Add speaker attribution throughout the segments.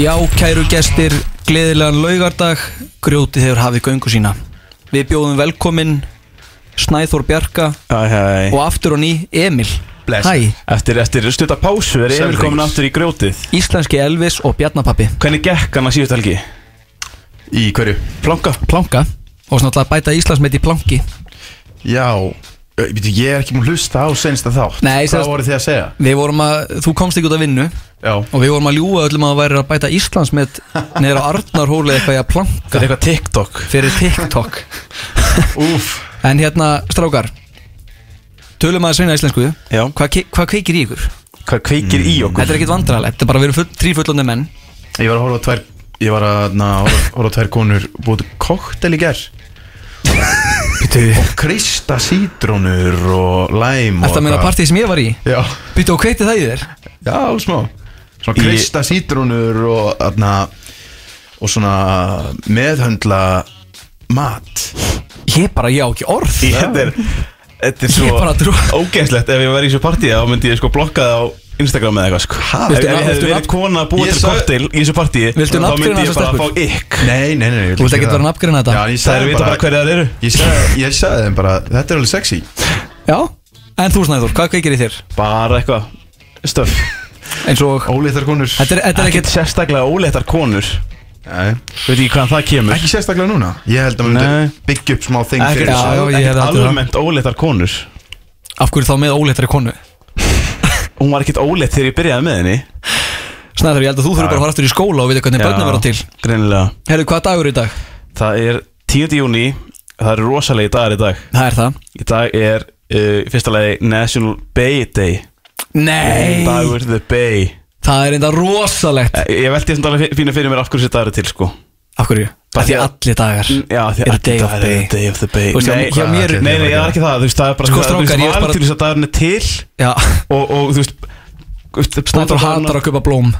Speaker 1: Já, kæru gestir, gleðilegan laugardag, grjótið hefur hafið göngu sína. Við bjóðum velkominn Snæþór Bjarka
Speaker 2: Æ, hei,
Speaker 1: og aftur og ný Emil.
Speaker 3: Bless.
Speaker 1: Hæ,
Speaker 2: Eftir, eftir stutta pásu er Emil
Speaker 3: Selfings.
Speaker 2: komin aftur í grjótið
Speaker 1: íslenski Elvis og Bjarnapappi.
Speaker 2: Hvernig gekk hann að síðust helgi?
Speaker 3: Í hverju?
Speaker 2: Planka
Speaker 1: Planka. Og svona alltaf bæta Íslandsmeit í planki.
Speaker 3: Já, ö, veitu, ég er ekki múin að hlusta á sensta þátt
Speaker 1: Nei,
Speaker 3: Hvað
Speaker 1: sem-
Speaker 3: voru þið að segja?
Speaker 1: Við vorum að, þú komst ekki út að vinnu og
Speaker 3: Já
Speaker 1: við vorum að ljúga öllum að það væri að bæta Íslandsmeit neður á Arnarhóli eitthvað í að planka
Speaker 2: Þetta er eitthvað TikTok
Speaker 1: fyrir TikTok.
Speaker 3: Úf
Speaker 1: En hérna, strákar, tölum að sveina íslensku.
Speaker 2: Já
Speaker 1: Hvað, ke- hvað kveikir í ykkur?
Speaker 2: Hvað kveikir
Speaker 3: Mm.
Speaker 2: í okkur?
Speaker 1: Þetta er ekkit vandrarlegt, þetta er bara að vera full, trí fullandi menn
Speaker 3: Ég var að horfa á tvær Ég var að na, horfa, horfa á tvær konur Búið koktel í ger Og krista sítrónur og læm og
Speaker 1: Þetta meina
Speaker 3: eitthvað.
Speaker 1: partíð sem ég var í
Speaker 3: Já,
Speaker 1: Býtu og kveiti það í þér
Speaker 3: já, alveg smá Svona krista sítrónur og þarna Og svona meðhöndla mat
Speaker 1: Ég bara, ég á ekki orð
Speaker 2: Í- Þetta er Þetta er
Speaker 1: Ég bara
Speaker 2: svo
Speaker 1: trú-
Speaker 2: ógeðslegt Ef ég væri í þessu partíi þá myndi ég sko blokka það á Instagram eða eitthvað sko
Speaker 3: Ha?
Speaker 2: Ef
Speaker 1: Viltu
Speaker 2: ég
Speaker 1: nafn-
Speaker 2: hefði
Speaker 1: viltu
Speaker 2: verið
Speaker 1: nafn-
Speaker 2: kona að búa
Speaker 3: Ég
Speaker 2: til
Speaker 3: sag-
Speaker 2: kokteil í þessu partíi
Speaker 1: Viltu
Speaker 2: Þá
Speaker 1: nafngreina
Speaker 2: myndi ég
Speaker 1: þessar
Speaker 2: bara að
Speaker 1: stelpur?
Speaker 2: fá ykk
Speaker 3: Nei, nei, nei, nei
Speaker 1: Þú vilt ekkert vera að nafngreina þetta?
Speaker 3: Já,
Speaker 2: Það
Speaker 3: ég
Speaker 2: er
Speaker 3: sagði
Speaker 2: vita bara hverja þær eru
Speaker 3: Ég sagði, ég sagði þeim bara, þetta er alveg sexy
Speaker 1: Já En þú Snæður, hvað kveikir í þér?
Speaker 2: Bara eitthvað Stöf
Speaker 1: Eins og
Speaker 3: Óléttar konur
Speaker 1: Þetta er, þetta er
Speaker 2: Ekkert
Speaker 1: ekkit
Speaker 2: sérstaklega óleittar konur
Speaker 3: Nei,
Speaker 2: Veit ekki hvaðan það kemur
Speaker 3: Ekki sérstaklega núna Ég held að maður
Speaker 2: Nei.
Speaker 3: myndi byggja upp smá þing
Speaker 2: Ekkert-
Speaker 3: fyrir
Speaker 1: Já,
Speaker 3: þessu.
Speaker 1: já, ég
Speaker 2: ekkert
Speaker 1: hefði haldið það.
Speaker 2: almennt óleittar konur
Speaker 1: Af hverju þá með óléttari konu?
Speaker 2: Hún var ekkert óleitt þegar ég byrjaði með henni
Speaker 1: Snæður, ég held að þú þurfur bara að fara aftur í skóla og vita hvernig börnum verða til
Speaker 2: Greinilega
Speaker 1: Herru, hvað dagur er í dag?
Speaker 2: Það er 10. júni Það eru rosalegi dagar í dag
Speaker 1: Það er það
Speaker 2: Í dag er uh, fyrsta lagi National Bay Day
Speaker 1: Nei
Speaker 2: Dagur the Bay
Speaker 1: Það er enda rosalegt
Speaker 2: Eh, Ég veldi þessum dagar fínu fyrir mér af hverju þessi dagar er til sko
Speaker 1: Af hverju?
Speaker 2: Bara
Speaker 1: Af því
Speaker 2: því
Speaker 1: að
Speaker 2: að- Mm,
Speaker 1: allir dagar
Speaker 2: Já, því
Speaker 1: Er
Speaker 2: að
Speaker 1: Day of
Speaker 2: dagar
Speaker 1: Bay.
Speaker 2: er Day of the Bay
Speaker 1: Þú veist, hjá-
Speaker 2: Nei,
Speaker 1: hjá
Speaker 3: hvað
Speaker 1: mér
Speaker 3: ætlir
Speaker 2: nei, nei,
Speaker 3: Nei,
Speaker 2: það er ekki það Þú veist, það er bara
Speaker 1: Sko,
Speaker 2: það-
Speaker 1: strákar,
Speaker 2: Þú
Speaker 1: ég er
Speaker 2: veist,
Speaker 1: bara-
Speaker 2: valið til þess að dagarinn er til
Speaker 1: Já
Speaker 2: Og, og þú veist
Speaker 1: Snæður hatar að kaupa blóm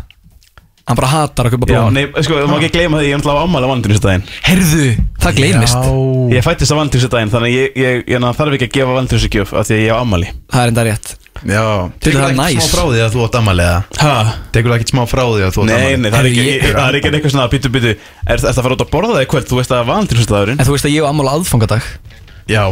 Speaker 1: Hann bara hatar að kaupa
Speaker 2: Já,
Speaker 1: blóm
Speaker 2: nei, sko, þú má ekki gleyma því Ég er náttúrulega á ammæli á valentínsdaginn
Speaker 1: Herðu, það gleymist
Speaker 3: Já
Speaker 2: Ég fættist á valentínsdaginn Þannig að ég, ég, ég na, þarf ekki að gefa valentínsdagjöf Af því að ég á ammæli
Speaker 1: Það er enda rétt
Speaker 3: Já Tekur
Speaker 1: það
Speaker 3: það
Speaker 1: næs.
Speaker 3: ekkert smá frá því að þú átt ammaliða
Speaker 2: Hæ?
Speaker 3: Tekur það ekkert smá frá því að þú átt
Speaker 2: Nei, nei,
Speaker 3: ammaliða
Speaker 2: það er ekki,
Speaker 1: Herri, ég-
Speaker 2: það er ekki eitthvað svona Býtu, býtu, er er það að fara út að borða það í kvöld? Þú veist að það er valentínsdagurinn
Speaker 1: En þú veist að ég á ammál aðfangadag
Speaker 3: Já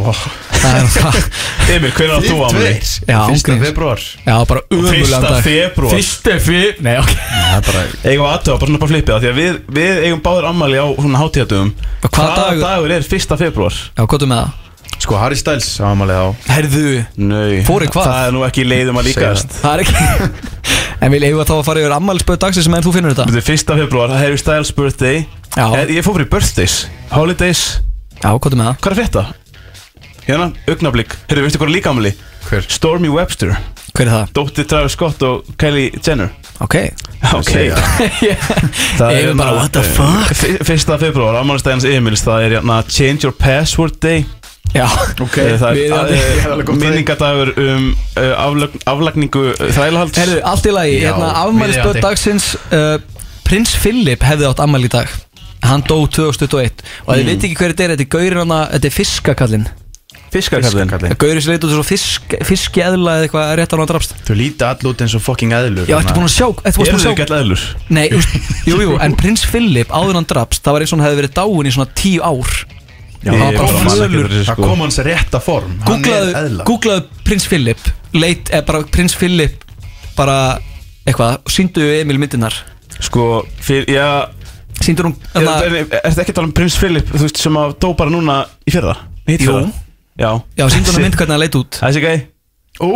Speaker 1: Það er það
Speaker 2: Emil, hvernig átt þú á mig?
Speaker 1: Já,
Speaker 3: Já Fyrsta
Speaker 1: ángríns.
Speaker 3: februar
Speaker 1: Já, bara ömulegan
Speaker 2: Fyrsta
Speaker 1: dag
Speaker 2: februar
Speaker 1: Fyrsta februar Nei, ok
Speaker 3: Það er bara
Speaker 2: Eigum að aðtöfa, bara svona bara flippið það Því að við, við eigum báður ammali á svona hátíðatöfum
Speaker 1: Hvaða dagur?
Speaker 2: dagur er fyrsta februar?
Speaker 1: Já, hvað er með það?
Speaker 3: Sko, Harry Styles á ammaliða á
Speaker 1: Herðu
Speaker 2: Nei
Speaker 1: Fór í hvað?
Speaker 2: Það er nú ekki leiðum að líkast
Speaker 1: Það er ekki En vil eigum að þá að fara yfir ammálspöð dagsins meðan þú finnur þetta
Speaker 2: Þetta er fyrsta februar, það hefur Styles birthday
Speaker 1: Já.
Speaker 2: Ég, ég fór fyrir birthdays, holidays
Speaker 1: Já, hvað er með það?
Speaker 2: Hvað er að frétta? Hérna, augnablík Herru, veistu hvað er líka ammali?
Speaker 3: Hver?
Speaker 2: Stormy Webster
Speaker 1: Hver er það?
Speaker 2: Dóttir Travis Scott og Kylie Jenner
Speaker 1: Ok
Speaker 2: Ok Það
Speaker 1: Eigum bara, what the fuck?
Speaker 2: fuck Fyrsta februar, ammálistæðins Emils Það er hérna Change your password day
Speaker 1: Já
Speaker 3: Ok
Speaker 2: Eh, Það
Speaker 1: við-
Speaker 2: er
Speaker 1: ég
Speaker 3: hef alveg
Speaker 2: eh,
Speaker 3: komið til.
Speaker 2: minningadagur um eh, aflögn- aflagningu eh, þrælahalds
Speaker 1: Herðu, allt í lagi
Speaker 3: Já,
Speaker 1: Hérna, afmælisböð
Speaker 3: viðeigandi.
Speaker 1: dagsins uh, Prins Philip hefði átt ammæli í dag Hann dó 2021 Og
Speaker 3: Mm.
Speaker 1: þið veit ekki hver þetta er Þetta er gaurin hana Þetta er fiskakallinn
Speaker 2: Fiskakallin
Speaker 3: Fiskakallinn.
Speaker 1: Gaurin sem leit út svo fisk, fiskjaðla eða eitthvað rétt á hann að drafst
Speaker 3: Þú líti all út eins og fucking eðlur
Speaker 1: Já, ertu búin að sjá Ertu
Speaker 2: hérna. Eru
Speaker 1: búin að
Speaker 2: þau
Speaker 1: sjá
Speaker 2: ekki all eðlur?
Speaker 1: Nei, þú veist, jú, jú, en prins Philip áður en hann drapst Það var eins og hann hefði verið dáin í svona tíu ár
Speaker 3: Já,
Speaker 1: Það var
Speaker 2: Ég
Speaker 1: bara
Speaker 2: man ekki
Speaker 1: flölur.
Speaker 2: eftir þessu,
Speaker 3: Það
Speaker 2: sko.
Speaker 3: kom hans rétta form Hann er
Speaker 1: Googlaðu,
Speaker 3: eðla.
Speaker 1: googlaðu prins Philip Leit, eða bara prins Philip Bara, eitthvað, síndu Emil myndinar
Speaker 2: Sko, fyr, já
Speaker 1: Síndu hún,
Speaker 2: Er
Speaker 1: þannig
Speaker 2: þetta ekki að tala um prins Philip Þú veist, sem að dó bara núna í fyrra? Nei, hitt
Speaker 1: Jú.
Speaker 2: fyrra. Já
Speaker 1: Já, síndu hún mynd hvernig hann leit út
Speaker 2: Það er sér gæði
Speaker 3: Ó,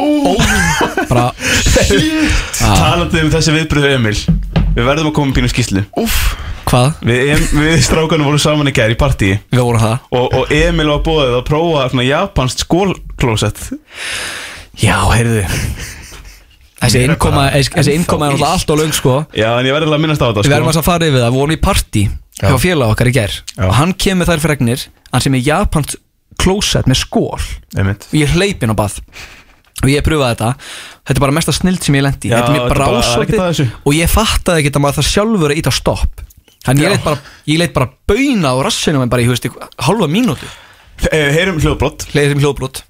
Speaker 1: Bara,
Speaker 2: Talandi um þessi viðbröðu Emil Við verðum að koma um pínu skýslu
Speaker 3: úff
Speaker 1: hvað?
Speaker 2: Við, em, við strákanum vorum saman í gær í partíi
Speaker 1: Við vorum það
Speaker 2: og, og Emil var bóðið að prófa svona japanskt skólklósett
Speaker 1: Já, heyrðu Þessi
Speaker 3: Mér er
Speaker 1: innkoma,
Speaker 3: bara
Speaker 1: þessi innkoma er
Speaker 3: ennþá
Speaker 1: alltaf allt og löng sko
Speaker 2: Já, en ég verði alveg að minnast á þetta
Speaker 1: Við verðum
Speaker 2: sko.
Speaker 1: að fara yfir það, við vorum í partí hjá félag okkar í gær og hann kemur þær fregnir hann sem er Japans klósett með skól og
Speaker 3: Einmitt
Speaker 1: ég hleypin á bað og ég pröfaði þetta þetta er bara mesta snild sem ég lendi
Speaker 2: Já,
Speaker 1: þetta er mér
Speaker 2: þetta bara- það er ekkert
Speaker 1: brásóti
Speaker 2: að þessu.
Speaker 1: og ég fattaði ekki að maður það sjálfur að íta stopp þannig ég leitt bara, ég leit bara bauna á rassinu en bara í hústi halva mínútu
Speaker 2: Eh, Heyrum hljóðbrott
Speaker 1: leiði sem hljóðblót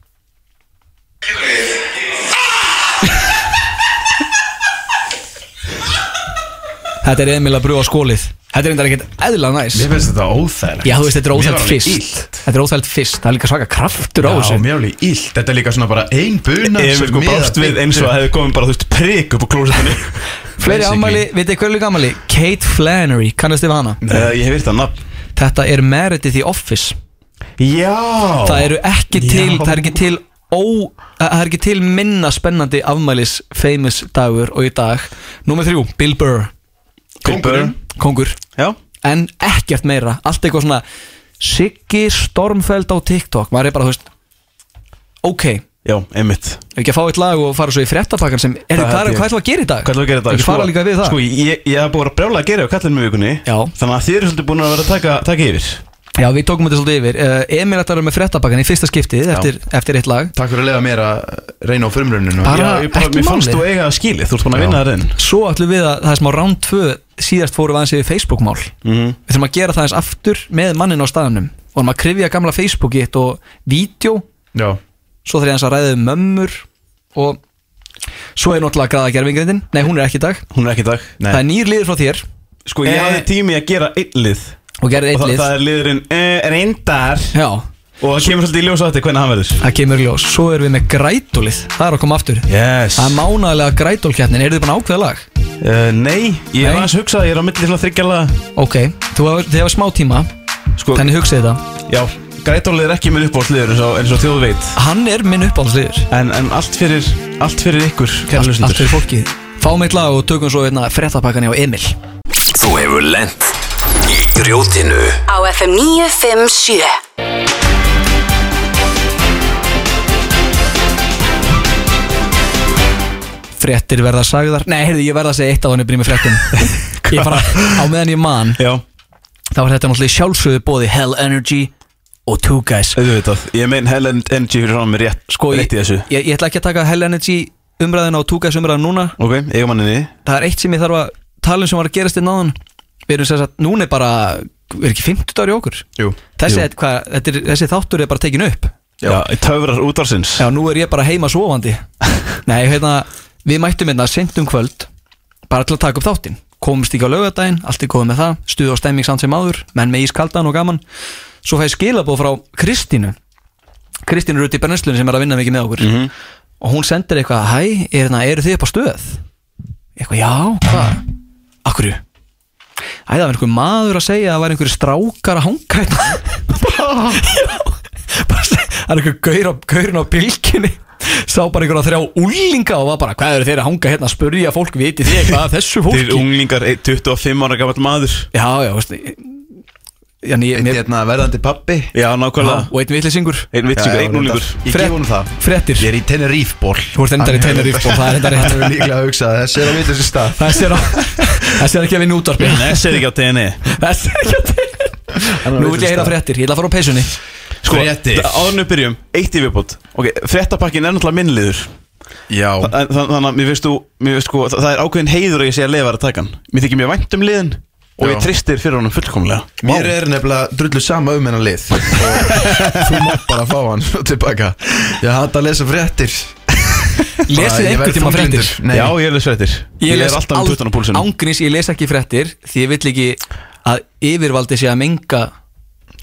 Speaker 1: Þetta er Emil að brúa skólið Þetta er reyndar ekkert eðla næs
Speaker 3: Mér finnst þetta óþægilegt
Speaker 1: Já, þú veist, þetta er
Speaker 3: Mér var
Speaker 1: óþælt
Speaker 3: alveg
Speaker 1: fyrst
Speaker 3: illt.
Speaker 1: Þetta er óþælt fyrst, það er líka svaka kraftur á
Speaker 3: Já,
Speaker 1: þessu
Speaker 3: mér er alveg illt Þetta er líka svona bara ein buna
Speaker 2: Emil sko brást við eins og að hefði komið bara þú veist prik upp á klósetinu
Speaker 1: Fleiri
Speaker 3: basically.
Speaker 1: ámæli, vitið þið hverju líka ámæli? Kate Flannery, kannast þið við hana?
Speaker 2: uh, Ég hef virt það nafn
Speaker 1: Þetta er Meredith í Office
Speaker 3: Já
Speaker 1: Það eru ekki
Speaker 3: Já.
Speaker 1: til, það er ekki til ó, það er ekki til minna spennandi afmælis famous dagur og í dag Númer þrjú, Bill Burr,
Speaker 3: Kóngurinn.
Speaker 1: kongur
Speaker 2: Já
Speaker 1: En ekkert meira, allt eitthvað svona Siggi Stormfeld á TikTok Maður er bara, þú veist Ok, ef
Speaker 2: Já, einmitt
Speaker 1: ekki að fá eitt lag og fara svo í fréttapakkan sem Er
Speaker 2: Það
Speaker 1: það
Speaker 2: held ég.
Speaker 1: hvað ætlum við að gera í dag?
Speaker 2: Hvað ætlum við að gera í dag?
Speaker 1: Ekki fara líka við það
Speaker 2: Sko, ég, ég hef búin að brjála að gera á kallinu með vikunni
Speaker 1: Já.
Speaker 2: Þannig að þið eru svolítið búin að vera að taka, taka yfir
Speaker 1: Já, við tókum þetta svolítið yfir uh, Emil ætlar að vera með fréttapakkan í fyrsta skiptið eftir, eftir eitt lag
Speaker 3: Takk fyrir að leiða mér að reyna á frumruninu
Speaker 1: Bara-
Speaker 2: Já, ég bara,
Speaker 1: ekki
Speaker 2: mér fannst
Speaker 1: málið.
Speaker 2: þú eiga að skilið Þú ert búin að
Speaker 3: Já.
Speaker 2: vinna það inn
Speaker 1: Svo ætlum við að, það er smá round 2 Síðast fórum við aðeins yfir Facebook-mál
Speaker 2: Mhm.
Speaker 1: Við þurfum að gera það aðeins aftur með mannin á staðanum Og erum að krifja gamla Facebook-it og Vídeó,
Speaker 3: Já
Speaker 1: svo þarf ég aðeins að ræða um mömmur Og svo er náttúrulega græða gerfingrindin Nei, hún er ekki í dag
Speaker 2: Hún er ekki í dag
Speaker 3: Nei.
Speaker 1: Það er nýr liður frá þér
Speaker 2: Sko, ég
Speaker 1: Eh.
Speaker 2: hafði tími að gera einn lið
Speaker 1: og gerir eitt
Speaker 2: Og það,
Speaker 1: lið
Speaker 2: það er liðurinn eh, reyndar
Speaker 1: Já,
Speaker 2: Og það kemur svolítið í ljós á þetta hvernig hann verður
Speaker 1: það kemur í ljós Svo erum við með grætulið, það er að koma aftur
Speaker 2: Yes
Speaker 1: Það er mánaðlega grætulkeppnin, eru þið búin að ákveða lag?
Speaker 2: uh, Nei,
Speaker 1: Nei.
Speaker 2: ég hef aðeins hugsað Ég er á milli til að þryggjala
Speaker 1: Ok, þú hefur, þið hefur smá tíma
Speaker 2: Sko,
Speaker 1: Þannig hugsið þetta
Speaker 2: já, grætólið er ekki minn uppáhaldsliður eins, og- eins og þjóð veit
Speaker 1: Hann er minn uppáhaldsliður
Speaker 2: En, en allt, fyrir, allt fyrir ykkur, kæra
Speaker 1: allt, allt
Speaker 2: hlustendur
Speaker 1: fyrir fólkið Fáum eitt lag og tökum svo einna fréttapakkan hjá Emil
Speaker 4: Þú hefur lent í grjótinu
Speaker 5: á FM 957
Speaker 1: Fréttir verða sagðar Nei, heyrðu, ég verða að segja eitt af hann upprými fréttum Ég bara, á meðan ég man
Speaker 2: Já,
Speaker 1: Þá var þetta náttúrulega í sjálfsögðu bóði Hell Energy og Two Guys
Speaker 2: auðvitað Ég mein Hell and Energy fyrir hann með rétt,
Speaker 1: Sko, ég,
Speaker 2: rétt í þessu
Speaker 1: ég, ég ætla ekki að taka Hell Energy umræðina og Two Guys umræðina núna
Speaker 2: Ok, eiga manninni
Speaker 1: Það er eitt sem ég þarf að tala um sem var að gerast inn áðan Við erum sér að núna er bara Við erum ekki 50 dagur í okkur
Speaker 3: Jú
Speaker 1: Þessi,
Speaker 2: Jú.
Speaker 1: er- hvað, þetta er, þessi þáttur er bara tekin upp
Speaker 2: Já, töfrar útvarsins
Speaker 1: Já, nú er ég bara heima sofandi Nei, hérna, við mættum hérna sent um kvöld Bara til að taka upp þáttinn Komumst ekki á laugardaginn, allt er góð með það Stuð og stemming samt sem áður, menn með ískaldan og gaman Svo fæði skilabóð frá Kristínu Kristínu er út í brennslunni sem er að vinna mikið með okkur Og hún sendir eitthvað, hæ, er, hérna, eru þið upp á stöð? Eitthvað, já, hvað? Akkurju? Æ, það var einhver maður að segja að það var einhver strákar að hanga hérna bara, se- það er einhver gaur á, gaurin á bylginni sá bara einhver að þrjá úlinga og var bara hvað eru þeir að hanga hérna að spurja fólk viti þið eitthvað að þessu
Speaker 2: Þeir
Speaker 1: fólki
Speaker 2: unglingar, eh, 25 ára gammal maður
Speaker 1: já já veist já, ný,
Speaker 3: Eitt
Speaker 1: mér,
Speaker 3: hérna verðandi pappi
Speaker 2: Já,
Speaker 1: já,
Speaker 2: nákvæmlega
Speaker 1: og einn vitlisingur
Speaker 2: Einn vitsingur, sko, einn unglingur
Speaker 3: Ég
Speaker 1: Fred-
Speaker 3: gef hún það
Speaker 1: frettir
Speaker 3: Ég er í Tenerífból
Speaker 1: Þú ert endar í Tenerife og það er endar
Speaker 3: Hann hefur
Speaker 1: rétt
Speaker 3: líklega hugsað Þessi er á vitur sér stað
Speaker 1: það sér að það sér ekki að vinna útvarpi
Speaker 2: Ness er ekki á E. TNI
Speaker 1: það sér ekki að nú vil ég heyra frettir ég ætla að fara á peysunni
Speaker 2: Sko,
Speaker 3: Fréttir.
Speaker 2: áðurnu byrjum, eitt í viðbót Ok, fréttapakkin er náttúrulega minnliður
Speaker 3: Já
Speaker 2: Þannig þannig að mér veist þú, mér veist sko Það það er ákveðin heiður að ég sé að leifa að taka hann Mér þykir mjög vænt um liðin Og
Speaker 3: Já.
Speaker 2: ég tristir fyrir honum fullkomlega
Speaker 3: Mér er nefnilega drullu sama um hennar lið Og þú mátt bara fá hann tilbaka Ég hata að lesa fréttir
Speaker 1: lesið
Speaker 3: Ég verð
Speaker 1: einhver tíma
Speaker 3: þunglindur.
Speaker 1: frettir
Speaker 3: Nei
Speaker 2: Já, ég er les fréttir Ég, er alltaf
Speaker 1: al-
Speaker 2: með tuttan á púlsinu
Speaker 1: Ángríns, ég les ekki fréttir Því ég vill ekki að yfirvaldi sé að menga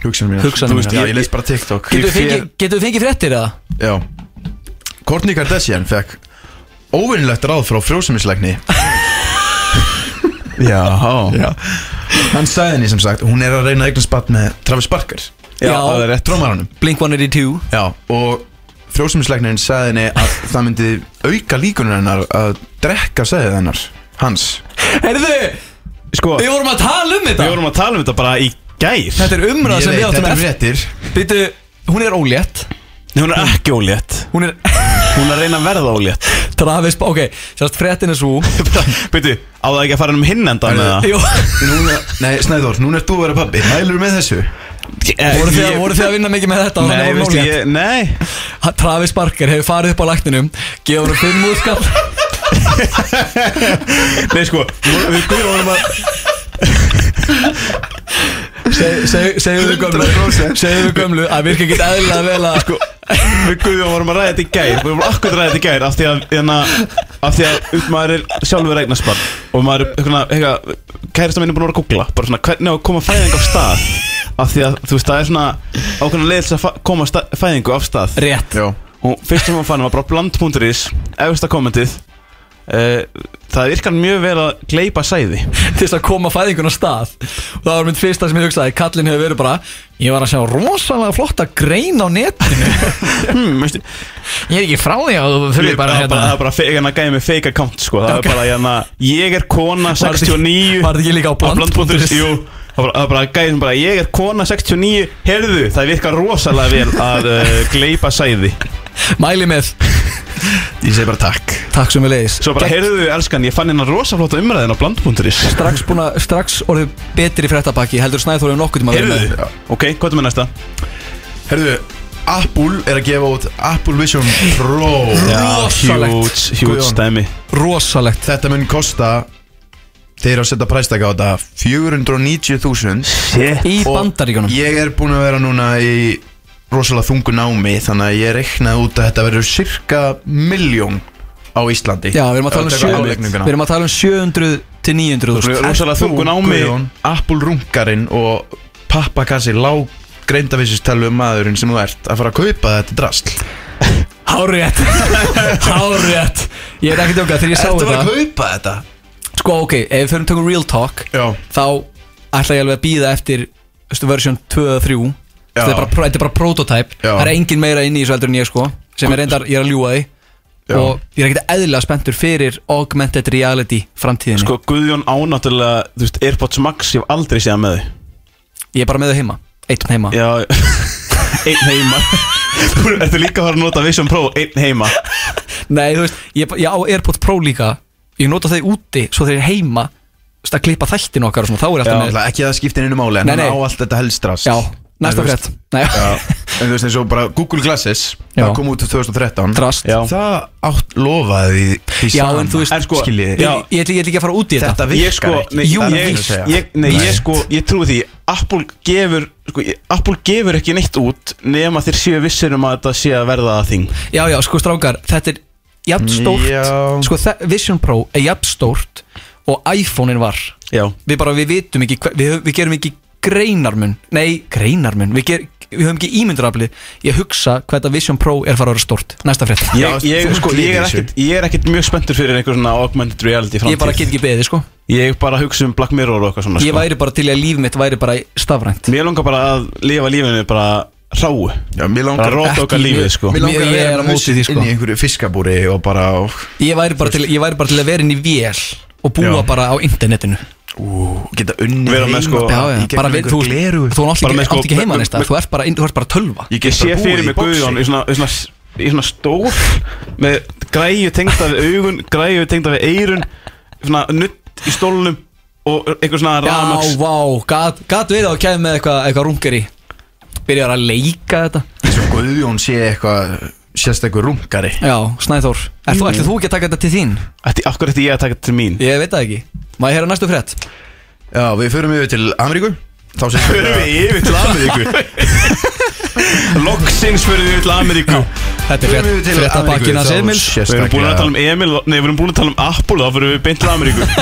Speaker 3: Hugsanum mínar
Speaker 1: Hugsanir
Speaker 3: Þú veist,
Speaker 1: mínar.
Speaker 3: Já, ég les bara TikTok
Speaker 1: Getur við
Speaker 3: Ég fer-
Speaker 1: fengið, getum við fengið fréttir eða?
Speaker 3: Já Kourtney Kardashian fekk óvinnlegt ráð frá frjósumislegni
Speaker 2: Já,
Speaker 3: Já Hann sagði henni sem sagt Hún er að reyna að eignast spatt með Travis Barker
Speaker 1: Já.
Speaker 2: það er rétt
Speaker 3: Drómaranum
Speaker 1: Blink-182
Speaker 3: Já Og frjósumislegnin sagði henni að það myndi auka líkunum hennar að drekka segið hennar Hans
Speaker 1: Herðu,
Speaker 2: Sko,
Speaker 1: við
Speaker 2: við
Speaker 1: vorum að tala um þetta
Speaker 2: vorum að tala um þetta bara í gær
Speaker 1: Þetta er umræð
Speaker 3: Ég
Speaker 1: sem
Speaker 3: veit,
Speaker 1: við áttum
Speaker 3: þetta er
Speaker 1: eftir
Speaker 3: réttir
Speaker 1: Býtu, hún er ólétt
Speaker 2: Nei, Hún er ekki ólétt
Speaker 1: Hún er
Speaker 2: Hún er að reyna að verða ólétt
Speaker 1: Travis, ok, sérst fréttin er svo
Speaker 2: Beitu, á það ekki að fara um hinn endan
Speaker 3: Herðu,
Speaker 2: eða?
Speaker 1: Jú,
Speaker 3: Núna, nei, Snæður, núna ert þú að vera pabbi Mælur með þessu
Speaker 2: Eh,
Speaker 1: voru þið,
Speaker 2: ég-
Speaker 1: voru þið að vinna mikið með þetta og hann
Speaker 2: Nei,
Speaker 1: er orðin
Speaker 2: veistu,
Speaker 1: ólétt?
Speaker 2: ég, nei
Speaker 1: Ha- Travis Barker hefur farið upp á lækninum Gefur hún fimm úrskall
Speaker 2: Nei, sko, við við guðum að
Speaker 1: Segðu þau gömlu
Speaker 3: 100%
Speaker 1: Segðu þau gömlu að virka ekki eðlilega vel að
Speaker 2: Sko, Við Guðjón vorum að ræða þetta í gær Við vorum akkur að ræða þetta í gær Af því að, hérna, af því að upp, maður er sjálfur eignarspann Og maður er, hérna, hérna Kærasta minn er búin að vera að googla Bara svona, hvernig á að koma fæðing af stað Af því að, þú veist, það er svona Ákveðna leið til að fa- koma stað, fæðingu af stað
Speaker 1: Rétt
Speaker 3: Já
Speaker 2: Og fyrst sem hún fann var bara bland.is Efasta kommentið uh, Það virkar mjög vel að gleipa sæði
Speaker 1: til þess að koma fæðingun á stað og það var mitt fyrsta sem ég hugsaði kallin hefur verið bara ég var að sjá rosalega flotta grein á netinu
Speaker 2: Hmm, veistu
Speaker 1: ég er ekki frá því að þú
Speaker 2: Það
Speaker 1: fyrir
Speaker 2: er
Speaker 1: bara
Speaker 2: bara, bara,
Speaker 1: hérna
Speaker 2: það er bara fe- hérna gæði með fake account sko. Það
Speaker 1: Ok.
Speaker 2: er bara hérna Ég er kona
Speaker 1: þetta ekki-
Speaker 2: 69
Speaker 1: var þetta ekki líka á bland.is?
Speaker 2: bland.is, Jú Það var- það var bara gæðin bara Ég er kona 69 Herðu það virkar rosalega vel Að uh, gleipa sæði
Speaker 1: mæli með
Speaker 3: Ég segi bara takk
Speaker 1: takk sem við leiðis
Speaker 2: Svo bara herðu elskan Ég fann hérna rosaflóta umræðin á bland.is
Speaker 1: strax, búna, strax orðið betri fréttabaki heldur Snæþóri nokkuð tíma
Speaker 2: Herðu
Speaker 3: Já.
Speaker 2: Ok, hvað er með næsta?
Speaker 3: Herðu, Apple er að gefa út Apple Vision Pro
Speaker 1: Rosalegt.
Speaker 2: Huge, huge
Speaker 3: Guðjón.
Speaker 2: stæmi
Speaker 1: rosalegt
Speaker 3: Þetta mun kosta Þeir eru að setja præstaka á þetta 490.000
Speaker 2: Shit
Speaker 1: í
Speaker 3: Og
Speaker 1: bandaríkunum
Speaker 3: Ég er búin að vera núna í rosalega þungu námi Þannig að ég reiknaði út að þetta verður cirka miljón á Íslandi
Speaker 1: já, við erum að tala um,
Speaker 3: Ef við
Speaker 1: sjö,
Speaker 3: tökum álíkninguna.
Speaker 1: við erum að tala um 700 til 900 þúsund.
Speaker 2: Rosalega
Speaker 3: Ert þú,
Speaker 2: þungu námi.
Speaker 3: Guðjón, Apple rungarinn og pappakassi lág greindavísistellu maðurinn sem þú ert að fara að kaupa þetta drasl
Speaker 1: hárétt hárétt ég er ekki tjóka þegar ég sá
Speaker 3: Ertu að fara að
Speaker 1: þetta
Speaker 3: kaupa þetta?
Speaker 1: sko ok, ef við fyrir tökum real talk
Speaker 3: Já
Speaker 1: þá ætla ég alveg að býða eftir veistu, version 2 og 3
Speaker 3: Já.
Speaker 1: þetta er bara, þetta er bara prototype
Speaker 3: Já.
Speaker 1: það er engin meira inni í þessu heldur en ég sko sem er reyndar, ég er að ljúa því
Speaker 3: Já.
Speaker 1: og ég er ekkert eðlilega spenntur fyrir augmented reality framtíðinni
Speaker 2: Sko Guðjón ánáttúrulega Þú veist, Airpods Max Ég hef aldrei séð hann með þau
Speaker 1: ég er bara með þau heima, einn heima
Speaker 2: Já Einn heima Þú ertu líka að fara að nota Vision Pro Einn heima
Speaker 1: nei, þú veist, ég, ég á Airpods Pro líka ég nota þau úti, svo þeir eru heima þú veist, að klippa þættin okkar og svona, þá er alltaf með
Speaker 3: Náttúrulega ekki að það skiptir einu máli en
Speaker 1: Nei,
Speaker 3: hann
Speaker 1: nei.
Speaker 3: á allt þetta helst drasl
Speaker 1: já,
Speaker 3: En
Speaker 1: næsta
Speaker 3: þú
Speaker 1: frétt Nei,
Speaker 3: Já, en þú veist eins og bara Google Glasses
Speaker 1: Já.
Speaker 3: það kom út 2013
Speaker 1: drast
Speaker 2: Já.
Speaker 3: það átt lofaði því- því
Speaker 1: Já,
Speaker 3: sama.
Speaker 1: en þú veist,
Speaker 2: En sko-
Speaker 3: Skiljiði.
Speaker 1: ég, ég, ég, ég ætla ekki að fara út í þetta
Speaker 3: þetta virkar
Speaker 2: Ég sko
Speaker 3: ekki
Speaker 2: Nei,
Speaker 1: Jú,
Speaker 2: ég,
Speaker 1: víst.
Speaker 2: ég, ég, nei, ég sko Ég trúi því Apple gefur sko, ég- Apple gefur ekki neitt út Nefn að þeir séu vissir um að þetta sé að verða það þing
Speaker 1: Já, já, sko strákar, þetta er jafn stórt
Speaker 3: Já.
Speaker 1: Sko þe- Vision Pro er jafn stórt og iPhone-in var
Speaker 2: Já
Speaker 1: Við bara, við vitum ekki, hve- við, við gerum ekki greinarmun Nei, greinarmun, við, ger, við höfum ekki ímynduraflið Ég hugsa hvað þetta Vision Pro er fara að vera stórt Næsta frétt
Speaker 2: Ég,
Speaker 3: Já,
Speaker 2: ég,
Speaker 3: þú
Speaker 2: sko, ég, er
Speaker 3: klíðir
Speaker 2: ekkit, ég er ekkit mjög spenntur fyrir einhver svona augmented reality framtíð
Speaker 1: Ég bara get ekki beðið, sko
Speaker 2: Ég bara hugsa um Black Mirror og eitthvað svona
Speaker 1: Ég
Speaker 2: sko.
Speaker 1: væri bara til í að líf mitt væri bara stafrænt
Speaker 2: Mér langar bara að lifa lífinu bara ráu
Speaker 3: Já,
Speaker 2: Bara
Speaker 3: mér langar
Speaker 2: róta
Speaker 1: ekki
Speaker 2: okkar lífið
Speaker 1: mér-
Speaker 2: sko
Speaker 3: Mér langar að
Speaker 1: Ég- ég er
Speaker 3: vera
Speaker 1: á móti því, sko.
Speaker 3: inn í einhverju fiskabúri og bara og,
Speaker 1: Ég væri bara til, ég væri bara til að vera inn í vél og búa
Speaker 3: Já.
Speaker 1: bara á internetinu
Speaker 3: ú, geta unni
Speaker 2: Vera með, sko,
Speaker 1: Já, já, bara við, þú, þú, þú átt
Speaker 2: Bara
Speaker 1: ekki,
Speaker 2: með, sko,
Speaker 1: átt ekki heima
Speaker 2: með-
Speaker 1: neist
Speaker 2: með-
Speaker 1: þú ert bara, inn- þú ert bara tölva
Speaker 3: ég
Speaker 2: Ég
Speaker 3: get
Speaker 2: sé
Speaker 3: bara
Speaker 2: fyrir
Speaker 3: búið í
Speaker 2: mig Guðjón í
Speaker 3: bóksi
Speaker 2: svona, í svona, í svona stór með græju tengda við augun græju tengda við eirun svona nutt í stólunum og einhver svona
Speaker 1: Já,
Speaker 2: ramags
Speaker 1: vá, gat, gat við að kemja með eitthvað eitthva rungeri Byrjar að leika þetta
Speaker 3: eins og Guðjón sé eitthvað sérst eitthvað rungari
Speaker 1: Já, Snæþór, er þú, ætlið þú ekki að taka þetta til þín?
Speaker 2: Ætti, af hverju ætti ég að taka þetta til mín?
Speaker 1: Ég veit það ekki Má ég heyra næstu frétt?
Speaker 3: já við förum yfir til Ameríku þá sem
Speaker 2: Förum við yfir til Ameríku Loksins fyrir við yfir til Ameríku
Speaker 1: Þetta er frétt, frétt að bakkina Semil
Speaker 2: Við erum búin að tala um Emil Nei, við erum búin að tala um Apple Þá fyrir við beint til Ameríku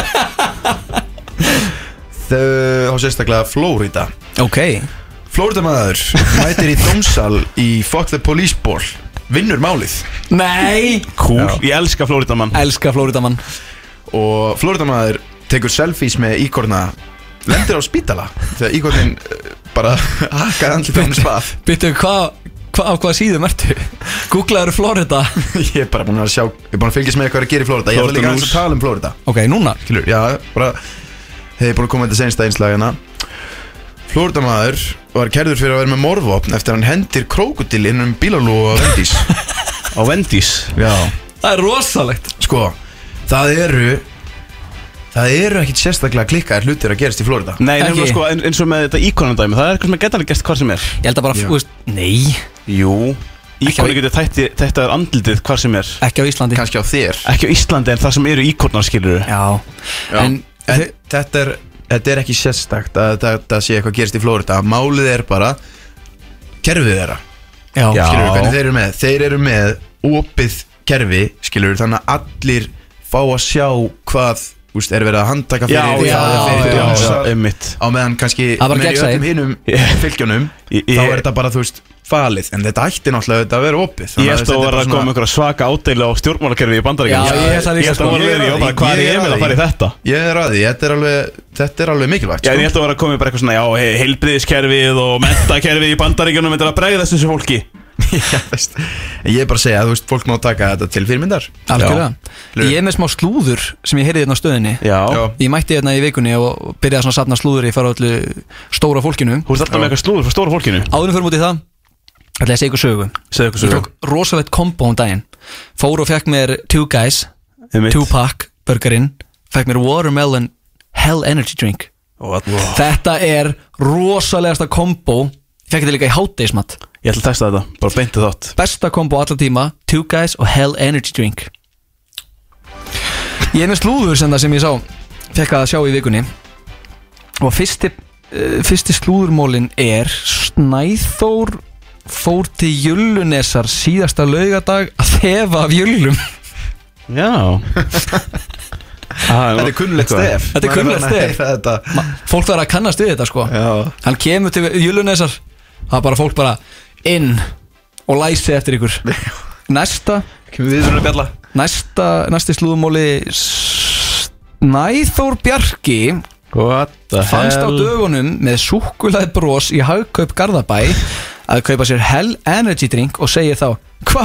Speaker 3: þá sérstaklega Flórida
Speaker 1: Ok,
Speaker 3: Flórida maður mætir í dómsal í Fuck the Police Ball vinnur málið
Speaker 1: nei,
Speaker 2: Cool Ég elska Florida mann
Speaker 1: elska Flóridamann
Speaker 3: og Flórida maður tekur selfies með íkorna lendir á spítala þegar íkornin eh, bara hakkaði andlið á hans bað
Speaker 1: Býttu, hvað, hva, á hvað síðum ertu? Googlaður Flórida
Speaker 3: ég er bara búin að sjá ég er búin að fylgjast með hvað er að gera í Flórida ég ætla
Speaker 2: Florida
Speaker 3: líka aðeins
Speaker 2: news.
Speaker 3: að tala um Flórida
Speaker 1: Ok, núna
Speaker 3: skilur, já, bara hefði búin að koma með þetta sensta einslagina Flórdamaður var kærður fyrir að vera með morvopn eftir að hann hendir krókudil inn um bílalúgu á vendís
Speaker 2: Á Wendy's
Speaker 3: Já,
Speaker 1: Það er rosalegt
Speaker 3: sko, það eru það eru ekkit sérstaklega klikkaðir hlutir að gerast í Flórida
Speaker 2: Nei, nefnum
Speaker 1: Ekki.
Speaker 2: sko en- eins og með þetta íkonandæmi Það er eitthvað sem er getalega gert hvað sem er
Speaker 1: Ég held að bara,
Speaker 3: Já.
Speaker 1: þú veist, nei,
Speaker 2: Jú
Speaker 1: Ekki á-
Speaker 2: Íkonu getur þætti þetta er andlitið hvað sem er
Speaker 1: ekki á Íslandi
Speaker 3: kannski á þér
Speaker 2: Ekki á Íslandi en það sem eru íkornar skilur
Speaker 1: Já, en,
Speaker 3: en þetta er þetta er ekki sérstakt að þetta sé eitthvað gerist í Flórida málið er bara kerfið þeirra
Speaker 1: Já.
Speaker 3: skilur við hvernig þeir eru með þeir eru með opið kerfi skilur við þannig að allir fá að sjá hvað úst, er verið að handtaka
Speaker 2: Já,
Speaker 3: fyrir
Speaker 2: já,
Speaker 3: það er
Speaker 2: já,
Speaker 3: fyrir
Speaker 2: já,
Speaker 3: dómsar.
Speaker 2: einmitt
Speaker 3: á meðan kannski
Speaker 1: Það var
Speaker 3: á meðan í
Speaker 1: gegnsæi.
Speaker 3: öllum hinum
Speaker 2: Ég-
Speaker 3: fylgjónum
Speaker 2: Ég-
Speaker 3: þá
Speaker 2: ég-
Speaker 3: er þetta bara þú veist falið en þetta ætti náttúrulega auðvitað að vera opið
Speaker 2: Ég held að það
Speaker 3: þetta er
Speaker 2: var
Speaker 3: bara
Speaker 2: að koma einhverja svaka ádeilu á stjórnmálakerfi í bandaríkjum
Speaker 1: Já, ég held það líka,
Speaker 2: Ég held að
Speaker 1: sko.
Speaker 2: það var verið, ég var bara, hvað er
Speaker 3: Ég er
Speaker 2: Emil
Speaker 3: að
Speaker 2: að fara í
Speaker 3: því.
Speaker 2: þetta?
Speaker 3: ég er að því þetta er alveg, þetta er alveg mikilvægt
Speaker 2: Já, en
Speaker 3: sko.
Speaker 2: ég held að vera að koma með bara eitthvað svona, já, heilbriðiskerfið og mentakerfið í bandaríkjunum Þetta er að bregðast þessu fólki
Speaker 3: Já, veist. En ég er bara að segja að þú veist fólk má taka þetta til fyrirmyndar
Speaker 1: Algjörlega
Speaker 3: Já.
Speaker 1: Ég er með smá slúður sem ég heyrði hérna á stöðinni
Speaker 2: Já
Speaker 3: Já.
Speaker 1: Ég mætti hérna í vikunni og byrjaði svona að safna slúður í fara öllu stóra fólkinu
Speaker 2: Þú ert alltaf með eitthvað slúður frá stóra fólkinu
Speaker 1: Áðurum fyrir mútið það ætla ég að segja ykkur sögu
Speaker 2: Segðu ykkur
Speaker 1: Ég
Speaker 2: sögu.
Speaker 1: tók rosalegt kombo um daginn Fór og fekk mér Two Guys
Speaker 2: Einmitt.
Speaker 1: Two Pack burgerinn Fekk mér Watermelon Hell Energy Drink
Speaker 2: What? Ég
Speaker 1: Þetta er rosalegasta kombo Ég fekk þetta líka í hátdeismat
Speaker 2: ætla að testa þetta, bara beinti þátt
Speaker 1: Besta kombo allar tíma Two Guys og Hell Energy Drink Ég er með slúður sem það sem ég sá Fekk að sjá í vikunni Og fyrsti, uh, fyrsti slúðurmólin er Snæþór fór til Jöllunesar síðasta laugadag að þefa af jöllum
Speaker 2: Já
Speaker 3: þetta er kunnulegt stef
Speaker 1: Þetta er kunnuglegt
Speaker 3: Maður
Speaker 1: stef.
Speaker 3: búinn að heyra þetta.
Speaker 1: Fólk þarf að kannast við þetta sko
Speaker 3: Já.
Speaker 1: Hann kemur til Jöllunesar Það er bara fólk bara inn og læsi eftir ykkur Næsta
Speaker 3: kemur við svona bjalla
Speaker 1: Næsta, næsti slúðumóli Snæþór Bjarki
Speaker 2: What the
Speaker 1: fannst á dögunum með súkulæð brós í hagkaup Garðabæ að kaupa sér Hell Energy drink og segir þá Hva?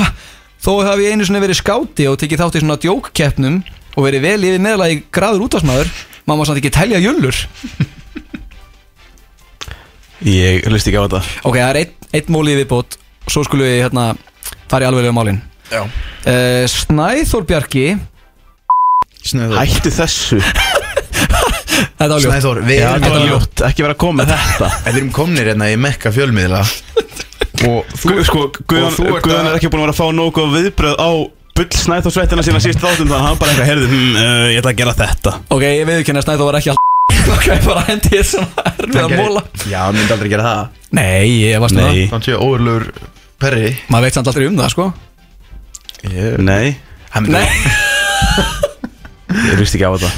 Speaker 1: Þó hafi ég einu sinni verið skáti og tekið þátt í svona djókkeppnum og verið vel yfir meðlagi graður útvarsmaður maður má samt ekki telja jullur
Speaker 2: Ég hlust ekki á þetta
Speaker 1: Ok, það er einn ein móli viðbót svo skulum við hérna fara í alveglega málin
Speaker 3: Já.
Speaker 1: uh, Snæþór Bjarki
Speaker 3: Snæður
Speaker 2: Hættu þessu
Speaker 1: Þetta var ljótt
Speaker 3: Snæður, við
Speaker 2: Þetta
Speaker 3: erum
Speaker 2: var
Speaker 3: bara-
Speaker 2: ljótt, ekki vera að koma með þetta
Speaker 3: En Við erum komnir hérna í mekka fjölmiðla Og þú
Speaker 2: Gu- Sko, Guðan,
Speaker 3: og þú ert
Speaker 2: Guðan
Speaker 3: að-
Speaker 2: er ekki búin að vera að fá nógu góð viðbröð á bull snæþórsvettina sína síst þáttum þannig að hann bara eitthvað heyrði hm, uh, ég ætla að gera þetta
Speaker 1: Ok, ég viðurkenni að Snæþór var ekki all Ok, bara hendi ég svona erfið að
Speaker 3: gerir-
Speaker 1: móla
Speaker 3: Já, hann myndi aldrei gera það
Speaker 1: Nei, ég var svona
Speaker 2: Nei.
Speaker 3: Þannig séu óurlegur perri
Speaker 1: Maður veit samt aldrei um það, sko
Speaker 2: Nei,
Speaker 1: Nei
Speaker 2: ég hlust ekki á þetta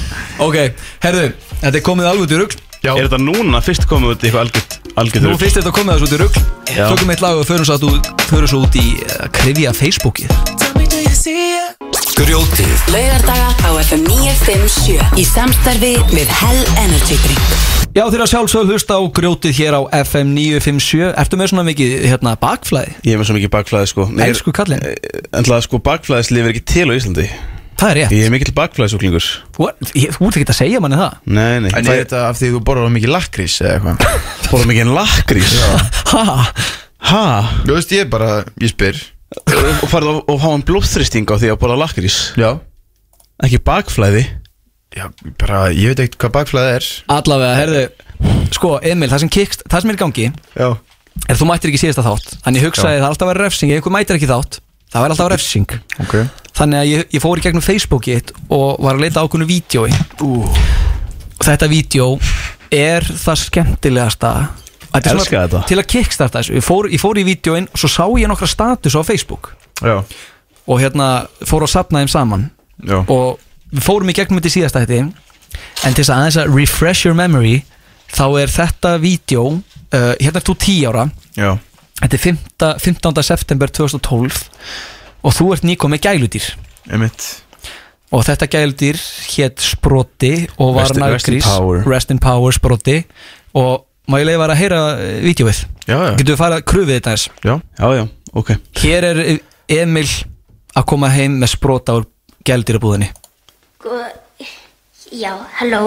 Speaker 1: Ok, herðu, þetta er komið alveg út í rugg
Speaker 3: Já,
Speaker 2: Er þetta núna fyrst komið út í eitthvað algjört algjört
Speaker 1: Nú
Speaker 2: rugl?
Speaker 1: fyrst er þetta komið þessu út í rugg
Speaker 2: Já.
Speaker 1: Tökum eitt lag og förum svo, út, förum svo út í uh, krifja Facebookið
Speaker 4: Grjótið
Speaker 5: Laugardaga á FM 957 Í samstarfi við Hell Energy Drink
Speaker 1: Já, þeirra sjálfsögð hlusta á grjótið hér á FM 957 Ertu með svona mikið, hérna, bakflæði?
Speaker 2: Ég hef með svo mikið bakflæði sko Ég er-
Speaker 1: Elsku kallinn.
Speaker 2: En það sko bakflæðislif er ekki til á Íslandi
Speaker 1: Það er rétt
Speaker 2: Ég er mikill bakflæðisúklingur
Speaker 1: What? Ég- Þú ert ekki að segja manni það
Speaker 2: Nei, nei
Speaker 3: En
Speaker 2: Það
Speaker 3: er þetta af því þú borðar of mikið lakrís eða eitthvað
Speaker 2: Fórum ekki en lakrís
Speaker 1: Ha,
Speaker 2: Ha?
Speaker 3: Þú veist, ég bara, ég spyr
Speaker 2: Og farið og, og hafa en blóðþristing á því að bóla lakrís
Speaker 3: Já
Speaker 2: Ekki bakflæði
Speaker 3: Já, bara, ég veit ekkert hvað bakflæð er
Speaker 1: allavega, herðu Sko, Emil, það sem kikst, það sem er í gangi
Speaker 3: Já
Speaker 1: Er þú mættir ekki síðasta þátt Þannig ég hugsaði að það alltaf að vera refsing Ef einhver mætir ekki þátt, það verður alltaf refsing
Speaker 3: Ok
Speaker 1: Þannig að ég, ég fór í gegnum Facebookið þitt og var að leita ákveðinu vídjói uh. og þetta vídjó er það skemmtilegasta Þetta er
Speaker 2: Elska
Speaker 1: svona
Speaker 2: þetta.
Speaker 1: Til að kickstarta þessu, ég fór, ég fór í vídjóin og svo sá ég nokkra status á Facebook
Speaker 3: Já
Speaker 1: og hérna fór að sapna þeim saman
Speaker 3: Já
Speaker 1: og við fórum í gegnum þetta í síðasta hætti en til þess að aðeins að refresh your memory þá er þetta vídjó uh, hérna er þú 10 ára
Speaker 3: Já
Speaker 1: þetta er 15, 15. september 2012 og þú ert nýkomið gæludýr
Speaker 3: Emitt
Speaker 1: og þetta gæludýr hétt Sproti og var
Speaker 2: Rest- rest in
Speaker 1: naggrís
Speaker 2: power.
Speaker 1: Rest in Power Sproti og má ég leiði var að heyra eh, vídjóið
Speaker 3: Já, já
Speaker 1: getur við farið að krufið þetta eins
Speaker 3: Já
Speaker 2: Já, já, ok
Speaker 1: hér er uh, Emil að koma heim með Sprota úr gæludýrabúðinni
Speaker 6: Góð- Sko, Já, halló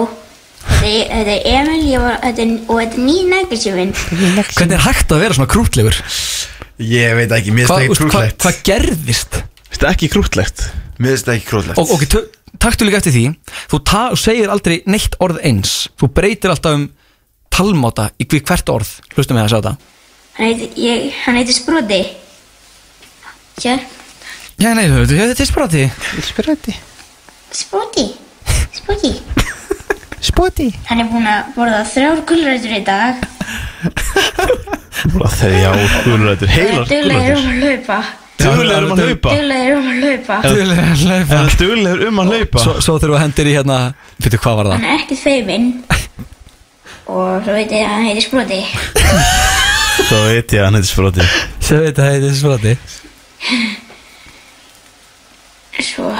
Speaker 6: Þetta er- þetta er Emil ég var, þetta er, og þetta er ný nægilsjöfinn
Speaker 1: hvernig er hægt að vera svona krútlegur
Speaker 3: Ég veit ekki, mér
Speaker 1: hvað
Speaker 3: finnst ekki
Speaker 1: hva, hva
Speaker 3: krúllegt
Speaker 1: hvað gerðist
Speaker 2: Þetta er ekki krútlegt
Speaker 3: Mér finnst ekki krúllegt
Speaker 1: og ok, tö- taktu líka eftir því þú ta, segir aldrei neitt orð eins þú breytir alltaf um talmáta í hver- hvert orð, hlustum við að sjá þetta
Speaker 6: Hann heitir- ég- hann heitir Sproti Sér
Speaker 1: já, nei, þú- þú- þetta er Sproti
Speaker 6: Sproti Sproti Sproti Hann er búinn að borða þrjár gulrætur í dag
Speaker 2: Bara þrjá gulrætur
Speaker 6: Heilar,
Speaker 2: Heilar gulrætur
Speaker 6: duglegir um að hlaupa
Speaker 2: Duglegur um að hlaupa
Speaker 6: Duglegir um að hlaupa
Speaker 2: Er hann duglegur um að hlaupa?
Speaker 1: Svo, svo þurfum við að hendir í hérna Fyrir hvað var það?
Speaker 6: Hann er ekkert feiminn Og svo veit ég að hann heitir Sproti
Speaker 2: Svo veit ég að hann heitir Sproti
Speaker 1: Sem veit að það heiti Sproti
Speaker 6: Svo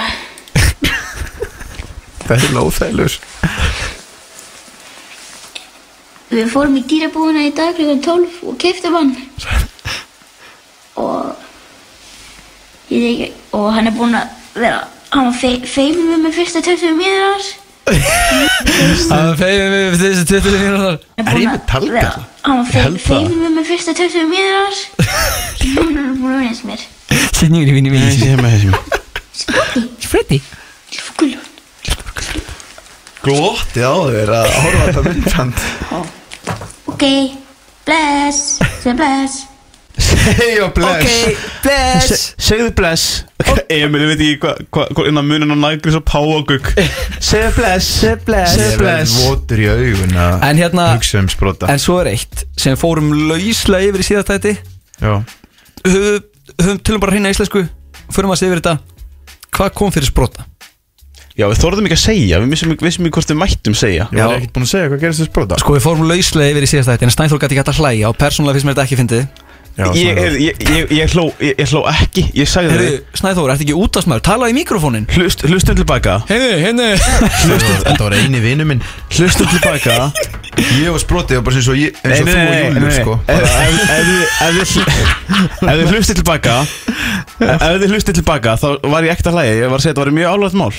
Speaker 3: Það er lóþælur
Speaker 6: Við fórum í dýrabúðina í dag klukkan 12 og keftum hann Og ég veit ekki Og hann er búinn að vera Hann var fe feiminn við mig fyrsta 20 mínútur
Speaker 1: Það er feimum við fyrir þessi 20 mínútur
Speaker 3: Er ég með talga?
Speaker 6: Hann
Speaker 2: Ég
Speaker 6: var
Speaker 2: held það.
Speaker 6: feiminn við mig fyrsta 20 mínútur Hann er búinn að vera eins mér
Speaker 1: Sinningur í vinni
Speaker 2: Ég
Speaker 1: mín
Speaker 2: sé með þessi
Speaker 6: Sproti,
Speaker 1: Sproti
Speaker 6: ljúfguljón
Speaker 3: Glottið á þér að horfa á þetta myndband
Speaker 6: Ok, bless, sem bless
Speaker 3: Hey og bless
Speaker 1: bless
Speaker 2: Segðu bless Emil, ég veit ekki hvað hva, hva, innan munin á nagris og páagugg Segðu bless Segðu bless
Speaker 3: Ég
Speaker 2: Segðu
Speaker 3: verð
Speaker 2: bless
Speaker 3: votur í augun að
Speaker 1: En hérna
Speaker 3: hugsa um sprota
Speaker 1: En svo er eitt Sem fórum lauslega yfir í síðastæti
Speaker 3: Já,
Speaker 1: Höfum höfum tölum bara hreina íslensku Förum að segja yfir þetta Hvað kom fyrir Sprota?
Speaker 2: Já, við þorðum ekki að segja Við missum ekki, vissum ekki hvort við mættum segja
Speaker 3: ég var ekkert búin að segja hvað gerist þessu sprota
Speaker 1: Sko við fórum lauslega yfir í síðastæti En Stænþór gæti ekki hægt að hlæja Og persónulega finnst mér þetta ekki fyndið
Speaker 3: Já,
Speaker 2: Ég,
Speaker 3: svona.
Speaker 2: ég, ég, ég, ég, hló, ég, ég hló ekki Ég sagði
Speaker 1: Herru,
Speaker 2: það
Speaker 1: Snæþór, ertu ekki útastmaður? Talaðu í mikrofónin
Speaker 2: Hlust, Hlustum tilbaka
Speaker 1: Henni, henni
Speaker 3: Þetta var eini vinu minn
Speaker 2: Hlustum tilbaka
Speaker 3: Ég og sprotið var bara sem svo ég, eins og þú og Júlur sko
Speaker 2: Ef ef þið- ef þið hl- ef þið hlustið tilbaka Ef ef þið hlustið tilbaka Þá var ég ekkert að hlæja Ég var að segja að þetta var mjög álvægt mál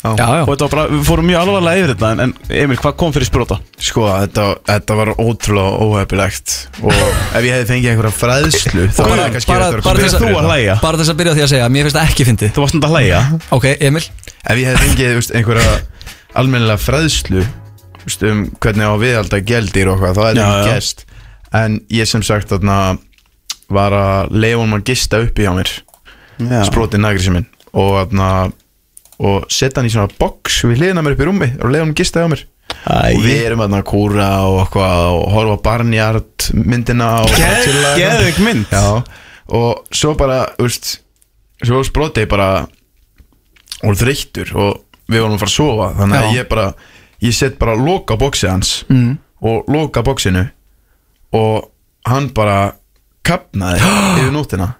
Speaker 1: Já, já
Speaker 2: Og þetta var bara Við fórum mjög alvarlega yfir þetta en- En Emil, hvað kom fyrir sprota?
Speaker 3: Sko, þetta, þetta var ótrúlega óhefilegt Og ef ég hefði fengið einhverja fræðslu Þá var það kannski
Speaker 1: bara,
Speaker 3: hægt að vera
Speaker 1: bara,
Speaker 3: komið
Speaker 1: þess
Speaker 3: betur
Speaker 1: að,
Speaker 3: hérna.
Speaker 2: að hlæja.
Speaker 1: bara þess að byrja á því að segja Mér finnst það ekki fyndið
Speaker 2: Þú varst náttúrulega að hlæja
Speaker 1: Ok, Emil
Speaker 3: Ef ég hefði fengið þú veist, einhverja almennilega fræðslu þú veist, um hvernig á viðalda gældir og hvað, þá hefði
Speaker 2: Já,
Speaker 3: það
Speaker 2: já.
Speaker 3: gæst En ég sem sagt þarna var að leifa um að gista uppi hjá mér
Speaker 2: Já.
Speaker 3: Sprotið nagrisin minn Og þarna og setja hann í svona box við hliðina á mér upp í rúmi og leiða hann gista hjá mér
Speaker 2: Æ.
Speaker 3: og við erum þarna að kúra og, eitthvað og horfa á barnjart myndina og chilla hérna.
Speaker 2: Geðvik mynd
Speaker 3: Já, og svo bara, úrst Svo sprotið bara Og þreyttur og við vorum að fara að sofa Þannig að
Speaker 1: Já.
Speaker 3: ég bara Ég set bara loka bóksi hans
Speaker 1: mm.
Speaker 3: Og loka bóksinu Og hann bara Kapnaði yfir nótina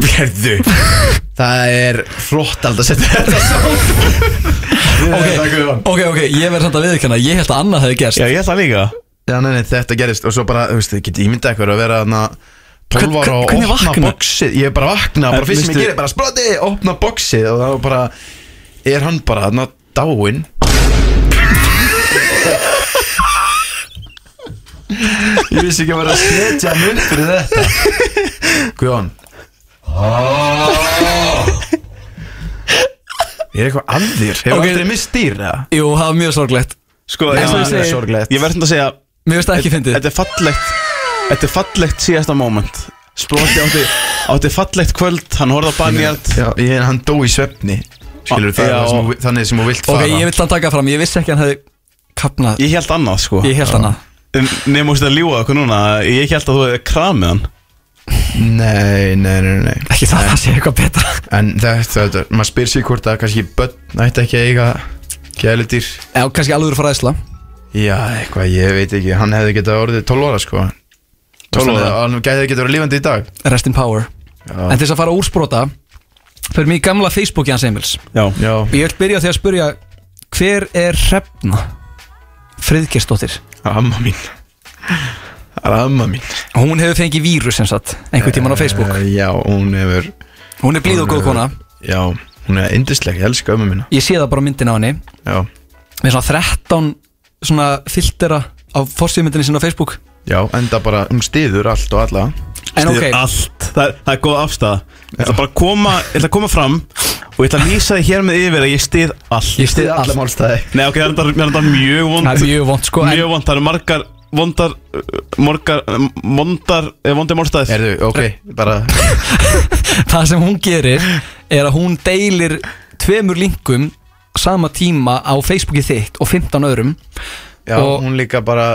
Speaker 3: Gerðu Það er flott alltaf að setja þetta saman
Speaker 1: Ok.
Speaker 3: Takk fyrir hann
Speaker 1: Ok, ok, ég verð samt að viðkjanna Ég held að annað hefði gerst
Speaker 2: Já, ég ætla líka
Speaker 3: Já, nei, nei, þetta gerist og svo bara, þú veist, ég geti ímyndað eitthvað að vera þarna 12
Speaker 1: Hvern-
Speaker 3: ára og
Speaker 1: hvernig
Speaker 3: opna
Speaker 1: vaknar?
Speaker 3: boxið Ég er bara að
Speaker 2: En
Speaker 3: vakna, bara fyrst sem
Speaker 2: veistu-
Speaker 3: ég gerir, bara sproti, opna boxið og þá bara er hann bara þarna dáinn Ég vissi ekki að vera að setja hann upp fyrir þetta Ah. Guðjón Er eitthvað að þér? Hefur
Speaker 1: Ok.
Speaker 3: okay. aldrei mist dýr, eða?
Speaker 1: Jú, það var mjög sorglegt
Speaker 2: Sko,
Speaker 1: Eins og
Speaker 2: já,
Speaker 1: ég segi.
Speaker 2: er sorglegt. Ég verð svona að segja
Speaker 1: Mér finnst það ekki fyndið
Speaker 2: Þetta er fallegt Þetta er fallegt síðasta moment Sproti átti Átti fallegt kvöld Hann horfði á banjart
Speaker 3: Já, ég, hann dó í svefni Skilur, það er
Speaker 2: Já.
Speaker 3: það sem, þú- þannig sem þú vilt
Speaker 1: Ok,
Speaker 3: fara
Speaker 1: ég vil þann taka fram Ég vissi ekki að hann hefði kapnað
Speaker 2: Ég held annað sko
Speaker 1: Ég held annað
Speaker 2: Nei, mústu að ljúa okkur núna Ég held að þú hefði kramið hann
Speaker 3: Nei, nei, nei, nei
Speaker 1: Ekki það að það sé eitthvað betra
Speaker 3: En þetta, þetta, maður spyr sér hvort að kannski börn ætti ekki að eiga gæludýr
Speaker 1: Já, kannski alveg fræðsla
Speaker 3: Já, eitthvað, ég veit ekki, hann hefði getað orðið 12 ára sko
Speaker 2: 12 ára?
Speaker 3: Hann gæði getað orðið lífandi í dag
Speaker 1: Rest in power En til þess að fara úr sprota Fyrir mig í gamla Facebooki hans Emils
Speaker 2: Já
Speaker 3: Já,
Speaker 1: Ég vil byrja á því að spyrja Hver er hrefna? Friðkjærsdóttir
Speaker 3: amma mín Það er Amma mín
Speaker 1: Hún hefur fengið vírus sem sagt Einhvern tíman á Facebook
Speaker 3: Eh, Já, hún hefur
Speaker 1: Hún er blíð og góð kona
Speaker 3: Já, hún er yndisleg, ég elska ömmu mína
Speaker 1: Ég sé það bara á myndin á henni
Speaker 3: Já,
Speaker 1: Með svona 13 svona filtera Á forsýðmyndinni sinna á Facebook
Speaker 3: já, enda bara, hún stiður allt og alla
Speaker 1: En
Speaker 2: Styður
Speaker 1: ok,
Speaker 2: allt það er, það er góð afstæða Ég ætla bara að koma, ég ætla að koma fram Og ég ætla að lýsa því hér með yfir að ég stið allt
Speaker 1: ég stið allt
Speaker 3: málstæði
Speaker 2: Nei ok, það er þetta- það er þetta mjög vond
Speaker 1: Það er mjög vond sko
Speaker 2: Mjög
Speaker 1: en,
Speaker 2: vond, það eru margar Vondar, uh, morgar, uh, vondar eh, Vondi málstæð
Speaker 3: Erðu, ok, bara
Speaker 1: Það sem hún gerir er að hún deilir Tveimur linkum sama tíma Á Facebooki þitt og 15 öðrum
Speaker 3: Já,
Speaker 1: Og-
Speaker 3: hún líka bara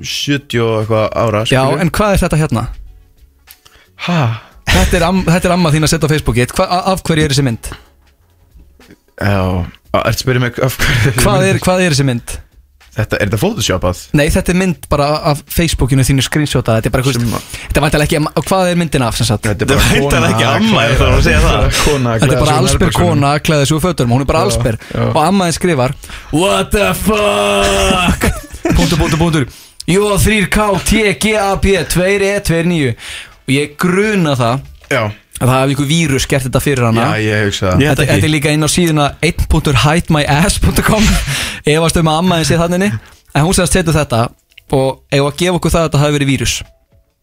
Speaker 3: 70 og eitthvað ára
Speaker 1: Já,
Speaker 3: skilurðu.
Speaker 1: en hvað er þetta hérna?
Speaker 3: Ha?
Speaker 1: Þetta er, am, þetta er amma þín að setja á Facebookið Hva, Af hverju er þessi mynd?
Speaker 3: Já, ertu að spyrja mig af hverju
Speaker 1: Hvað er, hvað er þessi mynd?
Speaker 3: Þetta, er þetta photoshopað?
Speaker 1: Nei, þetta er mynd bara af Facebookinu þínu screenshota Þetta er bara,
Speaker 3: Sem
Speaker 1: hvað
Speaker 3: að-
Speaker 1: Þetta er vantilega ekki amma- Hvað er myndin af, sem sagt?
Speaker 3: Þetta
Speaker 2: Þetta er væntanlega ekki amma, ég þarf að segja það.
Speaker 3: Kona,
Speaker 1: Þetta er bara allsber kona að klæða þessu úr fötunum Hún er bara
Speaker 3: Já,
Speaker 1: allsber
Speaker 3: já.
Speaker 1: Og ammaðin skrifar What the fuck Búndur, búndur, búndur Jó, 3K, T, G, A, P, 2, E, 2, 9 Og ég gruna það
Speaker 3: Já,
Speaker 1: Að það hafi ykkur vírus gert þetta fyrir hana
Speaker 3: já ég hugsa það
Speaker 1: Þetta,
Speaker 2: Ég- held ekki.
Speaker 1: þetta er líka inn á síðuna 1.hidemyass.com Efast um að ammaðin sé þannig En hún segast setur þetta Og ef að gefa okkur það að þetta hafi verið vírus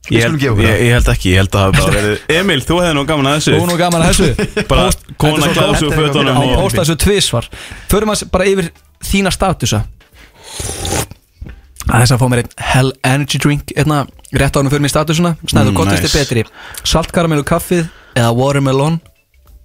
Speaker 3: Við skulum gefa
Speaker 2: ég,
Speaker 3: okkur það.
Speaker 2: ég, ég held ekki, ég held að það hafi bara verið Emil, þú hefði nú gaman að þessu
Speaker 1: Hún og gaman að þessu
Speaker 2: Bara
Speaker 1: Post- Þetta
Speaker 2: kona
Speaker 1: er svo
Speaker 2: klæða sig úr
Speaker 3: þetta er
Speaker 2: fötunum
Speaker 1: Á
Speaker 2: og-
Speaker 1: posta þessu tvísvar Förum að bara yfir þína statusa Það er þess að fá mér einn Hell Energy Drink einna, Rétt á hann fyrir mig statusuna Snæður
Speaker 2: Mm,
Speaker 1: mm, gottist
Speaker 2: nice.
Speaker 1: er betri Saltkaramelu kaffið Eða Watermelon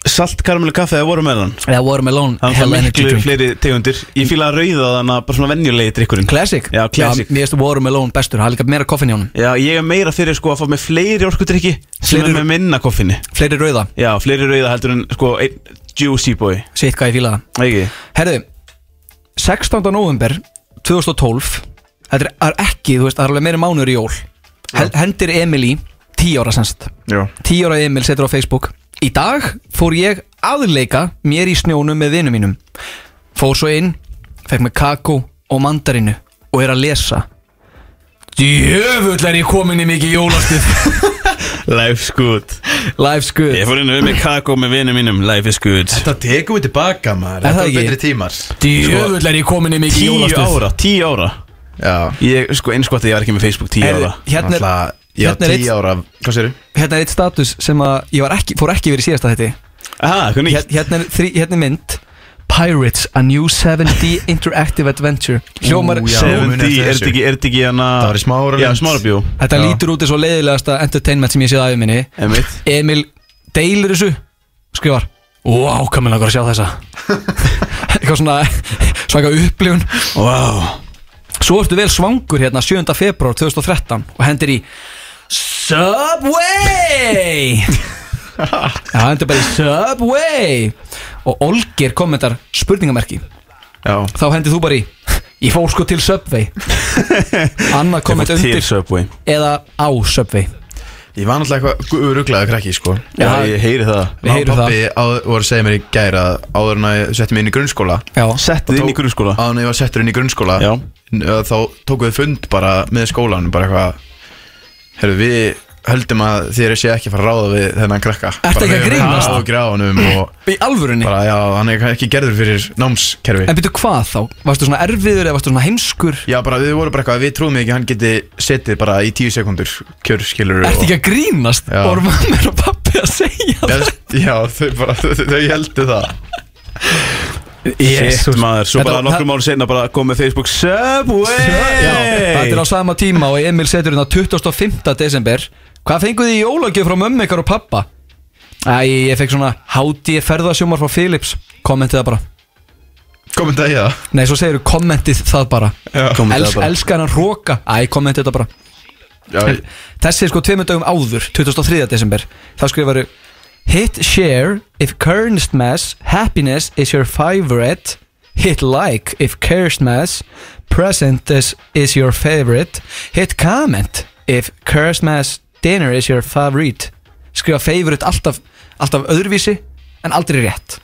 Speaker 2: Salt, karamelu, kaffe eða voru með hann
Speaker 1: Eða Watermelon
Speaker 2: Það er
Speaker 1: Hell Energy
Speaker 2: miklu
Speaker 1: Drink
Speaker 2: fleiri tegundir Ég fíla að rauða þannig að bara svona venjulegi drikkurinn
Speaker 1: Classic
Speaker 2: Já, classic
Speaker 1: Mér finnst Watermelon bestur Það er líka meira koffin í honum
Speaker 2: Já, ég er meira fyrir sko að fá með fleiri orkudrykki sem
Speaker 1: Fleiri-
Speaker 2: er með minna koffinni
Speaker 1: Fleiri rauða
Speaker 2: Já, fleiri rauða heldur en sko einn juicy boy
Speaker 1: Sitt hvað ég fíla það
Speaker 2: Ekki?
Speaker 1: Herðu 16. november 2012 Þetta er, er ekki, þú veist, það er alveg meira mánuður í jól Hel, Hendir Emil í 10 ára semst
Speaker 3: Já,
Speaker 1: 10 ára Emil setur á Facebook Í dag fór ég aðleika mér í snjónum með vinum mínum Fór svo inn, fekk með kakó og mandarinu og er að lesa Djöfull er ég komin í mikið jólastuð
Speaker 2: Life's good
Speaker 1: Life's good
Speaker 2: Ég fór inn við með kakó með vinum mínum Life is good
Speaker 3: Þetta tekum við tilbaka
Speaker 1: Er
Speaker 3: maður
Speaker 1: það
Speaker 3: Þetta er
Speaker 1: ekki?
Speaker 3: betri tímar
Speaker 1: Djöfull er ég komin í mikið
Speaker 2: Tíu
Speaker 1: jólastuð
Speaker 2: ára, tíu ára
Speaker 3: Já
Speaker 2: Ég, sko, einskvæmt að ég var ekki með Facebook tíu
Speaker 1: Heyrðu,
Speaker 2: ára
Speaker 1: Hérna er,
Speaker 3: Náttúrulega, Ég var
Speaker 1: hérna er eitt-
Speaker 3: 10 ára Hvað séru?
Speaker 1: hérna er eitt status sem að ég var ekki, fór ekki verið síðasta þetta
Speaker 2: Aha, hvernig?
Speaker 1: Hér- hérna, er þrí, hérna er mynd Pirates, a new 7D interactive adventure Hljómar,
Speaker 3: Ú, já.
Speaker 2: 70,
Speaker 3: muni
Speaker 2: er
Speaker 3: eftir þessu.
Speaker 2: þetta ekki, er þetta ekki hana
Speaker 3: Það var í Smáralind.
Speaker 2: Já, smárabjó
Speaker 1: þetta
Speaker 3: Já.
Speaker 1: lítur út eins og leiðilegasta entertainment sem ég séð aðeins minni
Speaker 2: Emitt
Speaker 1: Emil deilir þessu skrifar Wow, hvað mér langar að sjá þessa Eitthvað svona svaka upplifun
Speaker 2: Vá
Speaker 1: Svo ertu vel svangur hérna 7. februar 2013 og hendir í Subway Já, hendur bara í Subway og Olgir kommentar spurningamerki
Speaker 3: Já
Speaker 1: þá hendir þú bara í Ég fór sko til Subway Anna komment
Speaker 2: Ég fór til
Speaker 1: undir
Speaker 2: Subway
Speaker 1: eða á Subway
Speaker 3: Ég var náttúrulega eitthvað rugglaði krakki sko
Speaker 2: Já,
Speaker 1: Já,
Speaker 2: ég heyri það
Speaker 1: Við
Speaker 3: Má
Speaker 1: heyrum
Speaker 3: pappi áð- voru að segja mér í gæra áður en að ég setti mig inn í grunnskóla
Speaker 1: Já,
Speaker 2: Settið inn í grunnskóla
Speaker 3: Áður en að ég var settur inn í grunnskóla
Speaker 2: Já.
Speaker 3: n- uh, Þá tókum við fund bara með skólanum Bara eitthvað Herru við höldum að þér sé ekki að fara að ráða við þennan krakka
Speaker 1: Ertu ekki að grínast?
Speaker 3: Bara við höfum áður gráðanum og
Speaker 1: í alvörunni
Speaker 3: bara já, hann er ekki gerður fyrir námskerfi
Speaker 1: En byrju hvað þá? Varstu svona erfiður eða varstu svona heimskur?
Speaker 3: Já, bara við vorum bara eitthvað, við trúum ekki að hann geti setið bara í tíu sekundur kjör, skilur
Speaker 1: Ertu ekki að grínast?
Speaker 3: Já.
Speaker 1: Voru mammir og pappi að segja það?
Speaker 3: að... Já, þau bara, þau, þau heldur það
Speaker 2: Shit maður,
Speaker 1: Þetta
Speaker 2: svo bara
Speaker 1: var-
Speaker 2: nokkrum ára senna bara kom með Facebook Subway
Speaker 1: Já, þetta er á sama tíma og Emil setur hérna 25. desember Hvað fenguð þið í jólagjöf frá mömmu ykkar og pappa? Æ, ég fekk svona hátíð ferðasjómar frá Philips Kommentið það bara
Speaker 3: Komum þetta í það
Speaker 1: Nei, svo segirðu kommentið það bara
Speaker 2: Kommentið það
Speaker 1: Els,
Speaker 2: bara.
Speaker 1: Elskar hann róka Æ, kommentið þetta bara
Speaker 3: Já,
Speaker 1: Þessi er sko tveimur dögum áður, 2003. desember Þá skrifaru Hit share if Kernsmass Happiness is your favorite Hit like if Kernsmass Present is, is your favorite Hit comment if Kernsmass Dinner is your favorite Skrifa favorite alltaf, alltaf öðruvísi En aldrei rétt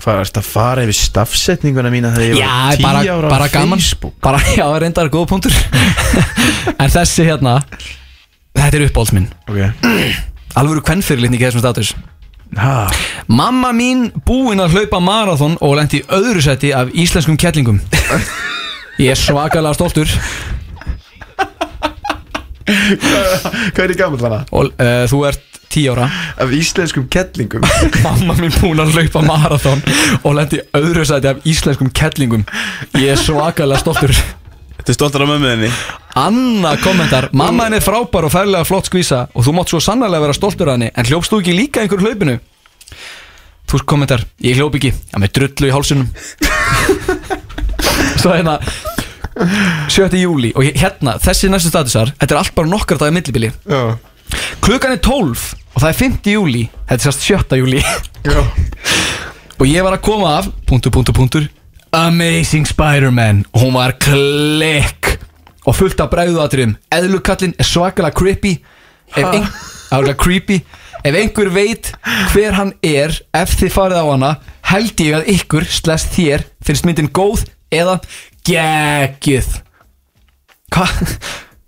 Speaker 3: hvað er þetta að fara yfir stafsetninguna mína þegar ég
Speaker 1: Já,
Speaker 3: var tíu
Speaker 1: bara,
Speaker 3: ára á
Speaker 1: bara gaman
Speaker 3: Facebook
Speaker 1: bara, Já, reyndar góða punktur En þessi hérna Þetta er uppáhalds minn
Speaker 3: Ok
Speaker 1: Alvöru kvennfyrirlitning í þessum status
Speaker 3: Ha,
Speaker 1: Mamma mín búin að hlaupa marathon og lendi í öðru seti af íslenskum kettlingum Ég er svakalega stoltur
Speaker 3: hvað er ég gaman þarna?
Speaker 1: og uh, þú ert 10 ára
Speaker 3: Af íslenskum kettlingum
Speaker 1: Mamma mín búin að hlaupa marathon og lendi í öðru seti af íslenskum kettlingum Ég er svakalega stoltur
Speaker 2: Þetta er stoltar af mömmuðinni
Speaker 1: Anna kommentar Mamma henni er frábær og færlega flott skvísa og þú mátt svo sannlega vera stoltur að henni en hljópst þú ekki líka einhverju hlaupinu? Þú kommentar, ég hljóp ekki Já, með drullu í hálsunum Svo hérna 7. júli og hérna, þessi næstu statusar þetta er allt bara nokkar dagar millibili
Speaker 3: Já,
Speaker 1: klukkan er 12 og það er 5. júli þetta er sérst 7. júli
Speaker 3: já
Speaker 1: og ég var að koma af punktur, punktur, punktur Amazing Spider-Man og hún var klikk og fullt af bræðuatriðum eðlukallin er svakalega creepy ef, ein, álega creepy ef einhver veit hver hann er ef þið farið á hana held ég að ykkur slest þér finnst myndin góð eða geggjuð Hva,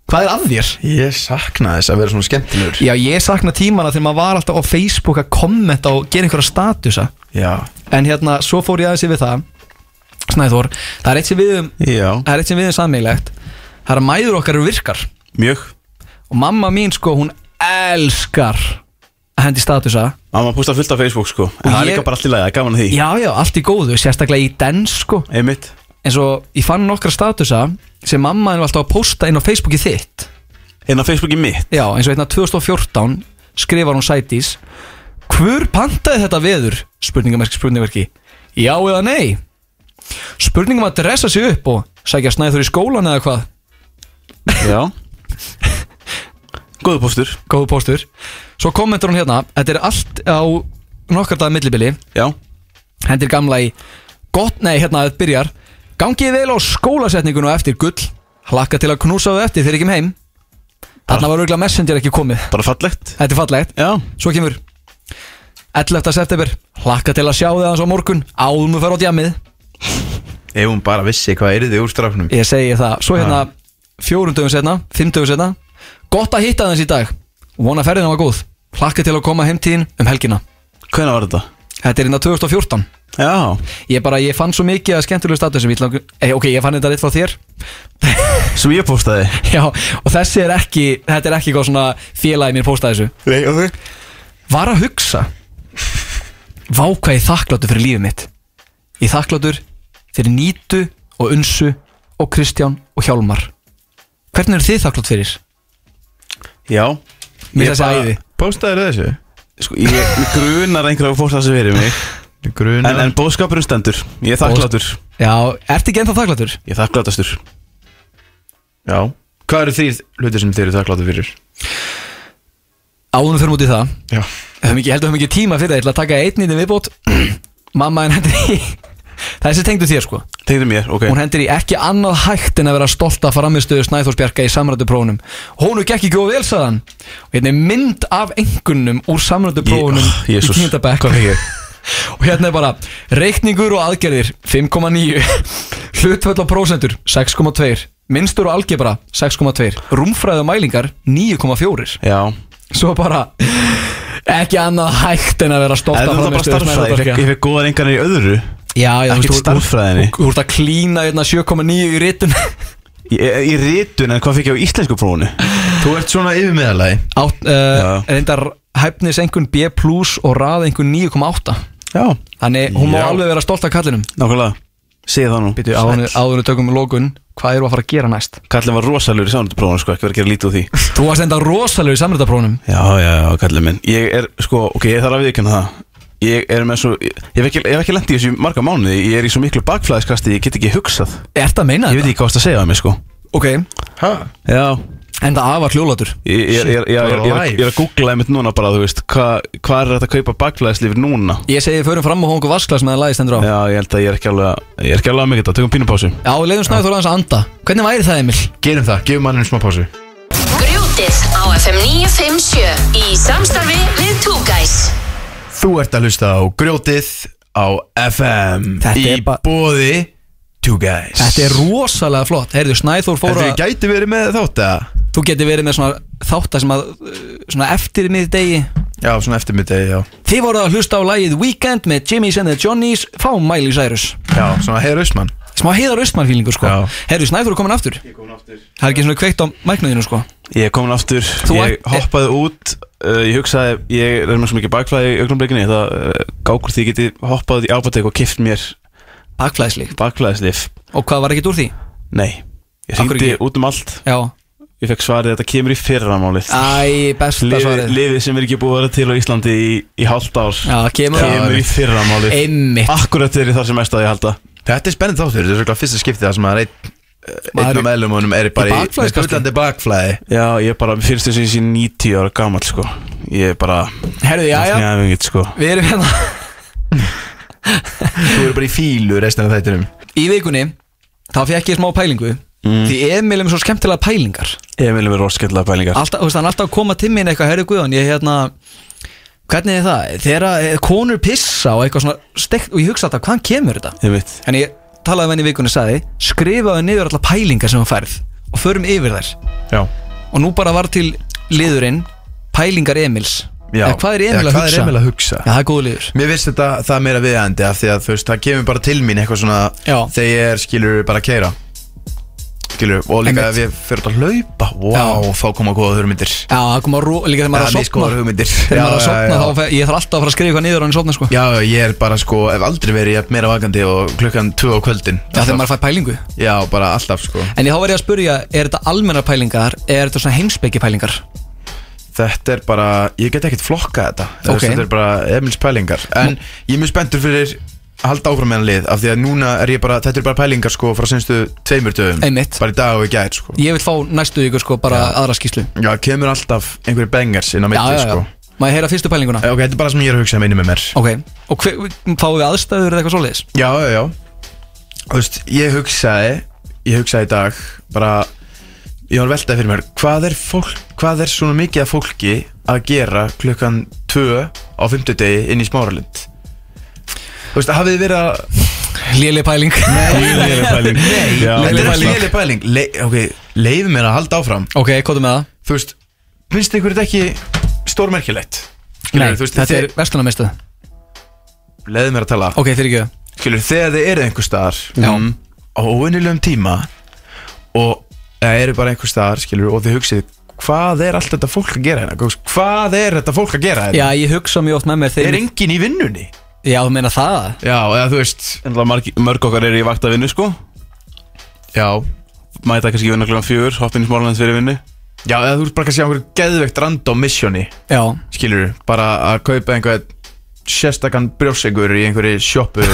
Speaker 1: hvað er að þér?
Speaker 3: Ég sakna þess að vera svona skemmtilegur
Speaker 1: Já, ég sakna tímana þegar maður var alltaf á Facebook að kommenta og gera einhverja statusa
Speaker 3: Já,
Speaker 1: En hérna, svo fór ég aðeins yfir það Snæþór, það er eitt sem við um
Speaker 3: já
Speaker 1: Það er eitt sem við um sammeilegt Það er að mæður okkar eru virkar
Speaker 2: Mjög
Speaker 1: Og mamma mín sko, hún elskar að hendi statusa
Speaker 2: Mamma pústa fullt af Facebook sko En
Speaker 1: Og
Speaker 2: það er
Speaker 1: ég-
Speaker 2: líka bara allt í lagi, það er gaman að því
Speaker 1: Já, já, allt í góðu, sérstaklega í dans sko
Speaker 2: Einmitt
Speaker 1: En svo, ég fann nokkra statusa sem mamma er alltaf að posta inn á Facebooki þitt
Speaker 2: Hérna á Facebooki mitt
Speaker 1: Já, eins og hérna 2014 skrifar hún sætis Hvur pantaði þetta veður? Spurningamerki, spurningamerki Já eða nei? Spurningum að dressa sig upp og sækja snæður í skólan eða hvað?
Speaker 2: Já Góðu póstur
Speaker 1: Góðu póstur Svo kommentar hún hérna Þetta er allt á nokkar dagar millibili
Speaker 2: Já
Speaker 1: Hendir gamla í Gott, nei, hérna þetta byrjar Gangið vel á skólasetningun og eftir gull Hlakka til að knúsa þau eftir þegar ég kem heim Þarna var auðvitað messenger ekki komið
Speaker 2: Bara fallegt
Speaker 1: Þetta er fallegt
Speaker 2: Já
Speaker 1: Svo kemur 11. september Hlakka til að sjá þið aðeins á morgun Áðum við fer á djamið
Speaker 3: Ef hún bara vissi hvað er þið úr strafnum
Speaker 1: Ég segi það Svo hérna fjórum dögum setna Fimm dögum setna Gott að hitta aðeins í dag Vona ferðina var góð Hlakka til að koma heimtíðin um helgina
Speaker 2: Hvenær var þetta?
Speaker 1: Þetta er hérna 2014
Speaker 2: Já
Speaker 1: Ég bara, ég fann svo mikið að skemmtilegu statusum ég langar- eh, Ok, ég fann þetta rétt frá þér
Speaker 2: Sem ég póstaði
Speaker 1: Já, og þessi er ekki Þetta er ekki hvað svona félagi mér postaði þessu
Speaker 3: Nei, og þau
Speaker 1: var að hugsa Vá hvað ég þakkláttur fyrir lífið mitt Ég þakkláttur fyrir Nítu og Unsu og Kristján og Hjálmar Hvernig eru þið þakklátt fyrir?
Speaker 2: Já
Speaker 1: Mér þessi æði
Speaker 3: Póstaðir þessu?
Speaker 2: Sko, ég mig grunar einhverja að pósta þessu fyrir mig
Speaker 3: Gruna
Speaker 2: En, en bóðskapurinn stendur Ég er þakkláttur
Speaker 1: Já, ertu ekki ennþá þakkláttur?
Speaker 2: Ég er þakkláttastur
Speaker 3: Já Hvað eru þrýr hlutir sem þið eru þakkláttu fyrir?
Speaker 1: Áðunum fyrir mútið það
Speaker 3: Já
Speaker 1: Ég held að höfum ekki tíma fyrir það, ég ætla að taka einn í þeim viðbót Mamma henn hendur í Þessi tengdu þér sko
Speaker 2: Tegðu mér, ok
Speaker 1: Hún hendur í ekki annað hægt en að vera stolt að framistöðu Snæþórsbjarka í samrættuprófunum Hónu gekk ekki og velsaðan Og hérna er mynd af engunum úr samrættuprófunum
Speaker 2: Ég- ah,
Speaker 1: í
Speaker 2: Jesús.
Speaker 1: tíndabæk Og hérna er bara Reikningur og aðgerðir 5,9 Hlutföll og prósendur 6,2 Minnstur og algebra 6,2 Rúmfræðu og mælingar 9,4
Speaker 2: Já
Speaker 1: Svo bara Ekki annað hægt en að vera stolt að
Speaker 2: En þú það bara
Speaker 1: framistöðu
Speaker 2: starffræði Ég
Speaker 1: Snæþórsbjarka
Speaker 2: fekk- Ég fekk góðar engarnir í öðru
Speaker 1: Já, já, þú
Speaker 2: Ekkert
Speaker 1: veist, þú-
Speaker 2: stærðfræðinni.
Speaker 1: þú- Þú ert að klína hérna 7,9 í ritun
Speaker 2: Í, e, í ritun, en hvað fekk ég á íslensku prófunu?
Speaker 3: Þú ert svona yfir meðalagi
Speaker 1: Átt, uh, reyndar hæfnis einhvern B plus og rað einhvern 9,8
Speaker 2: Já
Speaker 1: Þannig hún má
Speaker 3: Já.
Speaker 1: alveg vera stolt af kallinum
Speaker 2: Nákvæmlega Segð það nú
Speaker 1: Býtu, áður áður við tökum lókun Hvað eru að fara að gera næst?
Speaker 2: Kallin var rosalur í samrættuprófunu, sko Ekki verið að gera lítið úr því
Speaker 1: Þú varst enda rosalegur í samrættaprónum
Speaker 2: Já, já, já, kallin minn Ég er, sko, ok, ég þarf að viðkynna það Ég er með svo Ég ég hef ekki, ég hef ekki lent í þessu í marga mánuði Ég er í svo miklu bakflæðiskasti Ég get ekki hugsað
Speaker 1: Ertu að meina
Speaker 2: Ég veit
Speaker 1: þetta?
Speaker 2: ekki hvað það segja að mig, sko
Speaker 1: Ok,
Speaker 3: Hæ?
Speaker 2: Já
Speaker 1: enda afar hljólatur
Speaker 2: Ég, ég, ég, ég, ég, ég, ég, ég, ég er að googla einmitt núna bara, þú veist Hvað hva er þetta að kaupa bakflæðislifir núna?
Speaker 1: Ég segi förum fram og hóngu vaskla sem það lagði stendur á Já,
Speaker 2: Já, ég held að ég er ekki alveg að Ég er ekki alveg að mikið þetta, tökum pínupásu
Speaker 1: við leiðum Snæður aðeins að anda Hvernig væri það Emil?
Speaker 3: Gerum það, gefum mannum smá pásu
Speaker 7: Grjótið á FM 957 í samstarfi við Two Guys.
Speaker 3: Þú ert að hlusta á grjótið á FM
Speaker 1: Þetta
Speaker 3: Í
Speaker 1: er bara-
Speaker 3: bóði Two Guys
Speaker 1: Þetta er rosalega flott Heyrðu, Snæður fór
Speaker 3: Þetta
Speaker 1: að
Speaker 3: gæti verið með þátt eða?
Speaker 1: Þú geti verið með svona þáttar sem að uh, Svona eftir miðdegi
Speaker 3: Já, svona eftirmiðdegi, já
Speaker 1: Þið voruð að hlusta á lagið Weekend með Jimmy's and the Johnny's Fá Miley Cyrus
Speaker 3: Já, svona heiður ausmann
Speaker 1: Smá heiðar austmann fílingur sko
Speaker 3: Já.
Speaker 1: Herru, Snæður er komin aftur Það er ekki svona kveikt á mæknuðinu sko
Speaker 2: Ég er komin aftur, ég
Speaker 1: ert-
Speaker 2: hoppaði út uh, Ég hugsaði, ég er með svo mikið bakflæði í augnumblikinni Það uh, gákur því ég geti hoppað út í ábatek og kift mér
Speaker 1: Bakflæðisleik
Speaker 2: bakflæðislif
Speaker 1: Og hvað var ekki úr því?
Speaker 2: Nei, ég
Speaker 1: Af hverju
Speaker 2: hringdi
Speaker 1: ekki?
Speaker 2: út um allt
Speaker 1: Já
Speaker 2: Ég fekk svarið þetta kemur í fyrramálið
Speaker 1: Æ, besta
Speaker 2: Lifi,
Speaker 1: Ah, svarið
Speaker 2: Lifið sem er ekki búið að vera til á Íslandi í, í hálft ár
Speaker 1: Já, kemur
Speaker 2: Kemur í fyrramálið
Speaker 1: Einmitt
Speaker 3: Ah,
Speaker 2: Akkurat er ég þar sem mest að ég halda
Speaker 3: Þetta er spennend þáttur, þetta er svona fyrsta skiptið það sem að reynd einn af meðlumunum er
Speaker 1: Í
Speaker 3: bara
Speaker 1: bakflæði,
Speaker 3: í
Speaker 1: kannski?
Speaker 3: skuldandi bakflæði
Speaker 2: Já, ég bara, mér finnst þess að ég sé 90 ára gammal sko Ég er bara
Speaker 1: Herðu, já, já,
Speaker 2: Snæðingitt sko
Speaker 1: við erum hérna
Speaker 3: Þú eru bara í fílu restina af þættinum
Speaker 1: Í vikunni, þá fekk ég smá pælingu Því Emil er með svo skemmtilega pælingar
Speaker 2: Emil er með roskjallega pælingar
Speaker 1: alltaf, þú veist, hann er alltaf að koma til mín eitthvað, herri Guðan, ég hérna hvernig er það, þegar að, eh, konur pissa og eitthvað svona stekt, og ég hugsa alltaf, hvaðan kemur þetta?
Speaker 2: Ég veit
Speaker 1: En ég talaði við henni í vikunni og sagði, skrifaðu niður alla pælingar sem hún færð og förum yfir þær
Speaker 3: Já
Speaker 1: og nú bara var til liðurinn pælingar Emils
Speaker 3: Já.
Speaker 1: Eða, hvað er Emil að
Speaker 3: Eða hvað er
Speaker 1: hugsa?
Speaker 3: Emil að hugsa?
Speaker 1: Já, það er góð liður
Speaker 3: Mér finnst þetta það meira viðandi af því að þú veist, það kemur bara til mín eitthvað svona
Speaker 1: Já.
Speaker 3: þegar ég er skilur bara að keira skilur, og líka
Speaker 1: Einmitt.
Speaker 3: ef ég fyrir að laupa wow,
Speaker 1: Já.
Speaker 3: þá koma góða hugmyndir
Speaker 1: Já, það kom að rú, líka þegar maður er
Speaker 3: Já,
Speaker 1: að
Speaker 3: misgóðar
Speaker 1: sopna
Speaker 3: hugmyndir.
Speaker 1: Þegar
Speaker 3: Já,
Speaker 1: maður er að
Speaker 3: já,
Speaker 1: sopna,
Speaker 3: já.
Speaker 1: þá fer- ég þarf alltaf að fara að skrifa eitthvað niður og hann sopna sko Já,
Speaker 3: Já, ég er bara sko, ef aldrei verið ég er meira vakandi og klukkan 2 á kvöldin
Speaker 1: þegar
Speaker 3: Alltaf-
Speaker 1: maður fær pælingu
Speaker 3: Já, bara alltaf sko
Speaker 1: En ég þá var ég að spurja, er þetta almennar pælingar eða er þetta svona heimsbyggi pælingar?
Speaker 3: Þetta er bara, ég get ekkert flokka þetta
Speaker 1: Ok.
Speaker 3: Þú veist, Þetta er bara Emils pælingar En ég er mjög spenntur fyrir að halda áfram með hann lið Af því að núna er ég bara, þetta er bara pælingar sko frá senstu tveimur dögum
Speaker 1: Einmitt.
Speaker 3: Bara í dag og í gær sko
Speaker 1: Ég vil fá næstu ykkur sko bara aðra skýslu
Speaker 3: Já, kemur alltaf einhverju bengars inn á
Speaker 1: Já, já,
Speaker 3: mitti
Speaker 1: já,
Speaker 3: sko Eh,
Speaker 1: má ég heyra fyrstu pælinguna?
Speaker 3: Ok, þetta er bara sem ég er að hugsa um einu með mér
Speaker 1: Ok, og hver, fáum við aðstæður eða eitthvað svoleiðis?
Speaker 3: Já, já, já Þú veist, ég hugsaði Ég hugsaði í dag Bara, ég var veltaði fyrir mér Hvað er, fólk, hvað er svona mikið af fólki Að gera klukkan 2 Á 50 degi inn í smáralind Þú veist, hafið þið verið að
Speaker 1: Léli pæling
Speaker 2: Léleg pæling Já,
Speaker 3: Þetta er
Speaker 2: léleg pæling.
Speaker 3: léleg pæling Le Ok, leið mér að halda áfram
Speaker 1: Ok, kóta með það
Speaker 3: Þú veist, finnst ykkur þetta ekki Stórmerkilegt
Speaker 1: Nei,
Speaker 3: þú veist,
Speaker 1: þetta
Speaker 3: þið-
Speaker 1: er verslunarmistuð
Speaker 3: Leið mér að tala
Speaker 1: Ok, þeir ekki það
Speaker 3: skilur, þegar þið eru einhver staðar
Speaker 1: Já.
Speaker 3: mm, á óinnilegum tíma og eða eru bara einhver staðar skilur, og þið hugsið hvað er allt þetta fólk að gera hérna Þú veist, hvað er þetta fólk að gera
Speaker 1: Já,
Speaker 3: hérna
Speaker 1: ég hugsa mjög oft með mér
Speaker 3: er
Speaker 1: þegar
Speaker 3: enginn í vinnunni
Speaker 1: Já, þú meina það
Speaker 3: já, eða þú veist
Speaker 2: En það marg, mörg okkar eru í vaktavinnu sko
Speaker 3: já,
Speaker 2: Mæta kannski í vinna klokkan fjögur Hoppin í smálanins fyrir vinnu
Speaker 3: já eða þú veist bara kannski á einhverju geðveikt random missioni
Speaker 1: Já,
Speaker 3: skilur, bara að kaupa einhver sérstakann brjósengur í einhverju sjoppu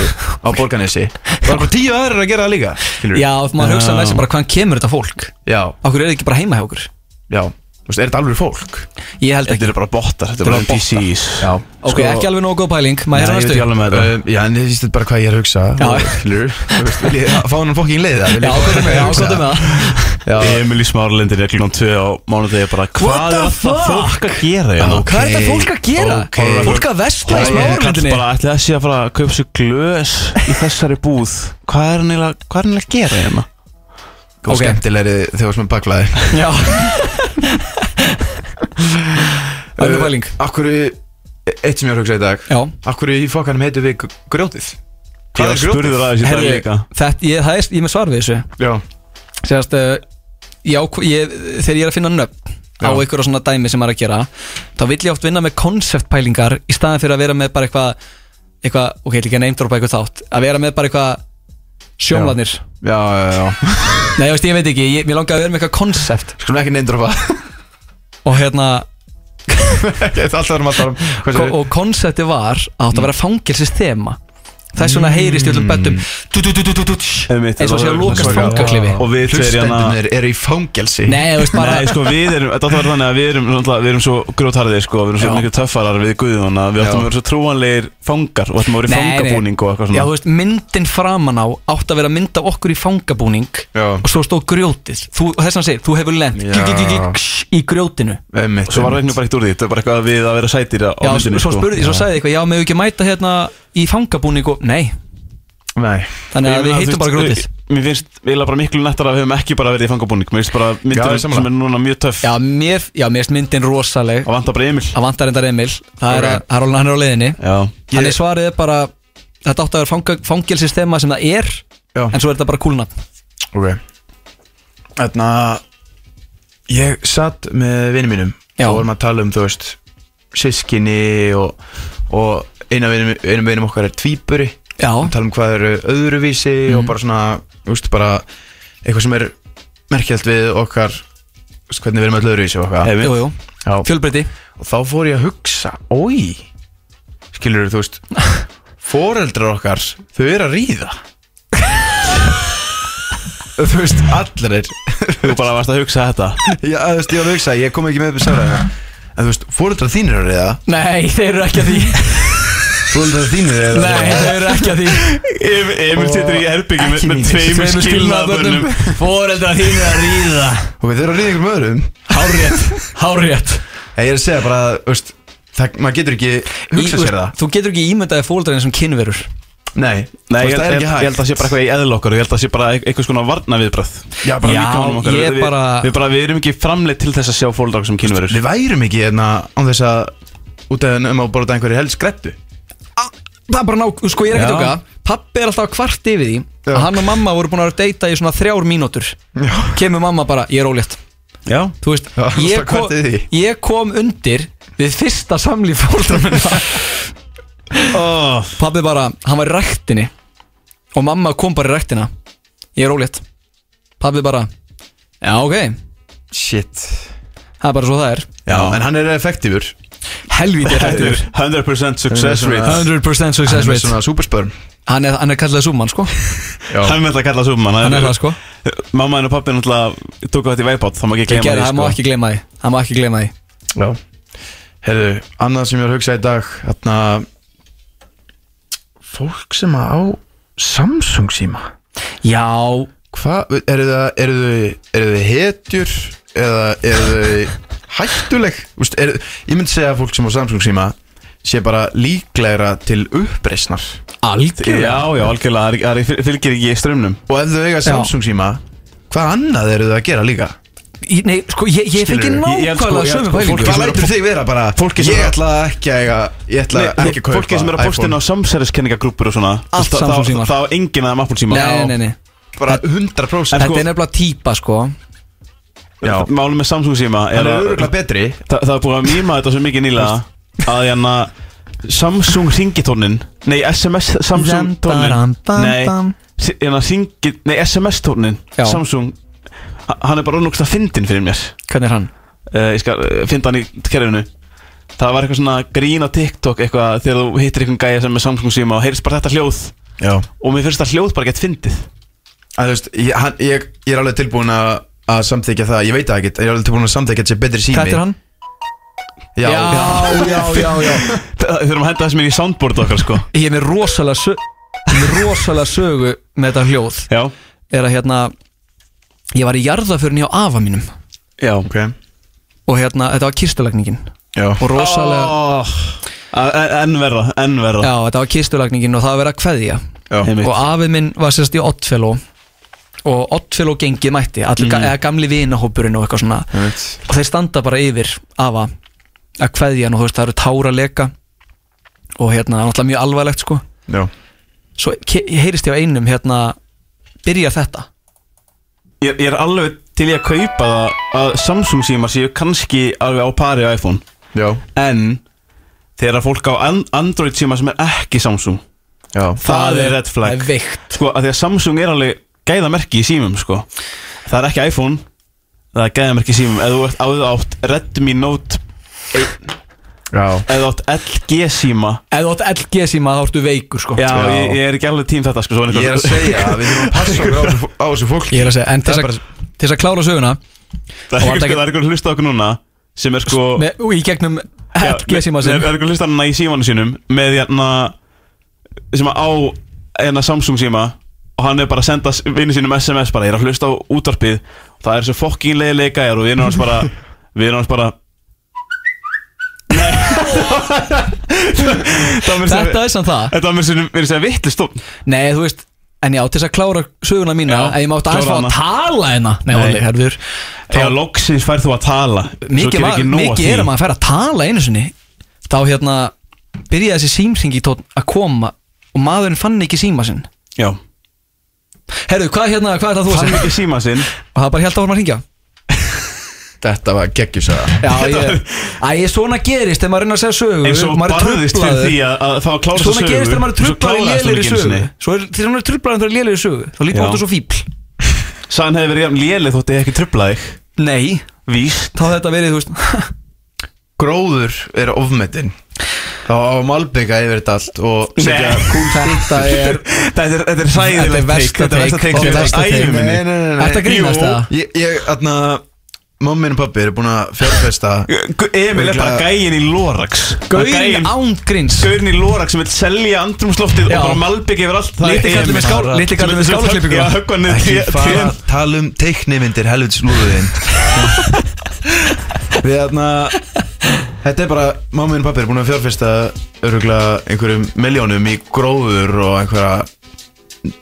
Speaker 3: á Borganesi og einhver tíu aðrar að gera það líka skilur
Speaker 1: já þú maður hugsa með þessi bara hvaðan kemur þetta fólk
Speaker 3: já,
Speaker 1: Okkur er þið ekki bara heima hjá okkur
Speaker 3: já. Þú veist, er þetta alveg fólk?
Speaker 1: Ég held
Speaker 2: Þetta
Speaker 1: ekki
Speaker 2: eru bara bottar Þetta
Speaker 1: Þetta eru
Speaker 2: eru bara
Speaker 1: bara
Speaker 2: NPCs
Speaker 3: Já
Speaker 1: Ok,
Speaker 3: Sko,
Speaker 1: ekki alveg nógu góð pæling Má ég
Speaker 2: Nei,
Speaker 1: heyra
Speaker 2: ég
Speaker 1: hérna næstu
Speaker 2: veit
Speaker 1: Uh,
Speaker 2: ekki alveg með þetta
Speaker 3: Um, já, en ég veist bara hvað ég er að hugsa
Speaker 1: Já.
Speaker 3: og Skilur Þú veist, vil ég fá hann fokkin leið það
Speaker 1: Já, kóta með það, kóta með það
Speaker 3: það Já,
Speaker 2: Emil í smáralindin er klokkan 2 á mánudegi bara Hvað
Speaker 1: the
Speaker 2: er alltaf
Speaker 1: fuck?
Speaker 2: fólk að gera
Speaker 3: Já,
Speaker 2: hérna?
Speaker 3: ok.
Speaker 1: Hvað er þetta fólk að gera?
Speaker 3: ok.
Speaker 1: Fólk að vestla í
Speaker 3: Ég-
Speaker 1: smáralindinni
Speaker 2: bara ætli þessi að fara að kaupa sér glös í þessari búð hvað er hann eiginlega hvað er hann eiginlega að gera hérna
Speaker 3: og
Speaker 1: ok.
Speaker 3: skemmtilegri þegar þú varst með baklaði
Speaker 1: Já Önnur pæling
Speaker 3: Akkur, e, eitt sem ég var að hugsa í dag
Speaker 1: Já
Speaker 3: Akkur í fokkanum heitum við gr- grjótið
Speaker 2: ég var spurður að þessi dag
Speaker 1: Herri,
Speaker 2: líka
Speaker 1: þetta, ég, það er, ég er með svar við þessu
Speaker 3: Já,
Speaker 1: Sérst, uh, já, ég, þegar ég er að finna nöfn á einhverja svona dæmi sem maður er að gera þá vill ég oft vinna með konceptpælingar í staðan fyrir að vera með bara eitthvað eitthvað, ok, líka neymdrópa eitthvað þátt að vera með bara eitthvað sjómlanir
Speaker 3: já, já, já
Speaker 1: Nei, ég veist, ég veit ekki, ég, mér langar að vera með eitthvað koncept
Speaker 3: Skulum ekki neindropa
Speaker 1: og hérna,
Speaker 3: Þetta er alltaf erum alltaf um Hvað
Speaker 1: ko
Speaker 3: sér
Speaker 1: og koncepti var að átt að vera fangelsist þema þess vegna heyrist í öllum beddum dú, dú, dú, dú, dú, dú,
Speaker 2: Einmitt,
Speaker 1: eins og sé
Speaker 2: þetta
Speaker 1: að
Speaker 2: var-
Speaker 1: lokast
Speaker 2: sorry,
Speaker 1: fangaklifi
Speaker 2: og við tveir hérna
Speaker 3: Hlustendunir eru í fangelsi
Speaker 1: Nei, þú veist bara
Speaker 2: Nei, sko, við erum, þetta var þannig að við erum, náttúrulega- við erum svo grjótharðir, sko, við erum svo
Speaker 1: Já.
Speaker 2: mikið töffarar við Guðjón að við áttum
Speaker 3: Já.
Speaker 2: að vera svo trúanlegir fangar og ættum að vera í
Speaker 1: Nei, nei.
Speaker 2: fangabúning og eitthvað
Speaker 1: Já, þú
Speaker 2: svona.
Speaker 1: veist, myndin framan á átt að vera mynd af okkur í fangabúning
Speaker 3: Já.
Speaker 1: og svo stóð grjótið þú, og þess að segja, þú hefur lent
Speaker 3: Já.
Speaker 1: gí, gí, gí, gí, ksh, í grjótinu
Speaker 3: Einmitt,
Speaker 2: Og svo var
Speaker 3: einmitt.
Speaker 2: regnum bara eitt úr því, þetta var bara eitthvað við að vera sætir á
Speaker 1: Já,
Speaker 2: myndinni, sko.
Speaker 1: svo spurði, svo sagði ég eitthvað, já, meðu ekki mæta hérna í fangabúning og, nei
Speaker 3: Nei
Speaker 1: þannig
Speaker 2: Ég
Speaker 1: að við
Speaker 2: meina, þú
Speaker 1: heitum
Speaker 2: veist, eh,
Speaker 1: bara grjótið
Speaker 2: Mér finnst, við erum bara miklu nettar að við höfum ekki bara verið í fangabúning, mér finnst bara
Speaker 3: Já, ég
Speaker 2: myndin
Speaker 3: er sammála.
Speaker 2: sem er núna mjög töff
Speaker 1: Já, mér, já, mér erst myndin rosaleg
Speaker 2: og vantar bara Emil.
Speaker 1: að vantar endar Emil, það er
Speaker 3: Ok.
Speaker 1: að, það er alveg hann er á leiðinni
Speaker 2: Já.
Speaker 1: Þannig svarið er bara, þetta átt að vera fanga, fangelsistema sem það er
Speaker 3: Já.
Speaker 1: en svo er þetta bara kúlnafn
Speaker 3: Ok Þarna Ég satt með vinnum mínum
Speaker 1: Já.
Speaker 3: Og vorum að tala um, þú veist Sískinni og, og Einu vinnum vinum okkar er tvíburi
Speaker 1: Já, Mhm.
Speaker 3: Og tala um hvað eru öðruvísi Og bara svona, þú veist, bara Eitthvað sem er merkjald við okkar þú veist, Hvernig við erum öll öðruvísi og okkar
Speaker 1: jú, jú,
Speaker 3: Já.
Speaker 1: fjölbreyti
Speaker 3: Og þá fór ég að hugsa Ói Skilur þú veist Foreldrar okkar Þau eru að ríða þú veist, allir
Speaker 2: Þú bara varst að hugsa þetta
Speaker 3: Já, þú veist, ég var að hugsa, ég kom ekki með upp í sálega En þú veist, fóreldrar þínir eru reyða
Speaker 1: Nei, þeir eru ekki að því
Speaker 3: Fóreldrar þínir eru reyða
Speaker 1: Nei, þeir eru ekki að því
Speaker 2: Emil situr í herbyggjum með,
Speaker 3: Ekki
Speaker 2: með
Speaker 3: mín.
Speaker 2: tveimur skilnaðabönnum
Speaker 1: Fóreldra þínu að ríða
Speaker 3: Ok, þeir eru að reyða ykkur með öðrum
Speaker 1: Hárrétt, hárrétt
Speaker 3: En ég er að segja bara, að, þú veist Það, maður getur ekki hugsa sér það
Speaker 1: Þú getur ekki ímyndaði fóreldra eins og kynverur
Speaker 3: Nei,
Speaker 2: Nei, ég,
Speaker 3: þú veist, það
Speaker 2: ég,
Speaker 3: er
Speaker 2: ég,
Speaker 3: ekki
Speaker 2: held að
Speaker 3: hægt
Speaker 2: það sé bara eitthvað í eðl okkar Ég held að það sé bara e- eitthvað svona varna viðbröð
Speaker 3: Já, bara
Speaker 1: Já,
Speaker 3: líkamanum okkar.
Speaker 1: ég
Speaker 2: við,
Speaker 1: bara-
Speaker 2: við, bara, við erum ekki framleitt til þess að sjá fólk sem kynverur
Speaker 3: Við værum ekki hérna án þess að Út af um að borða einhverju helst skreppu
Speaker 1: Það er bara ná, sko ég er ekki
Speaker 3: Já.
Speaker 1: að tjóka Pappi er alltaf að kvart yfir því
Speaker 3: Já.
Speaker 1: að hann og mamma voru búin að vera að deyta í svona þrjár mínútur Kemur mamma bara, ég er ólétt
Speaker 2: Já
Speaker 1: Þú veist,
Speaker 3: Já, það
Speaker 1: ég, kom,
Speaker 3: kvartið því.
Speaker 1: ég kom undir við fyrsta samlíf fóreldra minna
Speaker 2: oh,
Speaker 1: Pappi bara, hann var í ræktinni Og mamma kom bara í ræktina Ég er ólétt Pappi bara, já ok
Speaker 3: Shit
Speaker 1: Það er bara svo það er
Speaker 3: Já, en hann er effektífur
Speaker 1: Helvítið
Speaker 2: Þetta
Speaker 1: rættur
Speaker 2: er 100% success
Speaker 3: Þetta er
Speaker 2: rate
Speaker 3: svona-
Speaker 1: 100% success
Speaker 3: Hann er
Speaker 1: rate
Speaker 3: svona superspörm
Speaker 1: Hann er, hann er kallað Súmann sko
Speaker 3: Já,
Speaker 2: Hann vil að kalla það summan
Speaker 1: Hann er það sko
Speaker 2: Mamma henn og pappi náttúrulega tóku þetta í veipátt Það má ekki
Speaker 1: Ég
Speaker 2: gleyma
Speaker 1: gerði,
Speaker 2: því sko.
Speaker 1: hann má ekki gleyma því Hann má ekki gleyma því
Speaker 3: já Herðu, annað sem ég var að hugsa í dag Þarna Fólk sem að á Samsung síma
Speaker 1: Já,
Speaker 3: Hvað, eru það, eru þau, eru þau hetjur Eða eru þau hættuleg Úst, er, Ég myndi segja að fólk sem á Samsung síma Sé bara líklegra til uppreisnar
Speaker 1: algjör
Speaker 2: Já, já, algjörlega, það er- það er- fylgir ekki í strömmnum
Speaker 3: Og ef þau eiga Samsung síma Hvað annað eru þau að gera líka?
Speaker 1: Ég- Nei, sko, ég, ég fengi
Speaker 3: Skilurðu,
Speaker 2: ég- ég held sko-
Speaker 1: nákvæmlega
Speaker 2: ég held
Speaker 1: sömu
Speaker 2: sko, fólk-
Speaker 1: pælingu
Speaker 3: Hvað
Speaker 2: sem eru
Speaker 3: lætur þig vera bara
Speaker 2: Fólki sem
Speaker 3: Ég
Speaker 2: eru-
Speaker 3: ætla ekki að eiga Ég ætla ekki að kaupa
Speaker 2: Fólki sem eru að postina á samsæriskenninga grúpur og svona
Speaker 1: Allt
Speaker 2: þá- þá-
Speaker 1: Samsung símar.
Speaker 2: þá- Þá enginn aðeim Apple síma
Speaker 1: Nei, nei, nei
Speaker 3: iPhone Bara Sko, 100%
Speaker 1: Þetta er nefnilega típa sko
Speaker 3: Já.
Speaker 2: Málum með Samsung síma
Speaker 3: Það
Speaker 2: er
Speaker 3: er
Speaker 2: að-
Speaker 3: öruglega betri
Speaker 2: Þa, það er búið að mýma þetta svo mikið nýlega að hérna Samsung ringitónin Nei, SMS Samsung tónin Nei, si- hérna ringi Nei, SMS tónin
Speaker 1: Já.
Speaker 2: Samsung h- Hann er bara ónúkst að fyndin fyrir mér
Speaker 1: Hvernig er hann?
Speaker 2: uh, Ég skal uh, fynda hann í kerfinu Það var eitthvað svona grín á TikTok eitthvað þegar þú hittir eitthvað gæja sem er Samsung síma og heyrist bara þetta hljóð
Speaker 3: Já
Speaker 2: og mér finnst þetta hljóð bara gett fyndið
Speaker 3: að, þú veist, ég, hann, ég, ég er alveg tilbúin að að samþykja það, ég veit það ekkert ég er alveg tilbúin að samþykja að þetta sé betri sími
Speaker 1: Þetta er hann?
Speaker 3: Já,
Speaker 1: já, já, já, já.
Speaker 2: Það þurfum að henda þessum inn í soundboard okkar sko
Speaker 1: Ég er með rosalega sögu með rosalega sögu með þetta hljóð
Speaker 2: Já,
Speaker 1: er að hérna ég var í jarðaförni á afa mínum
Speaker 2: já
Speaker 3: ok
Speaker 1: og hérna þetta var kistulagningin
Speaker 3: Já,
Speaker 1: og rosalega
Speaker 2: oh, Enn verra, enn verra
Speaker 1: já þetta var kistulagningin og það var verið að kveðja
Speaker 3: já,
Speaker 2: Einmitt.
Speaker 1: og afið minn var sérst í Oddfellow og Oddfellow gengið mætti allir
Speaker 2: Mm.
Speaker 1: ga eða gamli vinahópurinn og eitthvað svona
Speaker 3: Einmitt.
Speaker 1: og þeir standa bara yfir afa að kveðja hann og þú veist það eru tára leka og hérna það er náttúrulega mjög alvarlegt sko
Speaker 3: já.
Speaker 1: svo ke- heyrist ég á einum hérna byrja þetta
Speaker 2: Ég, ég er alveg til ég að kaupa það að Samsung símar séu kannski alveg á pari á iPhone
Speaker 3: já.
Speaker 2: En þegar fólk á an Android síma sem er ekki Samsung
Speaker 3: já.
Speaker 2: Það er red flag.
Speaker 1: það er veikt
Speaker 2: Sko að því að Samsung er alveg gæðamerki í símum sko Það er ekki iPhone Það er gæðamerki í símum Ef þú ert áður átt Redmi Note
Speaker 3: já.
Speaker 2: Ef þú átt LG síma
Speaker 1: ef þú átt LG síma þá ertu veikur sko
Speaker 2: Já, Ég, ég er ekki alveg tím þetta sko svona
Speaker 3: Ég er að
Speaker 2: eitthvað-
Speaker 3: segja að við þurfum að passa okkur á þessu, á þessu fólki
Speaker 1: ég er að segja en til
Speaker 3: Það
Speaker 1: þess
Speaker 3: er
Speaker 1: að, til þess að klára söguna
Speaker 2: Það
Speaker 1: Og var þetta
Speaker 2: er einhver-
Speaker 1: ekki-
Speaker 2: það er einhver að hlusta á okkur núna Sem er sko
Speaker 1: með, og í gegnum LG síma
Speaker 2: sem
Speaker 1: sem
Speaker 2: Það er eitthvað hlustanna í símanu sínum Með hérna Sem að á hérna Samsung síma Og hann er bara að senda vinnu sínum SMS bara Ég er að hlusta á útvarpið Það er svo fokkinlega leikæjar Og vinur hans bara Vinur hans bara Nei Það var mér
Speaker 1: þetta
Speaker 2: segja
Speaker 1: er samt það
Speaker 2: Þetta var mér segja Mér segja vittlist
Speaker 1: Nei, þú veist En já, til þess að klára söguna mína
Speaker 2: Já,
Speaker 1: að ég mátt aðeins fá
Speaker 2: klára
Speaker 1: að
Speaker 2: hana.
Speaker 1: tala hérna Nei,
Speaker 2: Nei.
Speaker 1: Óli, herfur
Speaker 2: Já, loksins færð þú að tala Svo
Speaker 1: Mikið,
Speaker 2: gerir
Speaker 1: maður,
Speaker 2: ekki nóg af
Speaker 1: mikið
Speaker 2: því.
Speaker 1: er að maður fær að tala einu sinni Þá hérna byrjaði þessi símsingi tótt að koma Og maðurinn fann ekki síma sinn
Speaker 2: Já
Speaker 1: Herru, hvað hérna, hvað er það þú að
Speaker 2: Fann
Speaker 1: segja?
Speaker 2: ekki síma sinn
Speaker 1: Og það bara held áfram að hringja
Speaker 3: Þetta var geggjusöða
Speaker 1: Já, ég, æ, ég svona gerist þegar maður reynir að segja sögu
Speaker 2: Eins og
Speaker 1: maður er
Speaker 2: barðist fyrir
Speaker 1: truflaður.
Speaker 2: því að, að það var klára
Speaker 1: Svona gerist þegar maður er trublaður í lélir í sögu
Speaker 2: sinni
Speaker 1: Svo er þegar maður er trublaður þegar lélir í sögu Þá lítur
Speaker 2: Já.
Speaker 1: maður út og svo fíbl
Speaker 2: Sann hefði verið jafn léleg þótt ég ekki trubla þig
Speaker 1: Nei,
Speaker 2: Víst
Speaker 1: þá hefði þetta verið, þú veist
Speaker 3: Gróður er ofmetinn Þá á Malbygga yfir þetta allt og setja
Speaker 2: Nei.
Speaker 1: Þetta er
Speaker 2: Þetta er, þetta er
Speaker 1: Þetta er
Speaker 2: hræðilegt
Speaker 1: versta
Speaker 2: take, Þetta er versta
Speaker 1: take, versta
Speaker 2: take sem ég hef heyrt á
Speaker 1: take.
Speaker 2: ævi minni.
Speaker 3: Nei, nei, nei, nei.
Speaker 1: Ertu að grínast
Speaker 3: Jú.
Speaker 1: eða?
Speaker 3: Ég, ég, atna, mamma minn og pabbi eru búin að fjárfesta
Speaker 2: Gu- Emil er bara
Speaker 3: Örugglega-
Speaker 2: gæin í Lorax
Speaker 1: Gauðin ángríns
Speaker 2: Gaurin í Lorax sem vil selja andrumsloftið
Speaker 1: Já.
Speaker 2: og bara malbygg yefir allt
Speaker 1: Litli kallinn með skál- litli kallinn með skálaklippingu.
Speaker 2: Já, höggva niður
Speaker 3: Ekki
Speaker 2: tré-
Speaker 3: fara
Speaker 2: trén.
Speaker 3: að tala um teiknimyndir helvits lúðuðinn Við þarna Þetta er bara, mamma minn og pappi er búin að fjárfesta öruglega einhverjum miljónum í gróður og einhverja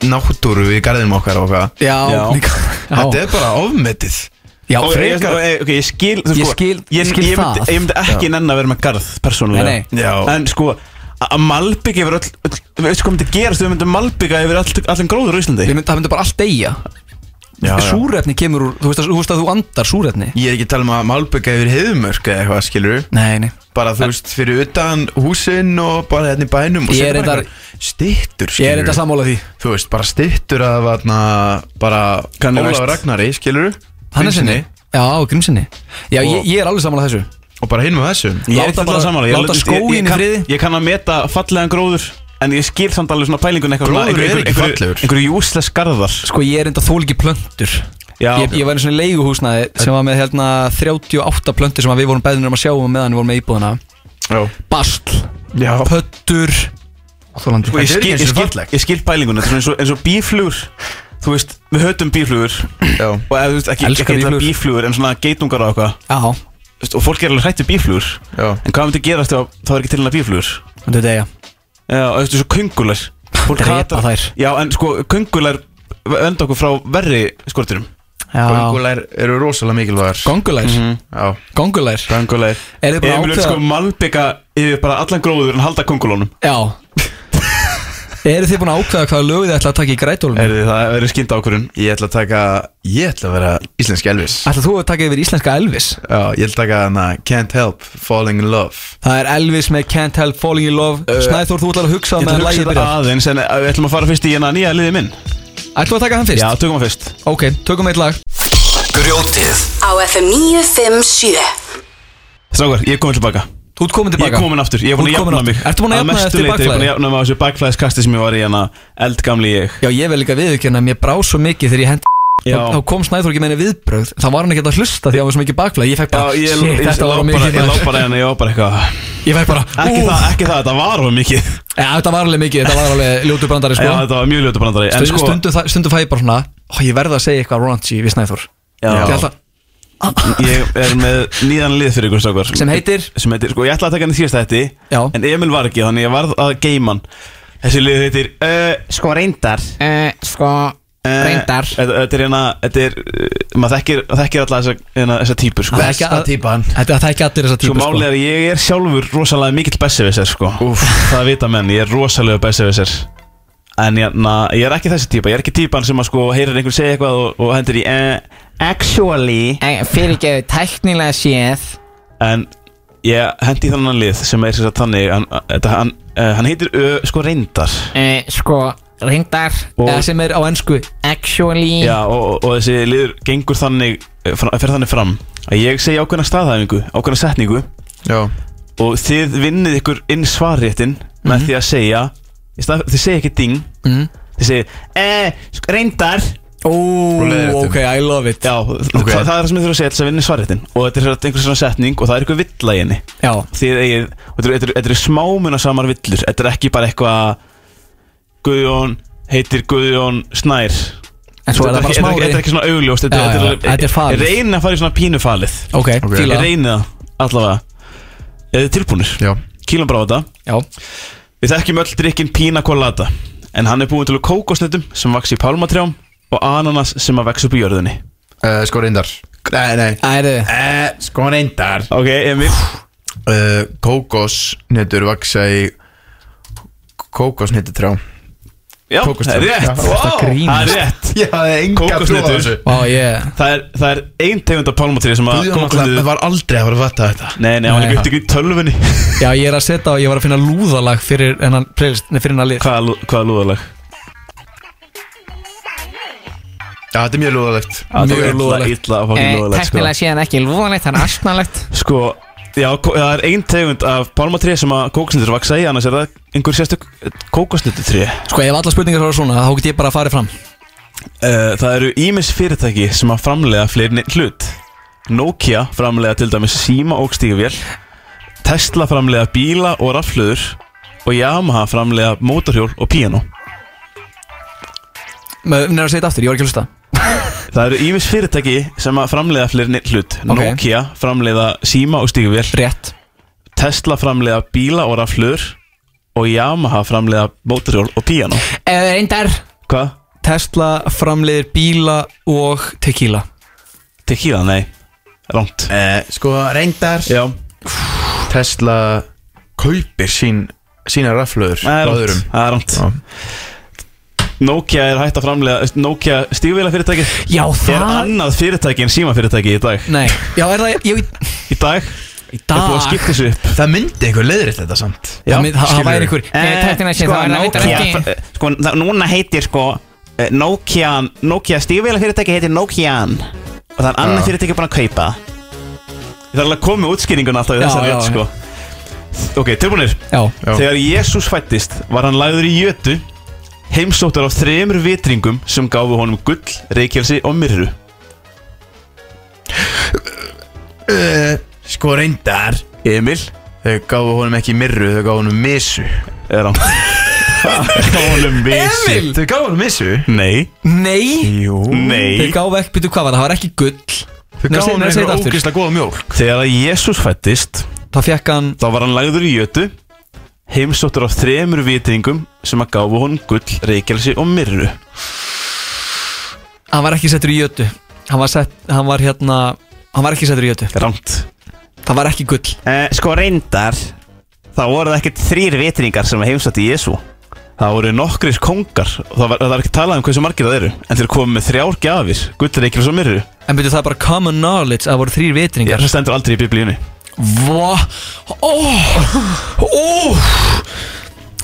Speaker 3: náttúru í garðinum okkar og hvað
Speaker 1: Já,
Speaker 2: Já.
Speaker 1: líka
Speaker 3: Þetta
Speaker 1: Já,
Speaker 3: er bara ofmetið
Speaker 1: já
Speaker 2: Og ég-
Speaker 1: frekar
Speaker 2: og- ok, ég skil, þú
Speaker 1: Ég
Speaker 2: sko,
Speaker 1: skil-
Speaker 2: ég,
Speaker 1: skil
Speaker 2: ég, myndi,
Speaker 1: það.
Speaker 2: ég myndi ekki nenn að vera með garð persónulega
Speaker 1: Nei,
Speaker 3: nei. Já.
Speaker 2: en sko að að malbygg yfir öll, öll við veistu hvað myndi gerast ef við myndum malbygga yfir all, allan gróður á Íslandi
Speaker 1: Ég myndi, það myndi bara allt deyja
Speaker 3: Já, já.
Speaker 1: Súrefni kemur úr, þú veist að, þú, veist að þú andar súrefni
Speaker 3: Ég er ekki að tala um að malbygga yfir heiðumörk eða eitthvað skilur
Speaker 1: Nei, nei
Speaker 3: bara þú veist fyrir utan húsin og bara hérna í bænum og
Speaker 1: Ég er
Speaker 3: setja
Speaker 1: reyndar-
Speaker 3: bara einhver
Speaker 1: Ég
Speaker 3: stittur
Speaker 1: er þetta
Speaker 3: skilurðu.
Speaker 1: sammála því
Speaker 3: þú veist bara stittur að vatna bara
Speaker 2: Kanye West.
Speaker 3: Ólafur Ragnari skilur
Speaker 1: Hann er sinni Já, grimsinni Já,
Speaker 3: Og-
Speaker 1: ég, ég er alveg sammála þessu
Speaker 3: og bara hinn með þessum
Speaker 2: ég er
Speaker 1: láta
Speaker 2: ekki alltaf
Speaker 1: bara-
Speaker 2: samanlega
Speaker 1: láta skóginn í friði.
Speaker 2: ég kann að meta fallegan gróður en ég skil samt alveg svona pælingun eitthvað svona-
Speaker 3: Gróður er
Speaker 2: einhver-
Speaker 3: ekki
Speaker 2: einhver-
Speaker 3: fallegur.
Speaker 2: einhverju júsles garðar
Speaker 1: Sko, ég er enda þól ekki plöntur
Speaker 2: Já.
Speaker 1: ég, ég var einu svona leiguhúsnaði sem var með hérna 38 plöntur sem að við vorum beðnir um að sjá um meðan við vorum með íbúðuna
Speaker 3: Já.
Speaker 1: Bastl,
Speaker 3: Já.
Speaker 1: pöttur Þólandi
Speaker 2: Ég
Speaker 3: Þetta er
Speaker 2: skil,
Speaker 3: ekki
Speaker 2: ég
Speaker 3: eins og
Speaker 2: skil,
Speaker 3: fallegt.
Speaker 2: ég skil pælingun Þetta er eins og, eins og bíflugur Þú veist, við höfðum bíflugur
Speaker 3: Já.
Speaker 2: Og eða, þú veist, ekki,
Speaker 1: Elskar
Speaker 2: ekki bíflugur.
Speaker 1: býflugur.
Speaker 2: bíflugur En svona geitungar og eitthvað
Speaker 1: Já,
Speaker 2: Þú veist, Og fólk er alveg hrætt við bíflugur
Speaker 3: Já.
Speaker 2: En hvað myndi gerast ef það var ekki til hennar bíflugur
Speaker 1: þetta er degja
Speaker 2: Já, og þú veist, svo köngular Fólk
Speaker 1: Drepa
Speaker 2: hatar-
Speaker 1: þær.
Speaker 2: Já, en sko, köngular venda okkur frá verri skortinum
Speaker 1: Já,
Speaker 3: Göngulær eru rosalega mikilvægar
Speaker 1: gongulær
Speaker 3: Já.
Speaker 1: Gongulær
Speaker 2: Köngular
Speaker 1: Er þið búin að
Speaker 2: Mhm. Emil er
Speaker 1: ákveða-
Speaker 2: sko malbygga yfir bara allan gróður En halda köngulónum
Speaker 1: Já Eru þið búin að ákveða hvaða lögu þið ætla að taka í grætólunum?
Speaker 2: Erði það verið skynda ákvörun
Speaker 3: ég ætla að taka ég ætla að vera íslensk Elvis
Speaker 1: Ætla þú að taka yfir íslenska Elvis?
Speaker 3: Já, ég ætla að taka hana Can't Help Falling in Love
Speaker 1: Það er Elvis með Can't Help Falling in Love Snæþór, þú ætlar að hugsa
Speaker 2: Ég
Speaker 1: með
Speaker 2: ætla
Speaker 1: að
Speaker 2: að hugsa
Speaker 1: lægi
Speaker 2: þetta
Speaker 1: byrjar
Speaker 2: aðeins En eh, við ætlum að fara fyrst í hérna nýja liði minn
Speaker 1: Ætlum við að taka hann
Speaker 2: Já,
Speaker 1: fyrst?
Speaker 2: tökum að fyrst
Speaker 1: Ok, tökum eitt lag
Speaker 4: Grjótið
Speaker 5: Á FM 957
Speaker 2: Strákar, ég er komin tilbaka
Speaker 1: Þú ert komin
Speaker 2: Ég er
Speaker 1: tilbaka
Speaker 2: komin aftur, ég er búin að
Speaker 1: Þú ert komin
Speaker 2: jafna mig
Speaker 1: aftur. Ertu búin að jafna þig eftir
Speaker 2: Að mestu leyti er ég búin að
Speaker 1: bakflæðið?
Speaker 2: jafna mig á þessu bakflæðiskasti sem ég var í hana Eldgamli ég
Speaker 1: Já, ég vel líka viðurkenna að mér brá svo mikið þegar ég hendi
Speaker 2: Já.
Speaker 1: þá, þá kom Snæþór ekki með henni viðbröð þá var hann ekki að hlusta því að hann var svo mikið bakflæð Ég fekk
Speaker 2: Já,
Speaker 1: bara,
Speaker 2: ég,
Speaker 1: shit,
Speaker 2: ég,
Speaker 1: þetta var
Speaker 2: lá
Speaker 1: of
Speaker 2: bara,
Speaker 1: mikið
Speaker 2: ég lá
Speaker 1: maður.
Speaker 2: bara hérna, ég var bara eitthvað
Speaker 1: Ég fekk bara,
Speaker 2: Ekki
Speaker 1: úf.
Speaker 2: það, ekki það, þetta var of mikið
Speaker 1: Já, þetta var alveg mikið, þetta var alveg ljótu brandari
Speaker 2: Já,
Speaker 1: sko.
Speaker 2: þetta var mjög ljóta brandari En
Speaker 1: Stundu,
Speaker 2: sko,
Speaker 1: stundu, þa- stundu fæ ég bara svona ó, Ég verða að segja eitthvað raunchy við Snæþór
Speaker 2: Já.
Speaker 1: Ég ætla-
Speaker 2: ég er með nýjan lið fyrir ykkur strákar
Speaker 1: Sem heitir?
Speaker 2: Sem heitir, sko, ég ætlaði að taka hann í síðast
Speaker 1: Já.
Speaker 2: þetta En Emil var ekki, þannig ég varð að geima hann Þessi lið heitir uh, Sko reyndar
Speaker 8: Eh, sko,
Speaker 2: Eh,
Speaker 8: reyndar
Speaker 2: Þetta þetta er hérna, þetta er uh, Maður þekkir, þekkir alltaf þessa, hérna, þessa típur sko.
Speaker 1: Það er ekki að-
Speaker 3: típan.
Speaker 1: Þetta það er ekki allir þessa
Speaker 2: Sko
Speaker 1: típa
Speaker 2: málið er að ég er sjálfur rosalega mikill besserwisser sko Úf. Það vita menn, ég er rosalega besserwisser En ég, na, ég er ekki þessi típa, ég er ekki típan sem að sko heyrir einhvern segja eitthvað og, og hendur í eh, Actually
Speaker 8: eh, Fyrirgeðu, tæknilega séð
Speaker 2: En ég hendi í þannan lið sem er sér að þannig Hann, þetta- hann, eh, hann heitir ö, sko reyndar
Speaker 8: eh, Sko, reyndar eh,
Speaker 2: Og-
Speaker 1: Eða sem er á ennsku
Speaker 8: Actually
Speaker 2: Já, og, og, og þessi liður gengur þannig, eh, fra- fer þannig fram Að ég segi ákveðna staðhæfingu, ákveðna setningu
Speaker 3: Já.
Speaker 2: og þið vinnið ykkur inn svarréttin með því að segja í stað, þið segja ekki ding
Speaker 1: Mhm.
Speaker 2: þið segja eh, sk- reyndar
Speaker 1: Ó,
Speaker 3: leiðréttum.
Speaker 1: ok, I love it
Speaker 2: já,
Speaker 3: Ok.
Speaker 2: okay. það, það er það sem þið þurfum að segja til þess að vinna svarréttin og þetta er einhver svona setning og það er eitthvað vill að henni
Speaker 1: Já,
Speaker 2: þið eigið, og þetta eru- þetta eru- þetta eru smámuna samar villur þetta er ekki bara eitthvað Guðjón heitir Guðjón Snær
Speaker 1: en svo er það
Speaker 2: þetta er
Speaker 1: bara
Speaker 2: ekki-
Speaker 1: smá
Speaker 2: þetta er- þetta er ekki svona augljóst þetta,
Speaker 1: Já,
Speaker 2: er-
Speaker 1: já,
Speaker 2: þetta,
Speaker 1: þetta er falið.
Speaker 2: ég reyni að fara í svona pínu falið
Speaker 1: Ok, fíla
Speaker 2: ég
Speaker 1: það.
Speaker 2: reyni það allavega eða þið tilbúnir
Speaker 3: Já.
Speaker 2: kílum bara á þetta
Speaker 1: Já,
Speaker 2: Við þekkjum öll drikkin pina colada En hann er búin til úr kókosnötum sem vaks í pálmatrjám Og ananas sem að vex upp í jörðinni
Speaker 3: Uh, sko reyndar Nei, nei
Speaker 1: Æri,
Speaker 3: uh, Sko reyndar
Speaker 2: Ok, Emil
Speaker 3: uh, Kókosnetur vaksa í Kókosnetutrjá
Speaker 2: Já, það
Speaker 3: Kókostrjám.
Speaker 2: er rétt
Speaker 3: Já,
Speaker 1: þetta
Speaker 2: Vá, Það er
Speaker 1: grínast.
Speaker 2: rétt
Speaker 3: Ég hafði enga
Speaker 2: Kókosnetur.
Speaker 1: vá, ég
Speaker 2: Það er, það er ein tegund af pálmatrjám sem að
Speaker 3: Guðjón alltaf
Speaker 2: kókosnötu
Speaker 3: var aldrei að fara að fatta þetta
Speaker 2: Nei, nei, hann var
Speaker 1: Nei.
Speaker 2: líka upptökur í tölvunni
Speaker 1: Já, ég er að setja og ég var að finna lúðalag fyrir hennan playlist, nei, fyrir hennan lið
Speaker 2: Hvaða lú- hvaða lúðalag?
Speaker 3: Já, þetta er mjög lúðalegt
Speaker 2: Á, þetta
Speaker 1: Mjög
Speaker 2: var illa-
Speaker 1: lúðalegt.
Speaker 2: Illa að fá
Speaker 8: eh,
Speaker 2: lúðalag
Speaker 8: Tæknilega séð en ekki lúðanlegt, það er astnalegt
Speaker 2: Sko, Já, kó- það er ein tegund af pálmatré sem að kókosnýttur vaksa í annars er það einhver sérstök eh, kókosnýttutré
Speaker 1: Sko ef alla spurningar eru svona þá get ég bara að fara fram
Speaker 2: Uh, það eru ímis fyrirtæki sem að framlega fleiri en einn hlut Nokia framlega til dæmis síma og stígvél Tesla framlega bíla og rafluður og Yamaha framlega mótorhjól og píano
Speaker 1: Nefnir að segja þetta aftur, ég var ekki að hlusta
Speaker 2: Það eru ímis fyrirtæki sem að framlega fleiri en einn hlut Nokia framlega síma og stígvél
Speaker 1: Rétt
Speaker 2: Tesla framlega bíla og rafluður og Yamaha framlega mótorhjól og píano
Speaker 1: eh, Reyndar
Speaker 2: Hvað?
Speaker 1: Tesla framleiðir bíla og tequila
Speaker 2: Tequila? Nei Ránt
Speaker 3: Eh, sko reyndar
Speaker 2: Já
Speaker 3: Tesla kaupir sín, sína raflöður
Speaker 2: Það er ránt Það er ránt
Speaker 3: Já.
Speaker 2: Nokia er hægt að framlega Nokia stígvila fyrirtæki
Speaker 1: Já
Speaker 2: er annað fyrirtæki en síma fyrirtæki í dag
Speaker 1: Nei, já er það Ég,
Speaker 2: Í dag
Speaker 1: í
Speaker 2: Það er búið að
Speaker 1: dag
Speaker 2: skipta þessu upp
Speaker 3: Það myndi einhver leiðrið þetta samt
Speaker 1: Já, Eh. það, það
Speaker 3: skilurðu.
Speaker 1: væri ykkur
Speaker 8: Nei, tæknina sé, það er það
Speaker 2: Eh, sko,
Speaker 8: reyndar
Speaker 2: Nokia-
Speaker 8: ekki.
Speaker 2: eh, Sko, það- núna heitir sko eh, Nokia Nokia stígvila fyrirtæki heitir Nokian Og það er annað fyrirtæki búin að kaupa það. Ég þarf alveg að koma með útskýringun alltaf í
Speaker 1: Já,
Speaker 2: þessari
Speaker 1: já,
Speaker 2: rétt
Speaker 1: já.
Speaker 2: sko Ok, tilbúinir
Speaker 1: Já,
Speaker 3: Já.
Speaker 2: Þegar Jésús fættist var hann lagður í jötu heimsóttur af þremur vitringum sem gáfu honum gull, reykjelsi og myrru
Speaker 3: Eh, Sko reyndar
Speaker 2: Emil
Speaker 3: Þau gáðu honum ekki mirru, þau gáðu honum misu
Speaker 2: er hann gáfu honum vissi
Speaker 1: Emil!
Speaker 3: Þau gáðu honum misu?
Speaker 2: Nei,
Speaker 1: nei
Speaker 3: Jú
Speaker 1: Þeir
Speaker 2: nei
Speaker 1: gáðu ekki, byrju hvað var það, það var ekki gull Nei,
Speaker 3: Þau gáðu
Speaker 1: segðu-
Speaker 3: honum
Speaker 1: nei, segðu
Speaker 3: einhver
Speaker 1: aftur.
Speaker 3: ógeðslega góða mjólk
Speaker 2: Þegar Jésús fættist
Speaker 1: Þá fekk hann,
Speaker 2: þá var hann lagður í jötu heimsóttur af þremur vitringum sem að gáfu honum gull, reykjelsi og myrru
Speaker 1: hann var ekki settur í jötu Hann var sett, hann var hérna Hann var ekki settur í jötu
Speaker 2: Rámt
Speaker 1: Það var ekki gull
Speaker 2: Eh, sko reyndar þá voru það ekkert þrýr vitringar sem heimsætti Jésu það voru nokkris kongar og það, var, það er ekki talað um hversu margir það eru en þeir komu með þrjár gjafir gullir ekki svo myrru
Speaker 1: En byrju það er bara common knowledge að það voru þrýr vitringar
Speaker 2: það stendur aldrei í biblíunni
Speaker 1: Vá Ó Ó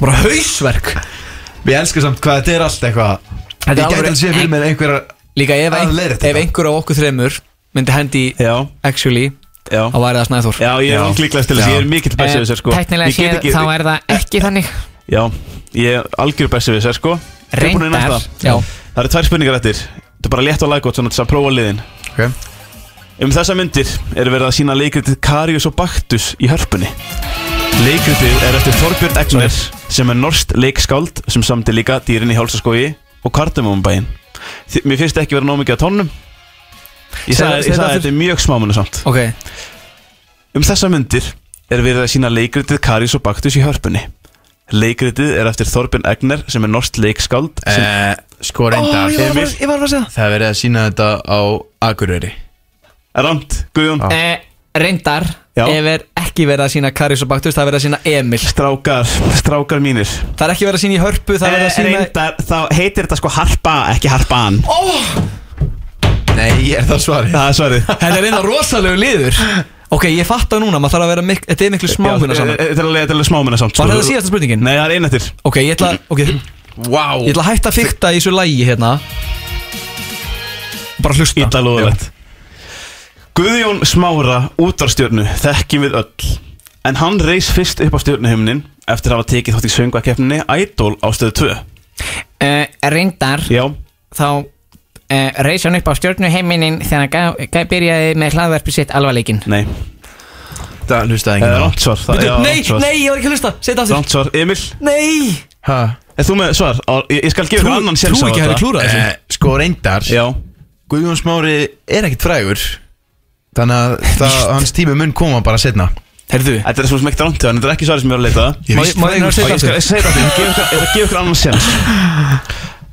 Speaker 1: Bara hausverk
Speaker 3: Ég elska samt hvað þetta er allt eitthvað
Speaker 1: Þetta er
Speaker 3: Ég gæti
Speaker 1: alveg-
Speaker 3: að sé fyrir mér einhverjar
Speaker 1: Líka ef,
Speaker 3: Að
Speaker 1: ein,
Speaker 3: leiðrétta
Speaker 1: ef
Speaker 3: þetta.
Speaker 1: einhver á okkur þremur myndi hendi í
Speaker 2: já,
Speaker 1: actually
Speaker 2: já
Speaker 1: þá væri það Snæður
Speaker 2: Já, ég er
Speaker 3: Já.
Speaker 2: unglíklegast til þess, ég er mikill bæsið við sér sko
Speaker 8: Eh, Tæknilega
Speaker 2: Ég get
Speaker 8: séð,
Speaker 2: ekki-
Speaker 8: þá er það ekki þannig
Speaker 2: Já, ég er algjör bæsið við sér sko Tilbúin í
Speaker 8: Reyndar,
Speaker 2: næsta.
Speaker 1: Já,
Speaker 2: Það eru tvær spurningar eftir Þetta er bara létt og laggótt svona til þess að prófa liðin
Speaker 3: Ok.
Speaker 2: Um þessa myndir er verið að sína leikritið Karius og Baktus í hörpunni Leikritið er eftir Þorbjörn Egner sem er norskt leikskáld sem samti líka dýrin í hálsaskogi og kardamumbæin Mér finnst ekki vera nóg mikið að tónum Ég
Speaker 1: Segðu-
Speaker 2: sagði,
Speaker 1: segðu
Speaker 2: ég sagði
Speaker 1: aftur.
Speaker 2: að þetta er mjög smámanu samt
Speaker 1: ok
Speaker 2: Um þessa myndir er verið að sína leikritið Karius og Baktus í hörpunni Leikritið er eftir Þorbjörn Egner sem er norskt leikskáld sem
Speaker 3: eh, Sko
Speaker 2: var
Speaker 3: reyndar
Speaker 2: að fara-
Speaker 1: Ég var að segja
Speaker 3: Það er verið að sína þetta á Akureyri
Speaker 2: er rand, Guðjón
Speaker 8: Eh, Reyndar,
Speaker 2: Já.
Speaker 1: Ef er ekki verið að sína Karius og Baktus það er verið að sína Emil
Speaker 2: Strákar, strákar mínir
Speaker 1: Það er ekki verið að sína í hörpu það er verið að
Speaker 3: Eh,
Speaker 1: sína
Speaker 2: Eh, Reyndar, þá heitir þetta sko harpa, ekki harpan
Speaker 3: Nei, er það svarið?
Speaker 2: Það er svarið
Speaker 1: Þetta er einna rosalegu liður Ok, ég fatta núna, maður þarf að vera mik Þetta er miklu
Speaker 3: eh,
Speaker 1: smámuna
Speaker 2: Já,
Speaker 1: saman
Speaker 2: Þetta er alveg- þetta er alveg smámuna samt
Speaker 1: Var þetta síðasta spurningin?
Speaker 2: Nei, það er einn eftir
Speaker 1: Ok, ég ætla, okay, ég
Speaker 3: Vá wow.
Speaker 1: ætla að hætta að fykta í þessu lægi hérna Bara hlusta
Speaker 2: Ítla loðalegt Guðjón Smára útarstjörnu þekkjum við öll En hann reis fyrst upp á stjörnuhimnin Eftir að hafa tekið þátt í söngvakefninni Idol á stöðu 2
Speaker 8: eh, reyndar
Speaker 2: Já,
Speaker 8: þá eh, reis hann upp á stjórnuheiminin þegar hann gaf- gaf- byrjaði með hlaðverfi sitt alvarleikin
Speaker 2: nei
Speaker 3: Það hlustaði
Speaker 2: Það er
Speaker 3: enginn á
Speaker 2: rámt svar Það
Speaker 1: Bíddu,
Speaker 2: er
Speaker 1: Nei,
Speaker 2: rámt svar
Speaker 1: nei, ég var ekki að hlusta, segð þetta aftur
Speaker 2: Rámt svar, Emil
Speaker 1: Nei
Speaker 3: Ha?
Speaker 2: Er þú með svar? Á- Ég ég skal gefa
Speaker 1: Trú
Speaker 2: ykkur annan
Speaker 1: trú
Speaker 2: séns á
Speaker 1: ekki að hefði
Speaker 2: þetta.
Speaker 1: klúrað þessu
Speaker 3: Eh, sko reyndar
Speaker 2: Já
Speaker 3: Guðjón Smári er ekkert frægur Þannig að það, hans tími mun koma bara setna
Speaker 1: Herðu,
Speaker 2: Þetta er svo sem ekkert rámt en þetta er ekki svarið sem ég var að leita
Speaker 3: Ég
Speaker 1: má
Speaker 3: víst
Speaker 1: ég má ég reyna að
Speaker 2: Og
Speaker 1: segja
Speaker 2: ég
Speaker 1: þetta
Speaker 2: skal ég
Speaker 1: aftur?
Speaker 2: segja þetta aftur, ég ætla að gefa ykkur annan sens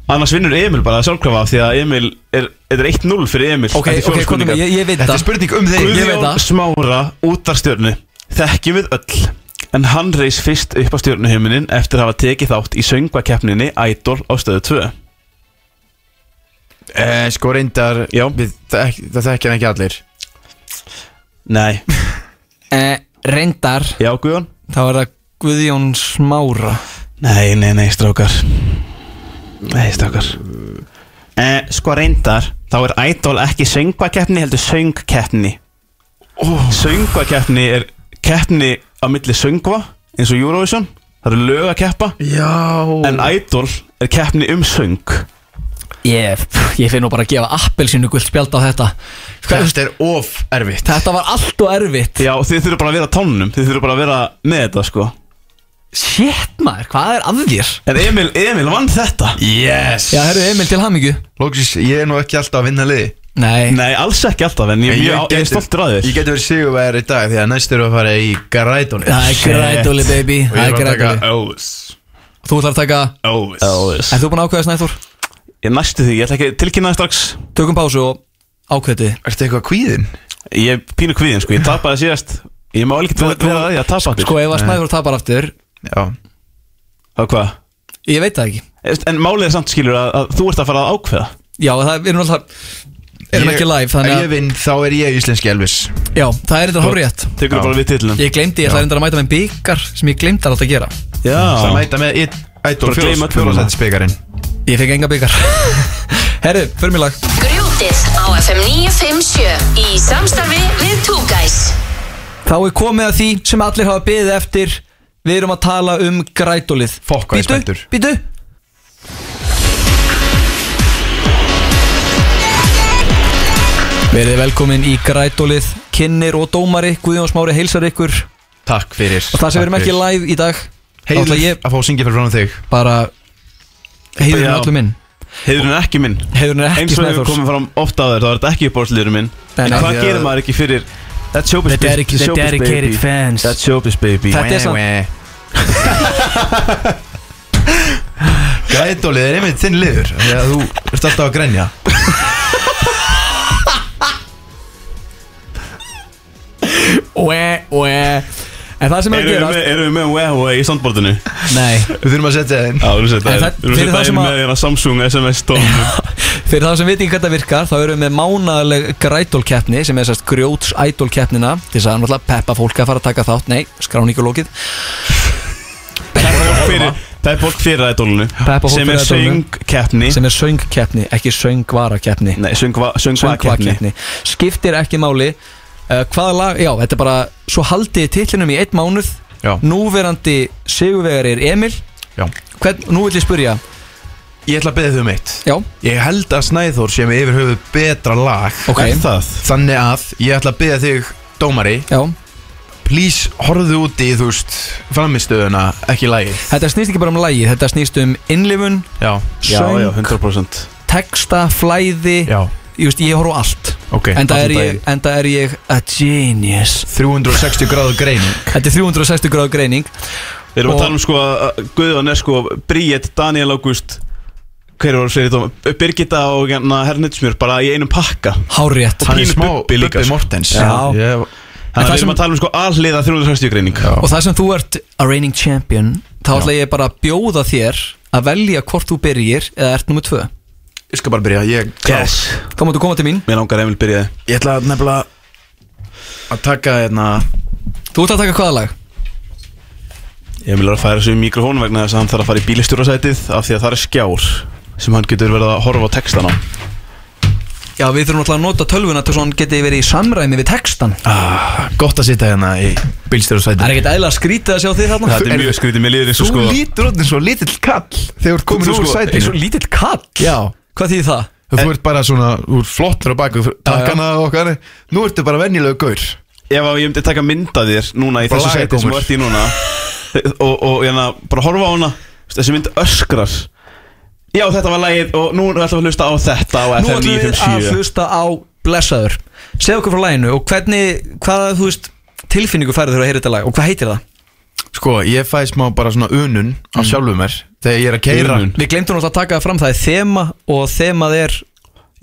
Speaker 2: Annars vinnur Emil bara sjálfkrafa af því að Emil er, þetta er 1-0 fyrir Emil
Speaker 1: Ok,
Speaker 2: Þetta er
Speaker 1: ok,
Speaker 2: fjórar
Speaker 1: komum
Speaker 2: spurningar.
Speaker 1: við, ég veit
Speaker 3: Þetta
Speaker 1: það
Speaker 3: er spurning um þig
Speaker 1: Guð- ég veit það.
Speaker 2: Guðjón Smára út af stjörnu Þekkjum við öll En hann reis fyrst upp á stjörnuhiminin eftir að hafa tekið þátt í söngvakeppninni Idol á stöðu 2
Speaker 3: eh, Sko reyndar
Speaker 2: Já.
Speaker 3: við, það, það þekkja hann ekki allir
Speaker 2: Nei,
Speaker 8: eh, Reyndar,
Speaker 2: já Guðjón
Speaker 1: Þá er það Guðjón Smára
Speaker 2: Nei, nei, nei, strákar Nei, strákar eh, Sko reyndar Þá er Idol ekki söngvakeppni heldur söngkeppni oh. Söngvakeppni er keppni á milli söngva eins og Eurovision það eru lög að keppa
Speaker 3: Já
Speaker 2: en Idol er keppni um söng
Speaker 1: Ég, ég finn nú bara að gefa appelsinu gult spjald á þetta
Speaker 3: Þetta er of erfitt
Speaker 1: Þetta var allt og erfitt
Speaker 2: já þið þurfum bara að vera á tánum þið þurfum bara að vera með þetta sko
Speaker 1: Shit maður, hvað er að þér?
Speaker 2: en Emil, Emil vann þetta
Speaker 3: Yes
Speaker 1: Já, herru Emil til hamingju
Speaker 3: Lóksis, ég er nú ekki alltaf að vinna liði
Speaker 1: Nei,
Speaker 2: nei alls ekki alltaf en ég, ég, ég, er stoltur að
Speaker 3: Ég
Speaker 2: þér
Speaker 3: geti verið sigurvæðar í dag Því að næst erum við að fara í Garædóni
Speaker 1: það er grædóli baby
Speaker 3: Og
Speaker 1: Það
Speaker 3: ég
Speaker 1: er
Speaker 3: var
Speaker 1: grædóli
Speaker 3: að taka Elvis
Speaker 1: Þú ætlar að taka,
Speaker 3: Elvis
Speaker 1: en þú búin að ákveða snæður
Speaker 2: ég næstu því ég ætla ekki að tilkynna það strax
Speaker 1: Tökum pásu og ákveði
Speaker 3: Ertu eitthvað kvíðin?
Speaker 2: ég er pínu kvíðin sko ég tapaði síðast ég má ekki vera vera að því að tapa
Speaker 1: Sko, ef að snæður tapar aftur
Speaker 3: Já
Speaker 2: þá hvað
Speaker 1: Ég veit það ekki
Speaker 2: en málið er samt skilur að, að þú ert að fara að ákveða
Speaker 1: Já, það er, við erum alltaf Erum
Speaker 3: Ég-
Speaker 1: ekki live, þannig
Speaker 3: Ef
Speaker 1: að
Speaker 3: ég vinn, þá er ég íslenski Elvis
Speaker 1: Já, það er þetta horrið
Speaker 2: tekur
Speaker 3: Já.
Speaker 2: bara við titlum
Speaker 1: Ég glemdi, ég ætla reyndar að mæta með byggar sem ég glemdi alltaf að gera
Speaker 3: Það
Speaker 2: já
Speaker 3: mæta með It- Idol
Speaker 2: Bara gleyma öllum.
Speaker 3: fjóðsættisbyggarinn
Speaker 1: Ég fekk enga byggar Herru, förum í lag
Speaker 7: Grjótið á FM 957 í samstarfi við Two Guys
Speaker 1: Þá er komið að því sem allir hafa beðið eftir Við erum að tala um grætólið
Speaker 3: Fokk, hvað ég
Speaker 1: Bíddu,
Speaker 3: spenntur.
Speaker 1: bíddu. Verið velkomin í grætólið Kinnir og dómari, Guðjón Smári heilsar ykkur Og
Speaker 3: Takk fyrir Og
Speaker 1: það sem við erum ekki live í dag þá
Speaker 3: Heiður
Speaker 1: ætla ég
Speaker 3: að fá að syngja fyrir frá þig
Speaker 1: bara Heiðurinn
Speaker 2: Já.
Speaker 1: allur minn
Speaker 2: heiðurinn er ekki minn
Speaker 1: Heiðurinn er
Speaker 2: eins
Speaker 1: ekki
Speaker 2: og hefur
Speaker 1: snæðurs
Speaker 2: komið fram ofta á þér þá er þetta ekki uppáhaldsliðurinn minn en
Speaker 1: nei,
Speaker 2: hvað
Speaker 1: því að-
Speaker 2: gerir maður ekki fyrir That's showbiz
Speaker 8: The dedic-
Speaker 2: baby
Speaker 8: the
Speaker 2: showbiz
Speaker 8: dedicated
Speaker 2: baby.
Speaker 8: fans.
Speaker 2: That's showbiz baby
Speaker 1: Þetta er samt
Speaker 3: Grædólið er einmitt þinn liður Því að þú ert alltaf að grenja
Speaker 1: Oe, oe En það sem er að
Speaker 2: Erum við
Speaker 1: gera
Speaker 2: með- erum við með Huawei í soundboardinu?
Speaker 1: Nei
Speaker 3: Við þurfum að setja það inn
Speaker 2: Já, við erum setja
Speaker 1: En það-
Speaker 2: það Við
Speaker 1: fyrir
Speaker 2: erum setja
Speaker 1: það
Speaker 2: það
Speaker 1: sem
Speaker 2: inn
Speaker 1: að-
Speaker 2: með hérna Samsung SMS-tónum
Speaker 1: Fyrir þá sem veit ekki hvað þetta virkar þá erum við með mánaðaleg grætólkeppni sem er sérst grjóts ædólkeppnina til þess að náttúrulega peppa fólk að fara að taka þátt nei, skráningalókið
Speaker 2: Það er fólk fyrir ædólunu
Speaker 1: Peppa fólk
Speaker 2: sem
Speaker 1: fyrir
Speaker 2: er
Speaker 1: ædolinu.
Speaker 2: söngkeppni
Speaker 1: sem er söngkeppni, ekki söngvarakeppni
Speaker 2: Nei, söngva- söngvakeppni
Speaker 1: söngvakeppni, skiptir ekki máli uh, hvaða lag, já, þetta er bara svo haldið tillinum í einn mánuð
Speaker 3: Já.
Speaker 1: núverandi sigurvegar er Emil
Speaker 3: Já.
Speaker 1: Hvern, nú vil ég spyrja
Speaker 3: Ég ætla að beða þau um eitt
Speaker 1: já,
Speaker 3: Ég held að Snæþór sé með yfir höfuð betra lag
Speaker 1: ok,
Speaker 2: Er það?
Speaker 3: Þannig að ég ætla að beða þig dómari
Speaker 1: já
Speaker 3: Please horfðu út í þú veist framistöðuna Ekki lagi
Speaker 1: þetta snýst ekki bara um lagið, þetta snýst um innlifun
Speaker 3: Já
Speaker 2: Já,
Speaker 1: söng,
Speaker 2: já, 100%
Speaker 1: texta, flæði
Speaker 3: Já
Speaker 1: ég, veist, ég horf á allt
Speaker 3: Ok
Speaker 1: Enda er,
Speaker 3: allan
Speaker 1: ég,
Speaker 3: daginn.
Speaker 1: enda er ég a genius
Speaker 3: 360 gráðu greining
Speaker 1: Þetta er 360 gráðu greining
Speaker 2: Við erum
Speaker 1: Og-
Speaker 2: að tala um sko að Guðan er sko Bríett, Daniel August Hver voru fyrir þetta? Birgitta og hérna Hernitsmjör bara í einum pakka
Speaker 1: Hárétt
Speaker 2: Og-
Speaker 3: Hann er
Speaker 2: Pínu
Speaker 3: smá
Speaker 2: Bubbi líka, sko.
Speaker 3: Mortens
Speaker 1: Já.
Speaker 3: Ég-
Speaker 2: Þannig að
Speaker 1: það
Speaker 2: við erum
Speaker 1: sem-
Speaker 2: að tala um sko alliða 360 greining
Speaker 3: Já.
Speaker 1: Og það sem þú ert a reigning champion Þá ætla ég bara að bjóða þér að velja hvort þú byrjir eða ert nummer 2
Speaker 3: Ég skal bara byrja Ég
Speaker 2: Yes
Speaker 1: Þá máttu koma til mín
Speaker 2: Mér langar Emil byrjaði
Speaker 3: Ég ætla að nefnilega Að taka hérna
Speaker 1: Þú ert að taka hvaða lag?
Speaker 2: Emil er að færa sig um mikrofón vegna þess að hann þarf að fara í bílistjórasætið af því að það er skjár sem hann getur verið að horfa á textan á
Speaker 1: Já, við þurfum alltaf að nota tölvuna til svo hann geti verið í samræmi við textan
Speaker 3: ah, Gott að sitja hérna í
Speaker 1: Það er
Speaker 3: bílstjórasæti
Speaker 1: ekkert eðla að skrýta að sjá þig þarna
Speaker 2: Þetta er
Speaker 3: Þú-
Speaker 2: mjög skrítið, mér líður eins og
Speaker 3: Þú
Speaker 2: sko
Speaker 3: lítur út eins og lítill kall Þegar þú ert komin úr
Speaker 2: sko-
Speaker 3: sætinu
Speaker 1: Eins og lítill kall
Speaker 3: Já
Speaker 1: Hvað þýðir það?
Speaker 3: Þú ert bara svona, þú ert flottur á baku takkana og okkar Nú ertu bara venjulegu gaur
Speaker 2: Ef að ég myndi taka mynda þér núna í
Speaker 3: Bara
Speaker 2: þessu sæti sem þú
Speaker 3: lagagómur.
Speaker 2: ert í núna og, og hérna, bara horfa á hana þessi mynd öskrar Já, þetta var lagið og nú ætlum við að hlusta á þetta á
Speaker 1: Nú
Speaker 2: FM
Speaker 1: ætlum við að
Speaker 2: 957
Speaker 1: hlusta á Blessaður Segð okkur frá laginu og hvernig, hvaða, þú veist, tilfinningu færið þurfa að heyra þetta lag og hvað heitir það?
Speaker 3: Sko, ég fæ smá bara svona unun á sjálfu mér Þegar ég er að keira
Speaker 2: Unun.
Speaker 1: Við glemtum náttúrulega að taka það fram, það er þema og þemað er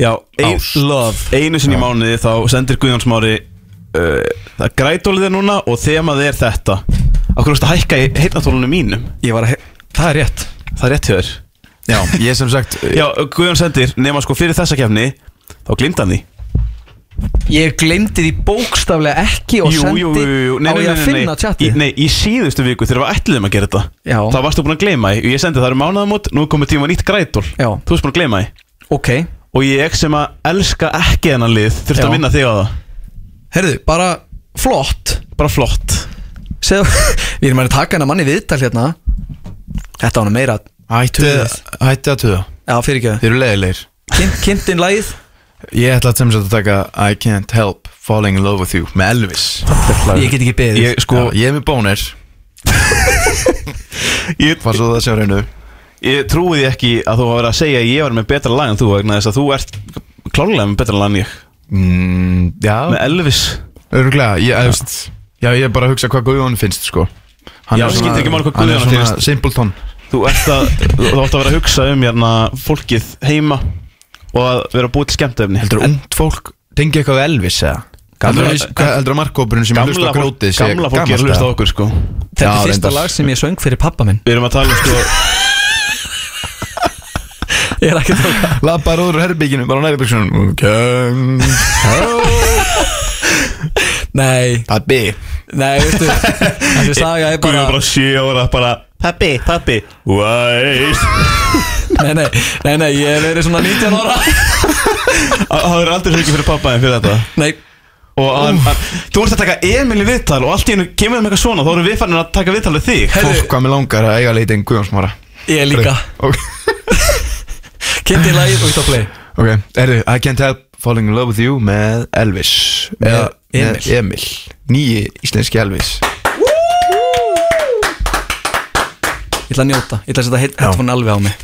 Speaker 2: Já, ein,
Speaker 1: Ást. Love.
Speaker 2: einu sinni í mánuði þá sendir Guðjón Smári uh, það grætólið er núna og þemað er þetta Akkur veist að hækka í heitnatólunum mínum
Speaker 1: Ég var að he- Það er rétt
Speaker 2: Það er rétt hjá þér
Speaker 3: Já, ég sem sagt
Speaker 2: Já, Guðjón sendir, nema sko fyrir þessa kefni þá glimta hann því
Speaker 1: Ég glemdi því bókstaflega ekki og sendi
Speaker 2: nei,
Speaker 1: á
Speaker 2: nei,
Speaker 1: ég
Speaker 2: nei,
Speaker 1: að
Speaker 2: nei, nei.
Speaker 1: finna
Speaker 2: Í,
Speaker 1: tjatti
Speaker 2: nei, í síðustu viku þegar við ætluðum að gera þetta
Speaker 1: Já.
Speaker 2: þá varstu búin að gleyma því ég sendi það eru mánaðamót, nú er komið tíma nýtt grætól
Speaker 1: Já.
Speaker 2: þú varst búin að gleyma því
Speaker 1: Ok
Speaker 2: og ég sem að elska ekki hennan lið þurfti
Speaker 1: Já.
Speaker 2: að vinna þig á það
Speaker 1: Herðu, bara flott
Speaker 2: bara flott
Speaker 1: segðu, við erum að taka hennar manni viðtal hérna Þetta var hann meira
Speaker 3: Hættu Hættu að tuða
Speaker 1: Já, fyrir
Speaker 3: Þið eru leiðilegir
Speaker 1: ekki Kynntinn lagið
Speaker 3: Ég ætla að sem sagt að taka I can't help falling in love with you með Elvis
Speaker 1: Ég get ekki beðið
Speaker 3: Ég, sko, ég er með bónir
Speaker 2: Ég,
Speaker 3: Var svo það sjá reynu
Speaker 2: ég trúi því ekki að þú var að segja að ég var með betra lag en þú vegna þess að þú ert klárlega með betra lag en ég
Speaker 3: mm, Já,
Speaker 2: með Elvis
Speaker 3: örgulega Ég, ég veist Já, ég er bara að hugsa hvað Guðjón finnst, sko Hann
Speaker 2: Já,
Speaker 3: er
Speaker 2: það
Speaker 3: svona-
Speaker 2: skiptir ekki máli hvað
Speaker 3: hann er
Speaker 2: Guðjóni
Speaker 3: svona
Speaker 2: finnst.
Speaker 3: Simpleton
Speaker 2: þú ert að þú átt að vera að hugsa um hérna, fólkið heima og að vera að búið til skemmtefni
Speaker 3: Heldur þú ungt fólk tengi eitthvað við Elvis eða?
Speaker 2: Gamla-
Speaker 3: Heldur þú markkópurinn sem hlusta
Speaker 2: gamla,
Speaker 3: á
Speaker 2: fólk,
Speaker 3: grótið sé
Speaker 2: gamla fólki
Speaker 3: gamalt,
Speaker 2: að hlusta á
Speaker 3: eða?
Speaker 2: okkur sko
Speaker 1: Þetta
Speaker 3: Já,
Speaker 1: er fyrsta
Speaker 3: reyndar.
Speaker 1: lag sem ég söng fyrir pappa minn
Speaker 2: við erum að tala um sko
Speaker 1: Ég er ekki að tóka
Speaker 3: Lappar úr herbygginu bara á nærbyggsjónum Pabbi
Speaker 1: Nei, nei, veistu Þessi saga er
Speaker 2: Guðjón
Speaker 1: bara
Speaker 2: bara sjö ára bara Pappi, pappi Wait
Speaker 1: Nei, nei, nei, nei, ég hef verið svona 19 ára
Speaker 2: Það er aldrei svo ekki fyrir pappa en fyrir þetta
Speaker 1: Nei,
Speaker 2: Og hann, hann, þú ert að taka Emil í viðtal og allt í hennu kemur um eitthvað svona Þá erum við farin að taka viðtal við þig
Speaker 3: Fólk hvað mér langar að eiga leitið en Guðjónsmára
Speaker 1: ég líka
Speaker 3: Ok,
Speaker 1: Kynntinn lagið og ég tók play
Speaker 3: ok, erðu I can't help falling in love with you með Elvis Eða
Speaker 1: Emil.
Speaker 3: með Emil Nýji íslenski Elvis
Speaker 1: Ég ætla að njóta, ég ætla að setja heit- headphone alveg á mig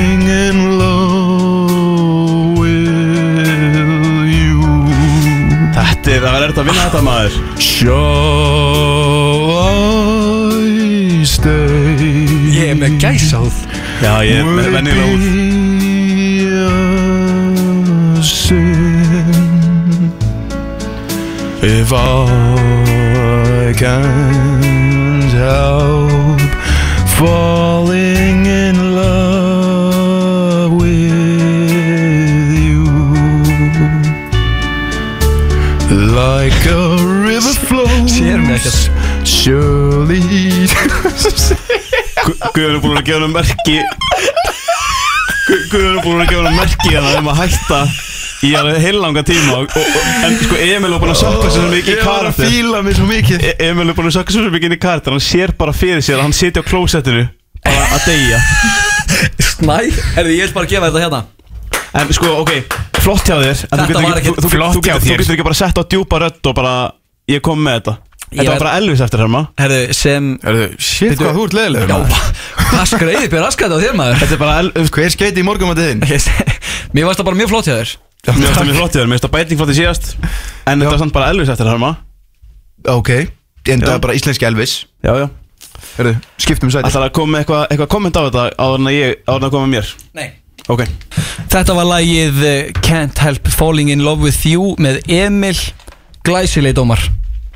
Speaker 3: in love with you
Speaker 2: Þetta er, það er erfitt að vinna þetta maður
Speaker 3: Shall I stay
Speaker 1: Ég er með gæsáð
Speaker 2: Já, ég er með vennilega úr
Speaker 3: a sin If I can't help falling in love with you Like a river flows
Speaker 1: sér mig ekkert.
Speaker 3: Surely
Speaker 2: Guðjón er búin að gefa hann merki Gu- Guðjón er búin að gefa hann merki hérna um að það er að hætta í alveg heillanga tíma og, og, og- En sko Emil er búin að sökka sér svo mikið í karakter
Speaker 3: fíla mig svo mikið
Speaker 2: E- Emil er búin að sökka svo mikið inn í karakter Hann sér bara fyrir sér að hann sitja á klósettinu bara að deyja
Speaker 1: Snæ, herðu, ég vil bara gefa þetta hérna
Speaker 2: En sko, ok, flott hjá þér en
Speaker 1: Þetta
Speaker 2: þú getur
Speaker 1: var
Speaker 2: ekki-
Speaker 1: ekkert
Speaker 2: þú- þú-
Speaker 1: flott
Speaker 2: þú getur-
Speaker 1: hjá
Speaker 2: Þú
Speaker 1: þér.
Speaker 2: getur ekki bara sett á djúpa rödd og bara Ég kom með þetta
Speaker 1: Ég
Speaker 2: Þetta var
Speaker 1: verð-
Speaker 2: bara Elvis eftir herma
Speaker 1: Herðu, sem
Speaker 3: Erðu, shit
Speaker 1: Bíddu.
Speaker 3: hvað þú ert leiðilegur
Speaker 1: Já,
Speaker 3: maður.
Speaker 1: hvað skreiði upp, ég raskaði á þér maður
Speaker 2: Þetta er bara Elvis
Speaker 3: Hver skeiti í morgum að þiðin?
Speaker 1: Ég sé- Mér varst það bara mjög flott hjá þér
Speaker 2: Mér finnst það mjög flott hjá þér, mér finnst það bæting flott í síðast En þetta var samt bara Elvis eftir herma
Speaker 3: Ok, en það
Speaker 2: Já.
Speaker 3: er bara íslenski Elvis
Speaker 2: Já, já
Speaker 3: Erðu, skiptum sæti
Speaker 2: Ætlar að koma með eitthvað eitthva komment á þetta áður en að ég, áður en að koma með mér
Speaker 1: Nei
Speaker 2: Ok
Speaker 1: Þetta var lagið eh, Can't Help Falling In Love With You með Emil Glæsileg dómar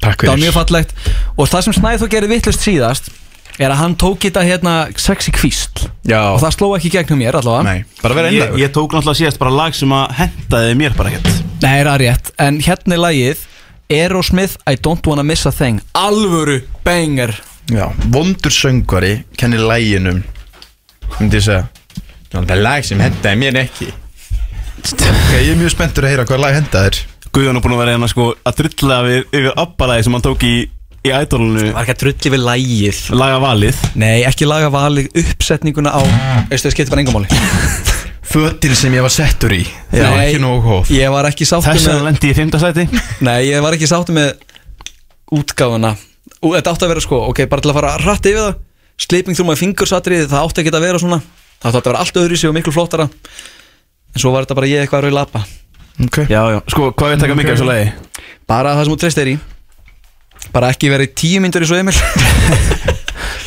Speaker 3: Takk
Speaker 1: Það var mjög fallegt Og það sem Snæð þó gerði vittlust síðast Er að hann tók þetta hérna sexy kvísl
Speaker 3: Já,
Speaker 1: Og það sló ekki í gegnum mér allavega
Speaker 3: nei, bara vera
Speaker 2: ég,
Speaker 3: einlægur
Speaker 2: ég tók náttúrulega síðast bara lag sem að hendaði mér bara ekkert
Speaker 1: Nei, það er rétt En hérna er lagið Aerosmith I Don't Wanna Miss A Thing Alvöru banger
Speaker 3: Já, vondur söngvari kennir læginum Myndi ég segja Það er lag sem hendaði mér ekki Ok, ég er mjög spenntur að heyra hvað lag hendaði þér
Speaker 2: Guðjón er búin að vera hérna sko að drilla við, yfir abbalæði sem hann tók í, í ædolunu
Speaker 1: Var ekki að drulli við lagið
Speaker 2: Laga valið
Speaker 1: Nei, ekki laga valið uppsetninguna á Veistu, það skiptir bara engamáli
Speaker 3: Fötin sem ég var settur í Já,
Speaker 1: Nei,
Speaker 3: ekki nógu hóf
Speaker 1: Ég var ekki sáttu
Speaker 2: Þess að
Speaker 1: með
Speaker 2: hann lendi í fimmtasæti
Speaker 1: Nei, ég var ekki sáttu með útgáfuna Ú, Þetta átti að vera sko, ok, bara til að fara rætt yfir það Sleeping through my fingers atriði, það átti ekki að vera svona Það átti að vera allt öðru sig og miklu flottara En svo var þetta bara ég eitthvað að rauði lappa
Speaker 3: Ok
Speaker 2: Já, já, sko, hvað er að taka mikið af þessu lagi?
Speaker 1: Bara það sem þú treyst er í Bara ekki verið tíu myndur í svo Emil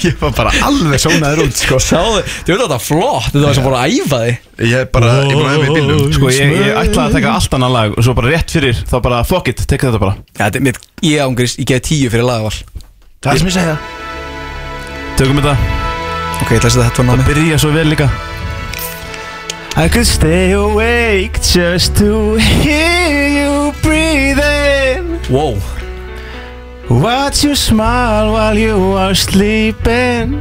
Speaker 3: Ég var bara alveg sónaður út, sko
Speaker 1: Sáðu, þú veit að þetta er flott Þetta var sem fór að æfa þig
Speaker 3: Ég er bara, ég er búin að hefða í bílum
Speaker 2: Sko, ég, ég ætlaði að taka allt annað lag og svo bara rétt fyrir þá bara fuck it, teka þetta bara
Speaker 1: Já, þetta er mitt, ég ángrist, ég geði tíu fyrir lagavall
Speaker 3: Það er sem ég segja
Speaker 2: Tökum þetta
Speaker 1: Ok, ég ætla að setja þetta var námi
Speaker 2: Byrja svo vel líka I could stay awake just to hear you breathing
Speaker 1: Wow
Speaker 2: Watch you smile while you are sleeping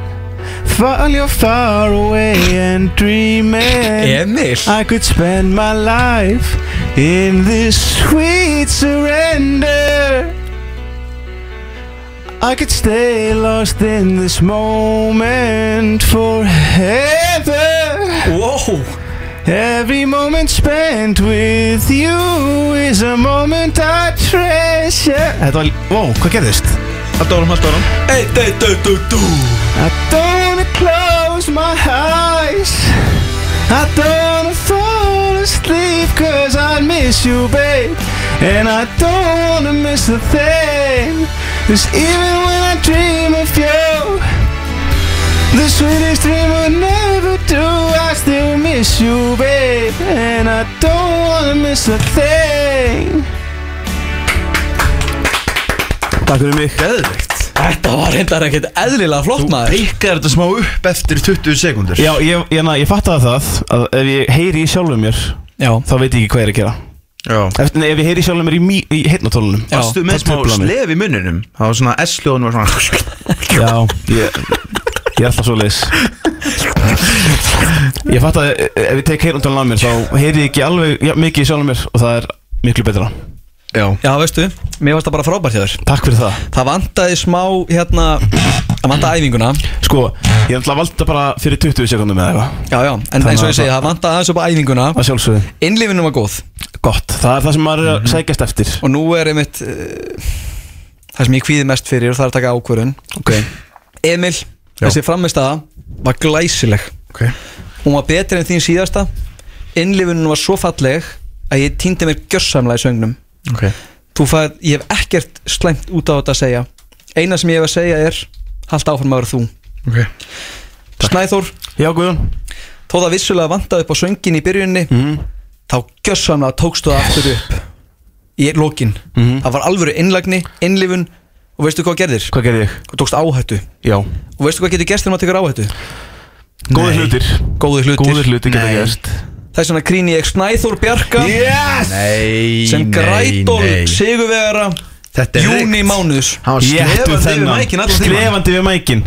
Speaker 2: While you're far away and dreaming
Speaker 1: Emil
Speaker 2: I could spend my life in this sweet surrender I could stay lost in this moment forever
Speaker 1: Ah. Wow
Speaker 2: Every moment spent with you is a moment I treasure Þetta var, wow, hvað gerðist? Allt árum, allt árum
Speaker 1: Hey, hey, du, du, du
Speaker 2: I don't wanna close my eyes I don't wanna fall asleep cause I miss you babe And I don't wanna miss a thing Cause even when I dream of you The sweetest dream will never do. I still miss you, babe, and I don't wanna miss a thing. Takk fyrir mig.
Speaker 3: Geðvikt
Speaker 1: Þetta var reyndar ekkert eðlilega flott
Speaker 3: Þú
Speaker 1: maður
Speaker 3: pikkar þetta smá upp eftir 20 sekundur
Speaker 2: Já, ég, ég, na, ég fattaði það að ef ég heyri í sjálfum mér,
Speaker 1: Já
Speaker 2: þá veit ég ekki hvað ég er að gera.
Speaker 3: Já.
Speaker 2: Eftir, nei, ef ég heyri í sjálfum mér í, mí- í heitnatólunum.
Speaker 1: Já.
Speaker 3: Varstu með
Speaker 2: það
Speaker 3: smá
Speaker 2: truflar mig.
Speaker 3: slef í munninum Það var svona S-ljóðun var svona
Speaker 2: Já, ég, ég er alltaf svo leis. Ég fattaði, e- ef ég tek heitnatólun af mér, þá heyri ég ekki alveg ja, mikið í sjálfum mér og það er miklu betra.
Speaker 3: Já
Speaker 1: Já, veistu, mér varst það bara frábært hjá þér
Speaker 2: Takk fyrir það.
Speaker 1: Það vantaði smá, hérna Það vantaði æfinguna
Speaker 2: Sko, ég ætla að valda þetta bara fyrir 20 sekundum eða eitthvað.
Speaker 1: Já, já, en eins og ég segi, það vantaði aðeins upp á æfinguna
Speaker 2: Að sjálfsögðu.
Speaker 1: Innlifinum var góð
Speaker 2: Gott, það er það sem maður er að sækjast eftir
Speaker 1: Og nú er einmitt uh, Það sem ég kvíði mest fyrir og það er að taka ákvörðun
Speaker 3: Ok
Speaker 1: Emil, þessi frammistaða var glæsileg
Speaker 3: Ok
Speaker 1: Hún var betri en þín síðasta Innlifunum var svo falleg að ég týndi mér gjörsamlega í söngnum
Speaker 3: Ok
Speaker 1: Þú fær, ég hef ekkert slæmt út á þetta að segja Eina sem ég hef að segja er Halt áfram að vera þú
Speaker 3: Ok
Speaker 1: Snæþór,
Speaker 2: Já Guðjón
Speaker 1: þó það vissulega vantaði upp á söngin í byrjunni
Speaker 2: Mhm.
Speaker 1: Þá gjörsamlega tókstu það aftur upp Í lokin Það var alvöru innlagni, innlifun Og veistu hvað gerðir?
Speaker 2: Hvað gerði ég?
Speaker 1: Þú tókst áhættu
Speaker 2: Já
Speaker 1: Og veistu hvað getur gerst þegar maður tekur áhættu?
Speaker 2: Góðir hlutir
Speaker 1: Góðir hlutir
Speaker 2: Góðir hlutir geta
Speaker 3: Nei.
Speaker 2: gerst
Speaker 1: Þess vegna krýni ég Snæþór Bjarka
Speaker 2: Yes
Speaker 3: Nei,
Speaker 1: sem
Speaker 3: nei,
Speaker 1: grætól
Speaker 3: nei.
Speaker 1: sigurvegara
Speaker 3: Þetta er
Speaker 1: júni
Speaker 3: reykt.
Speaker 1: mánuðs
Speaker 3: Hann var
Speaker 2: Jættu
Speaker 3: slefandi við
Speaker 2: þennan
Speaker 3: mækin allan tíma
Speaker 2: Slefandi við mækin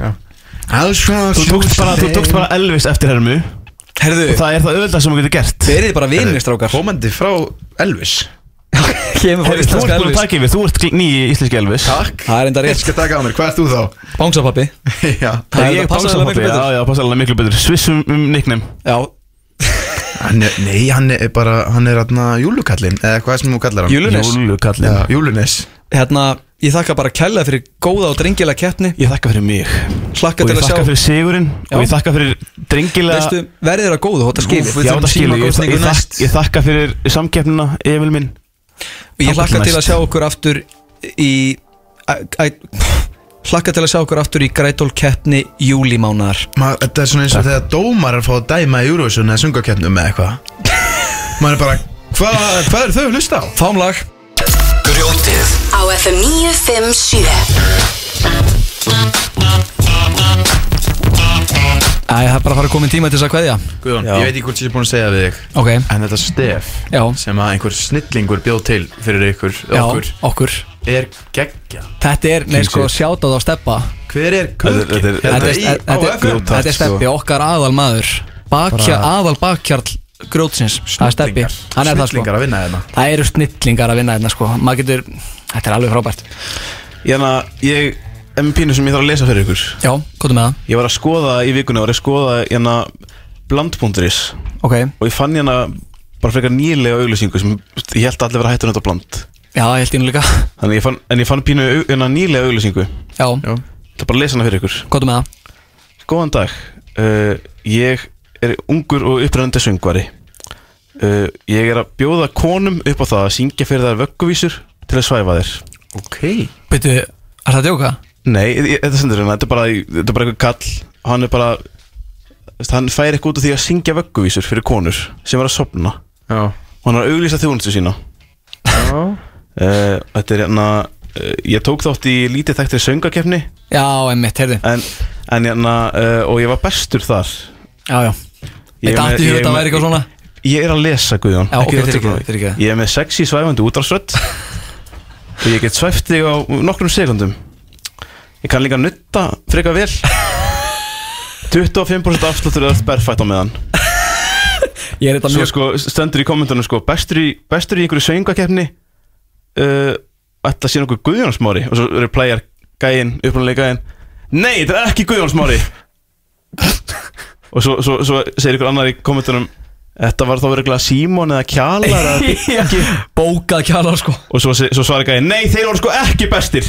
Speaker 2: Þú tókst bara, þú tókst bara Elvis eftir hermu
Speaker 1: Herðu,
Speaker 2: Það er það auðvitað sem þú getur gert
Speaker 1: verið bara vinir strákar
Speaker 3: Komandi frá Elvis
Speaker 1: Kemur frá
Speaker 2: Heyrðu, Þú
Speaker 1: íslenska
Speaker 2: ert búin að
Speaker 1: Elvis
Speaker 2: taka yfir, þú ert nýji íslenski Elvis
Speaker 3: Takk
Speaker 1: Það er enda
Speaker 3: Ég
Speaker 1: rétt sko.
Speaker 3: skal taka á mér, hvað ert þú þá?
Speaker 1: Bánsapappi
Speaker 3: Já
Speaker 1: Það er
Speaker 2: Ég
Speaker 1: þetta passaði
Speaker 2: passa
Speaker 1: alveg miklu
Speaker 2: alveg
Speaker 1: betur.
Speaker 2: Já, já, passa alveg miklu betur Svissum um nickname
Speaker 1: Já,
Speaker 3: hann er, Nei, hann er bara, hann er aðna júlukallin Eða hvað sem þú kallar hann
Speaker 1: Júlunes
Speaker 2: Júlukallin
Speaker 3: Já, Júlunes
Speaker 1: Hérna, ég þakka bara kærlega fyrir góða og drengilega keppni
Speaker 2: Ég þakka fyrir mig
Speaker 1: Hlakka
Speaker 2: Og
Speaker 1: til að
Speaker 2: ég þakka
Speaker 1: sjá
Speaker 2: fyrir sigurinn Og ég þakka fyrir drengilega
Speaker 1: Veistu, verðið er að góðu, þetta skilur
Speaker 3: Úff,
Speaker 2: Já, það skilur, ég, ég, ég,
Speaker 3: Símakosningu næst.
Speaker 2: þakk, ég þakka fyrir samkeppnina, Emil minn
Speaker 1: Og ég
Speaker 2: Þangað
Speaker 1: hlakka
Speaker 2: til
Speaker 1: til að
Speaker 2: næst.
Speaker 1: sjá okkur aftur í æ- æ- Hlakka til að sjá okkur aftur í Grætól keppni júlímánaðar
Speaker 3: Ma, Þetta er svona eins og þegar dómar er að fá að dæma í Eurovision eða sungakefnum eða eitthvað Maður er bara, hva, hvað er þau að hlusta á?
Speaker 1: Fámlag
Speaker 4: Grjótið
Speaker 5: Á FM 957
Speaker 1: Æ, það er bara að fara að koma í tíma til þess að kveðja
Speaker 3: Guðjón, ég veit ekki hvort ég er búin að segja við þig
Speaker 1: Ok,
Speaker 3: En þetta stef
Speaker 1: já,
Speaker 3: sem að einhver snillingur bjóð til fyrir ykkur,
Speaker 1: já,
Speaker 3: okkur,
Speaker 1: okkur
Speaker 3: er geggja
Speaker 1: Þetta er, nei sko, sjátáð á steppa
Speaker 3: Hver er
Speaker 2: Þetta
Speaker 3: kökinn?
Speaker 2: er- þetta er-
Speaker 1: Þetta er- sko.
Speaker 3: í-
Speaker 1: þetta
Speaker 3: á
Speaker 1: er-
Speaker 3: FM?
Speaker 1: þetta er steppi,
Speaker 3: sko.
Speaker 1: okkar aðal maður Bakja, aðal bakkjarl grjótsins Það er steppi,
Speaker 3: Snillingar.
Speaker 1: hann er það sko
Speaker 3: Snillingar að vinna hérna. þeirna
Speaker 1: Það eru snillingar að vinna þetta sko Maður getur, þetta er alveg frábært
Speaker 2: Ég hana, ég er með pínu sem ég þarf að lesa fyrir ykkur
Speaker 1: Já, um hvað með það?
Speaker 2: Ég var að skoða í vikunni, var að skoða hérna bland.is
Speaker 1: Ok,
Speaker 2: og ég fann hérna bara frekar nýlega auglýsingu sem ég held að allir vera hættur þetta bland
Speaker 1: já, ég held ég nú líka
Speaker 2: Þannig ég fann, en ég fann pínu au- hérna nýlega auglýsingu Ég
Speaker 1: Já, um
Speaker 2: ætla bara að lesa hana fyrir ykkur
Speaker 1: hvað með það?
Speaker 2: Góðan dag, uh, ég er ungur og upprennandi söngvari uh, Ég er að bjóða konum upp á það að syngja fyrir þær vögguvísur til að svæfa þér
Speaker 3: Ok
Speaker 1: Byrju, er það að djóka?
Speaker 2: Nei, ég- ég- þetta sendur hérna, þetta er bara, þetta er bara eitthvað kall Hann er bara, veist, hann fær eitthvað út af því að syngja vögguvísur fyrir konur sem er að sopna
Speaker 3: Já
Speaker 2: Og hann er að auglýsa þjónustu sína uh, eh, Þetta er hérna, uh, ég tók þátt í lítið þekktri söngakefni
Speaker 1: Já, emmitt, heyrðu
Speaker 2: En, En hérna, uh, og ég var bestur þar
Speaker 1: Já, já
Speaker 2: Ég er
Speaker 1: Þetta
Speaker 2: með-
Speaker 1: átti í
Speaker 2: ég
Speaker 1: huga
Speaker 2: er
Speaker 1: þetta
Speaker 2: með-
Speaker 1: væri eitthvað svona
Speaker 2: Ég er að lesa, Guðjón
Speaker 1: Já, ok,
Speaker 2: Ekki þetta
Speaker 1: fyrirgefðu,
Speaker 2: ekki.
Speaker 1: fyrirgefðu.
Speaker 2: Ég er með sexy svæfandi útrásrödd Og ég get svæft þig á nokkrum sekundum Ég kann líka nutta frekar vel 25% afsláttur eða berfætt á meðan
Speaker 1: Ég er þetta
Speaker 2: Svo
Speaker 1: mjög
Speaker 2: sko stendur í kommentunum sko Bestur í, bestur í einhverju söngakeppni uh, Ætla sé nokkuð Guðjónsmári Og svo eru plæjar gæinn, upprunalega gæinn Nei, þetta er ekki Guðjónsmári Og svo, svo, svo segir ykkur annar í kommentunum Þetta var þá verið Simon eða Kjalar eða
Speaker 1: Já, Bókað kjala sko
Speaker 2: Og svo, svo svarar gæði Nei, þeir voru sko ekki bestir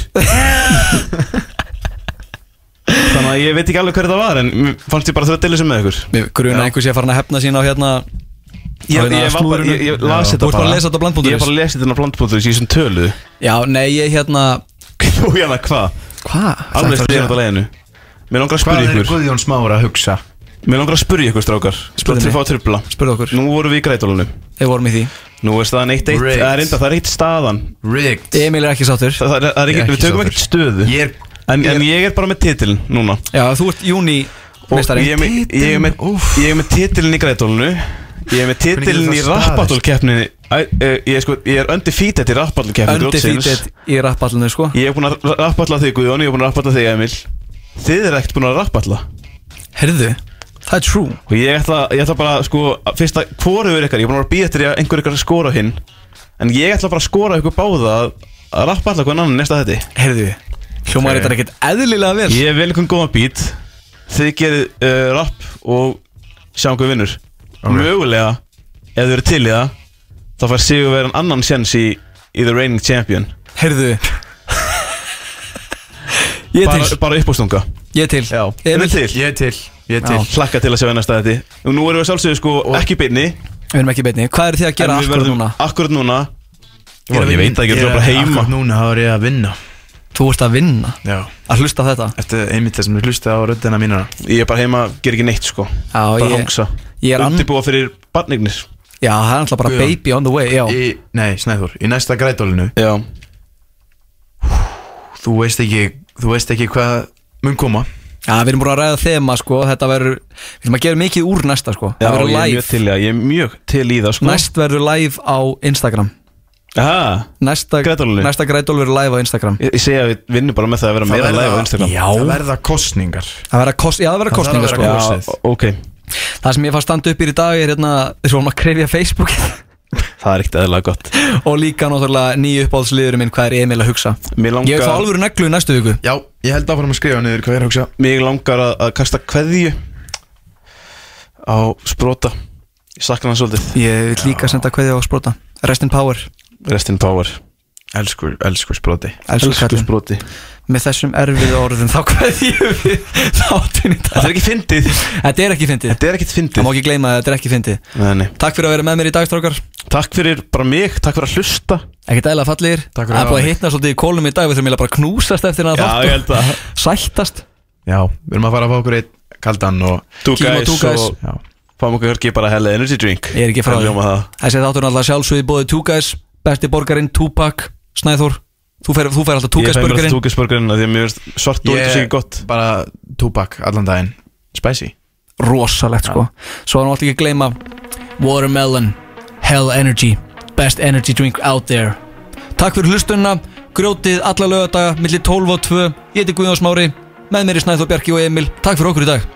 Speaker 2: Þannig að ég veit ekki alveg hver þetta var En mér fannst ég bara þurfa að deila þessu með ykkur
Speaker 1: Mér gruna einhvers ég að fara að hefna sín á hérna
Speaker 2: Ég,
Speaker 1: Á hérna
Speaker 2: ég, var bara,
Speaker 1: slúðrinu.
Speaker 2: ég, ég
Speaker 1: Já.
Speaker 2: las þetta
Speaker 1: Þú ert bara að lesa þetta á bland.is.
Speaker 2: Ég er bara að lesa þetta á bland.is Í þessum tölu
Speaker 1: Já, nei, ég hérna
Speaker 2: Og ég það hvað
Speaker 1: Hva?
Speaker 2: Alveg styrjum þetta leiðinu Mér langar að
Speaker 3: Hvað
Speaker 2: spyrja
Speaker 3: er
Speaker 2: ykkur
Speaker 3: Guðjón Smára að hugsa?
Speaker 2: Mér langar að spyrja ykkur strákar
Speaker 1: Spurðu mig.
Speaker 2: Spurðu mig Fá að trubla
Speaker 1: Spurðu okkur
Speaker 2: Nú vorum við í grætólunum
Speaker 1: Þeir vorum í því
Speaker 2: Nú er staðan 1-1
Speaker 3: Rigged.
Speaker 2: Það er enda, það er eitt staðan
Speaker 3: Rigged
Speaker 1: Emil er ekki sáttur
Speaker 2: Það, það, er- það er
Speaker 3: Ég er
Speaker 2: ekki,
Speaker 3: ekki
Speaker 2: Við tökum
Speaker 3: sáttur.
Speaker 2: ekkert stöðu
Speaker 3: Ég er
Speaker 2: en, en ég er bara með titilin núna
Speaker 1: Já, þú ert júni
Speaker 2: Og
Speaker 1: meistari
Speaker 2: Ég er með, ég er með, ég er með titilin í grætólunu Ég er með titilin
Speaker 3: Hvernig
Speaker 2: í
Speaker 3: getur það
Speaker 2: rappatólkeppninni Æ, eh, Ég er sko, ég er undefeated í rappatólkeppninni
Speaker 1: Undefeated í rappallinu sko
Speaker 2: Ég er búin að rappatla þig Guðjón, ég er búin að rappatla þig Emil Þið er ekkert búin að rappatla
Speaker 1: Herðu, það er true
Speaker 2: Og ég ætla, ég ætla bara, sko, að- fyrst að hvoru er ykkar Ég er búin að vera að býja eftir að einhver ykkar skora hinn En ég ætla bara að skora ykkur báða að- Að rappatla hvern annan næsta þetta
Speaker 1: Herðu, hljómar þetta ekkert eðlilega vel
Speaker 2: Ég er vel ykkur góðan bít Þið gerir uh, rapp og sjáum hvað vinnur Mögulega, ef þið eru til í það Þá fær Sigur verið annan sjens í, í The Reigning Champion
Speaker 1: Herðu Ég er
Speaker 2: Bara,
Speaker 1: til,
Speaker 2: bara upp á stunga
Speaker 1: ég er til
Speaker 2: Emil
Speaker 1: Emil,
Speaker 2: til
Speaker 3: Ég er til Ég er til
Speaker 1: Já.
Speaker 2: Hlakka til að sjá við næsta þetta Og nú erum við að sjálfsögðu sko ekki í beinni
Speaker 1: við erum ekki í beinni Hvað er þið að gera
Speaker 2: en við
Speaker 1: akkur
Speaker 2: verðum
Speaker 1: núna?
Speaker 2: Akkurat núna
Speaker 3: Ég er að
Speaker 2: Ég
Speaker 3: vinna.
Speaker 2: veit það ekki, þú er bara heima
Speaker 3: Akkurat núna þá er ég að vinna
Speaker 1: Þú ert að vinna
Speaker 3: Já
Speaker 1: Að hlusta á þetta
Speaker 3: Eftir einmitt þessum við hlusta á röddina mínuna
Speaker 2: Ég er bara heima, ger ekki neitt sko
Speaker 1: Já,
Speaker 2: Bara
Speaker 1: ég-
Speaker 2: hangsa
Speaker 1: ég er ann-
Speaker 2: Undirbúa fyrir barnignir
Speaker 1: Já, það er alltaf bara
Speaker 3: Guðjón.
Speaker 1: baby on the way Já,
Speaker 3: í, Nei, Snæður, í næsta grætólinu
Speaker 2: Já
Speaker 3: Þú veist ekki, þú veist ekki hvað mun koma
Speaker 1: já við erum búin að ræða þema sko Þetta verður, við erum að gera mikið úr næsta sko
Speaker 2: Já,
Speaker 1: Það verður
Speaker 2: ég er mjög
Speaker 1: live
Speaker 2: til í það, ég er mjög til í það sko
Speaker 1: Næst verður live á Instagram
Speaker 2: Aha.
Speaker 1: Næsta
Speaker 2: Grætólinu?
Speaker 1: Næsta grætól verður live á Instagram
Speaker 2: Ég, ég segja að við vinnum bara með það að vera meira live á Instagram
Speaker 3: Það verða kostningar
Speaker 1: Það verða kost, já, það verða
Speaker 3: Það verða
Speaker 1: kostninga sko
Speaker 3: kosningar.
Speaker 2: Já,
Speaker 3: kosið.
Speaker 2: ok
Speaker 1: Það sem ég fann standa upp í í dag er hérna Þess að maður krefja Facebook
Speaker 2: Það er ekkert eðlilega gott
Speaker 1: Og líka náttúrulega nýju uppáhaldsliðurinn minn Hvað er Emil að hugsa
Speaker 2: Mér
Speaker 1: Ég er þá
Speaker 2: langar,
Speaker 1: alvöru neglu í næstu viku
Speaker 3: Já, ég held áfram að skrifa niður hvað ég er að hugsa
Speaker 2: mér langar að, að kasta kveðju Á sprota Ég sakna hann svolítið
Speaker 1: Ég vil líka senda kveðja á sprota Rest in power
Speaker 2: Restin power
Speaker 3: Elskur, elskur sproti
Speaker 1: Elsku kallinn
Speaker 2: sproti
Speaker 1: Með þessum erfið orðum þá kveðjum við Þáttin í
Speaker 2: Þetta
Speaker 1: dag
Speaker 2: er ekki fyndið
Speaker 1: Þetta er ekki fyndið
Speaker 2: Þetta er ekkert
Speaker 1: Það má
Speaker 2: fyndið
Speaker 1: ekki gleyma að þetta er ekki fyndið
Speaker 2: Nei, nei.
Speaker 1: Takk fyrir að vera með mér í dag, strákar
Speaker 2: Takk fyrir bara mig, takk fyrir að hlusta
Speaker 1: Ekkert dæla fallir
Speaker 3: Takk fyrir
Speaker 1: Það er búið að
Speaker 3: að hafa mig.
Speaker 1: hitna svolítið í kólum í dag Við þurfum eiginlega bara að knúsast eftir hana þátt og
Speaker 2: held að
Speaker 1: Sættast
Speaker 3: Já, við erum að fara að fá okkur eitt kaldan og
Speaker 2: Two
Speaker 1: Kíma
Speaker 2: guys
Speaker 1: two guys.
Speaker 2: og
Speaker 3: Já,
Speaker 2: fáum okkur ekki bara hella energy drink
Speaker 1: Ég er ekki frá
Speaker 2: Það
Speaker 1: því
Speaker 2: ljóma það
Speaker 1: Þessi þáttur er alltaf sjálfsögði bóði Tugas Besti borgarinn, Tupac, Snæður Þú fer, þú fer alltaf
Speaker 2: Ég fæði bara
Speaker 1: Tugasburgerinn
Speaker 2: túkasburgerinn Því að mér finnst svart og eitthvað sér ekki gott
Speaker 3: bara túbak allan daginn Spicy
Speaker 1: Rosalegt sko Svo hann átti ekki að gleyma Watermelon, Hell Energy Best energy drink out there Takk fyrir hlustunna Grjótið alla lögadaga, milli 12 og 2 Ég heiti Guðjón Smári Með mér í Snæður Bjarki og Emil Takk fyrir okkur í dag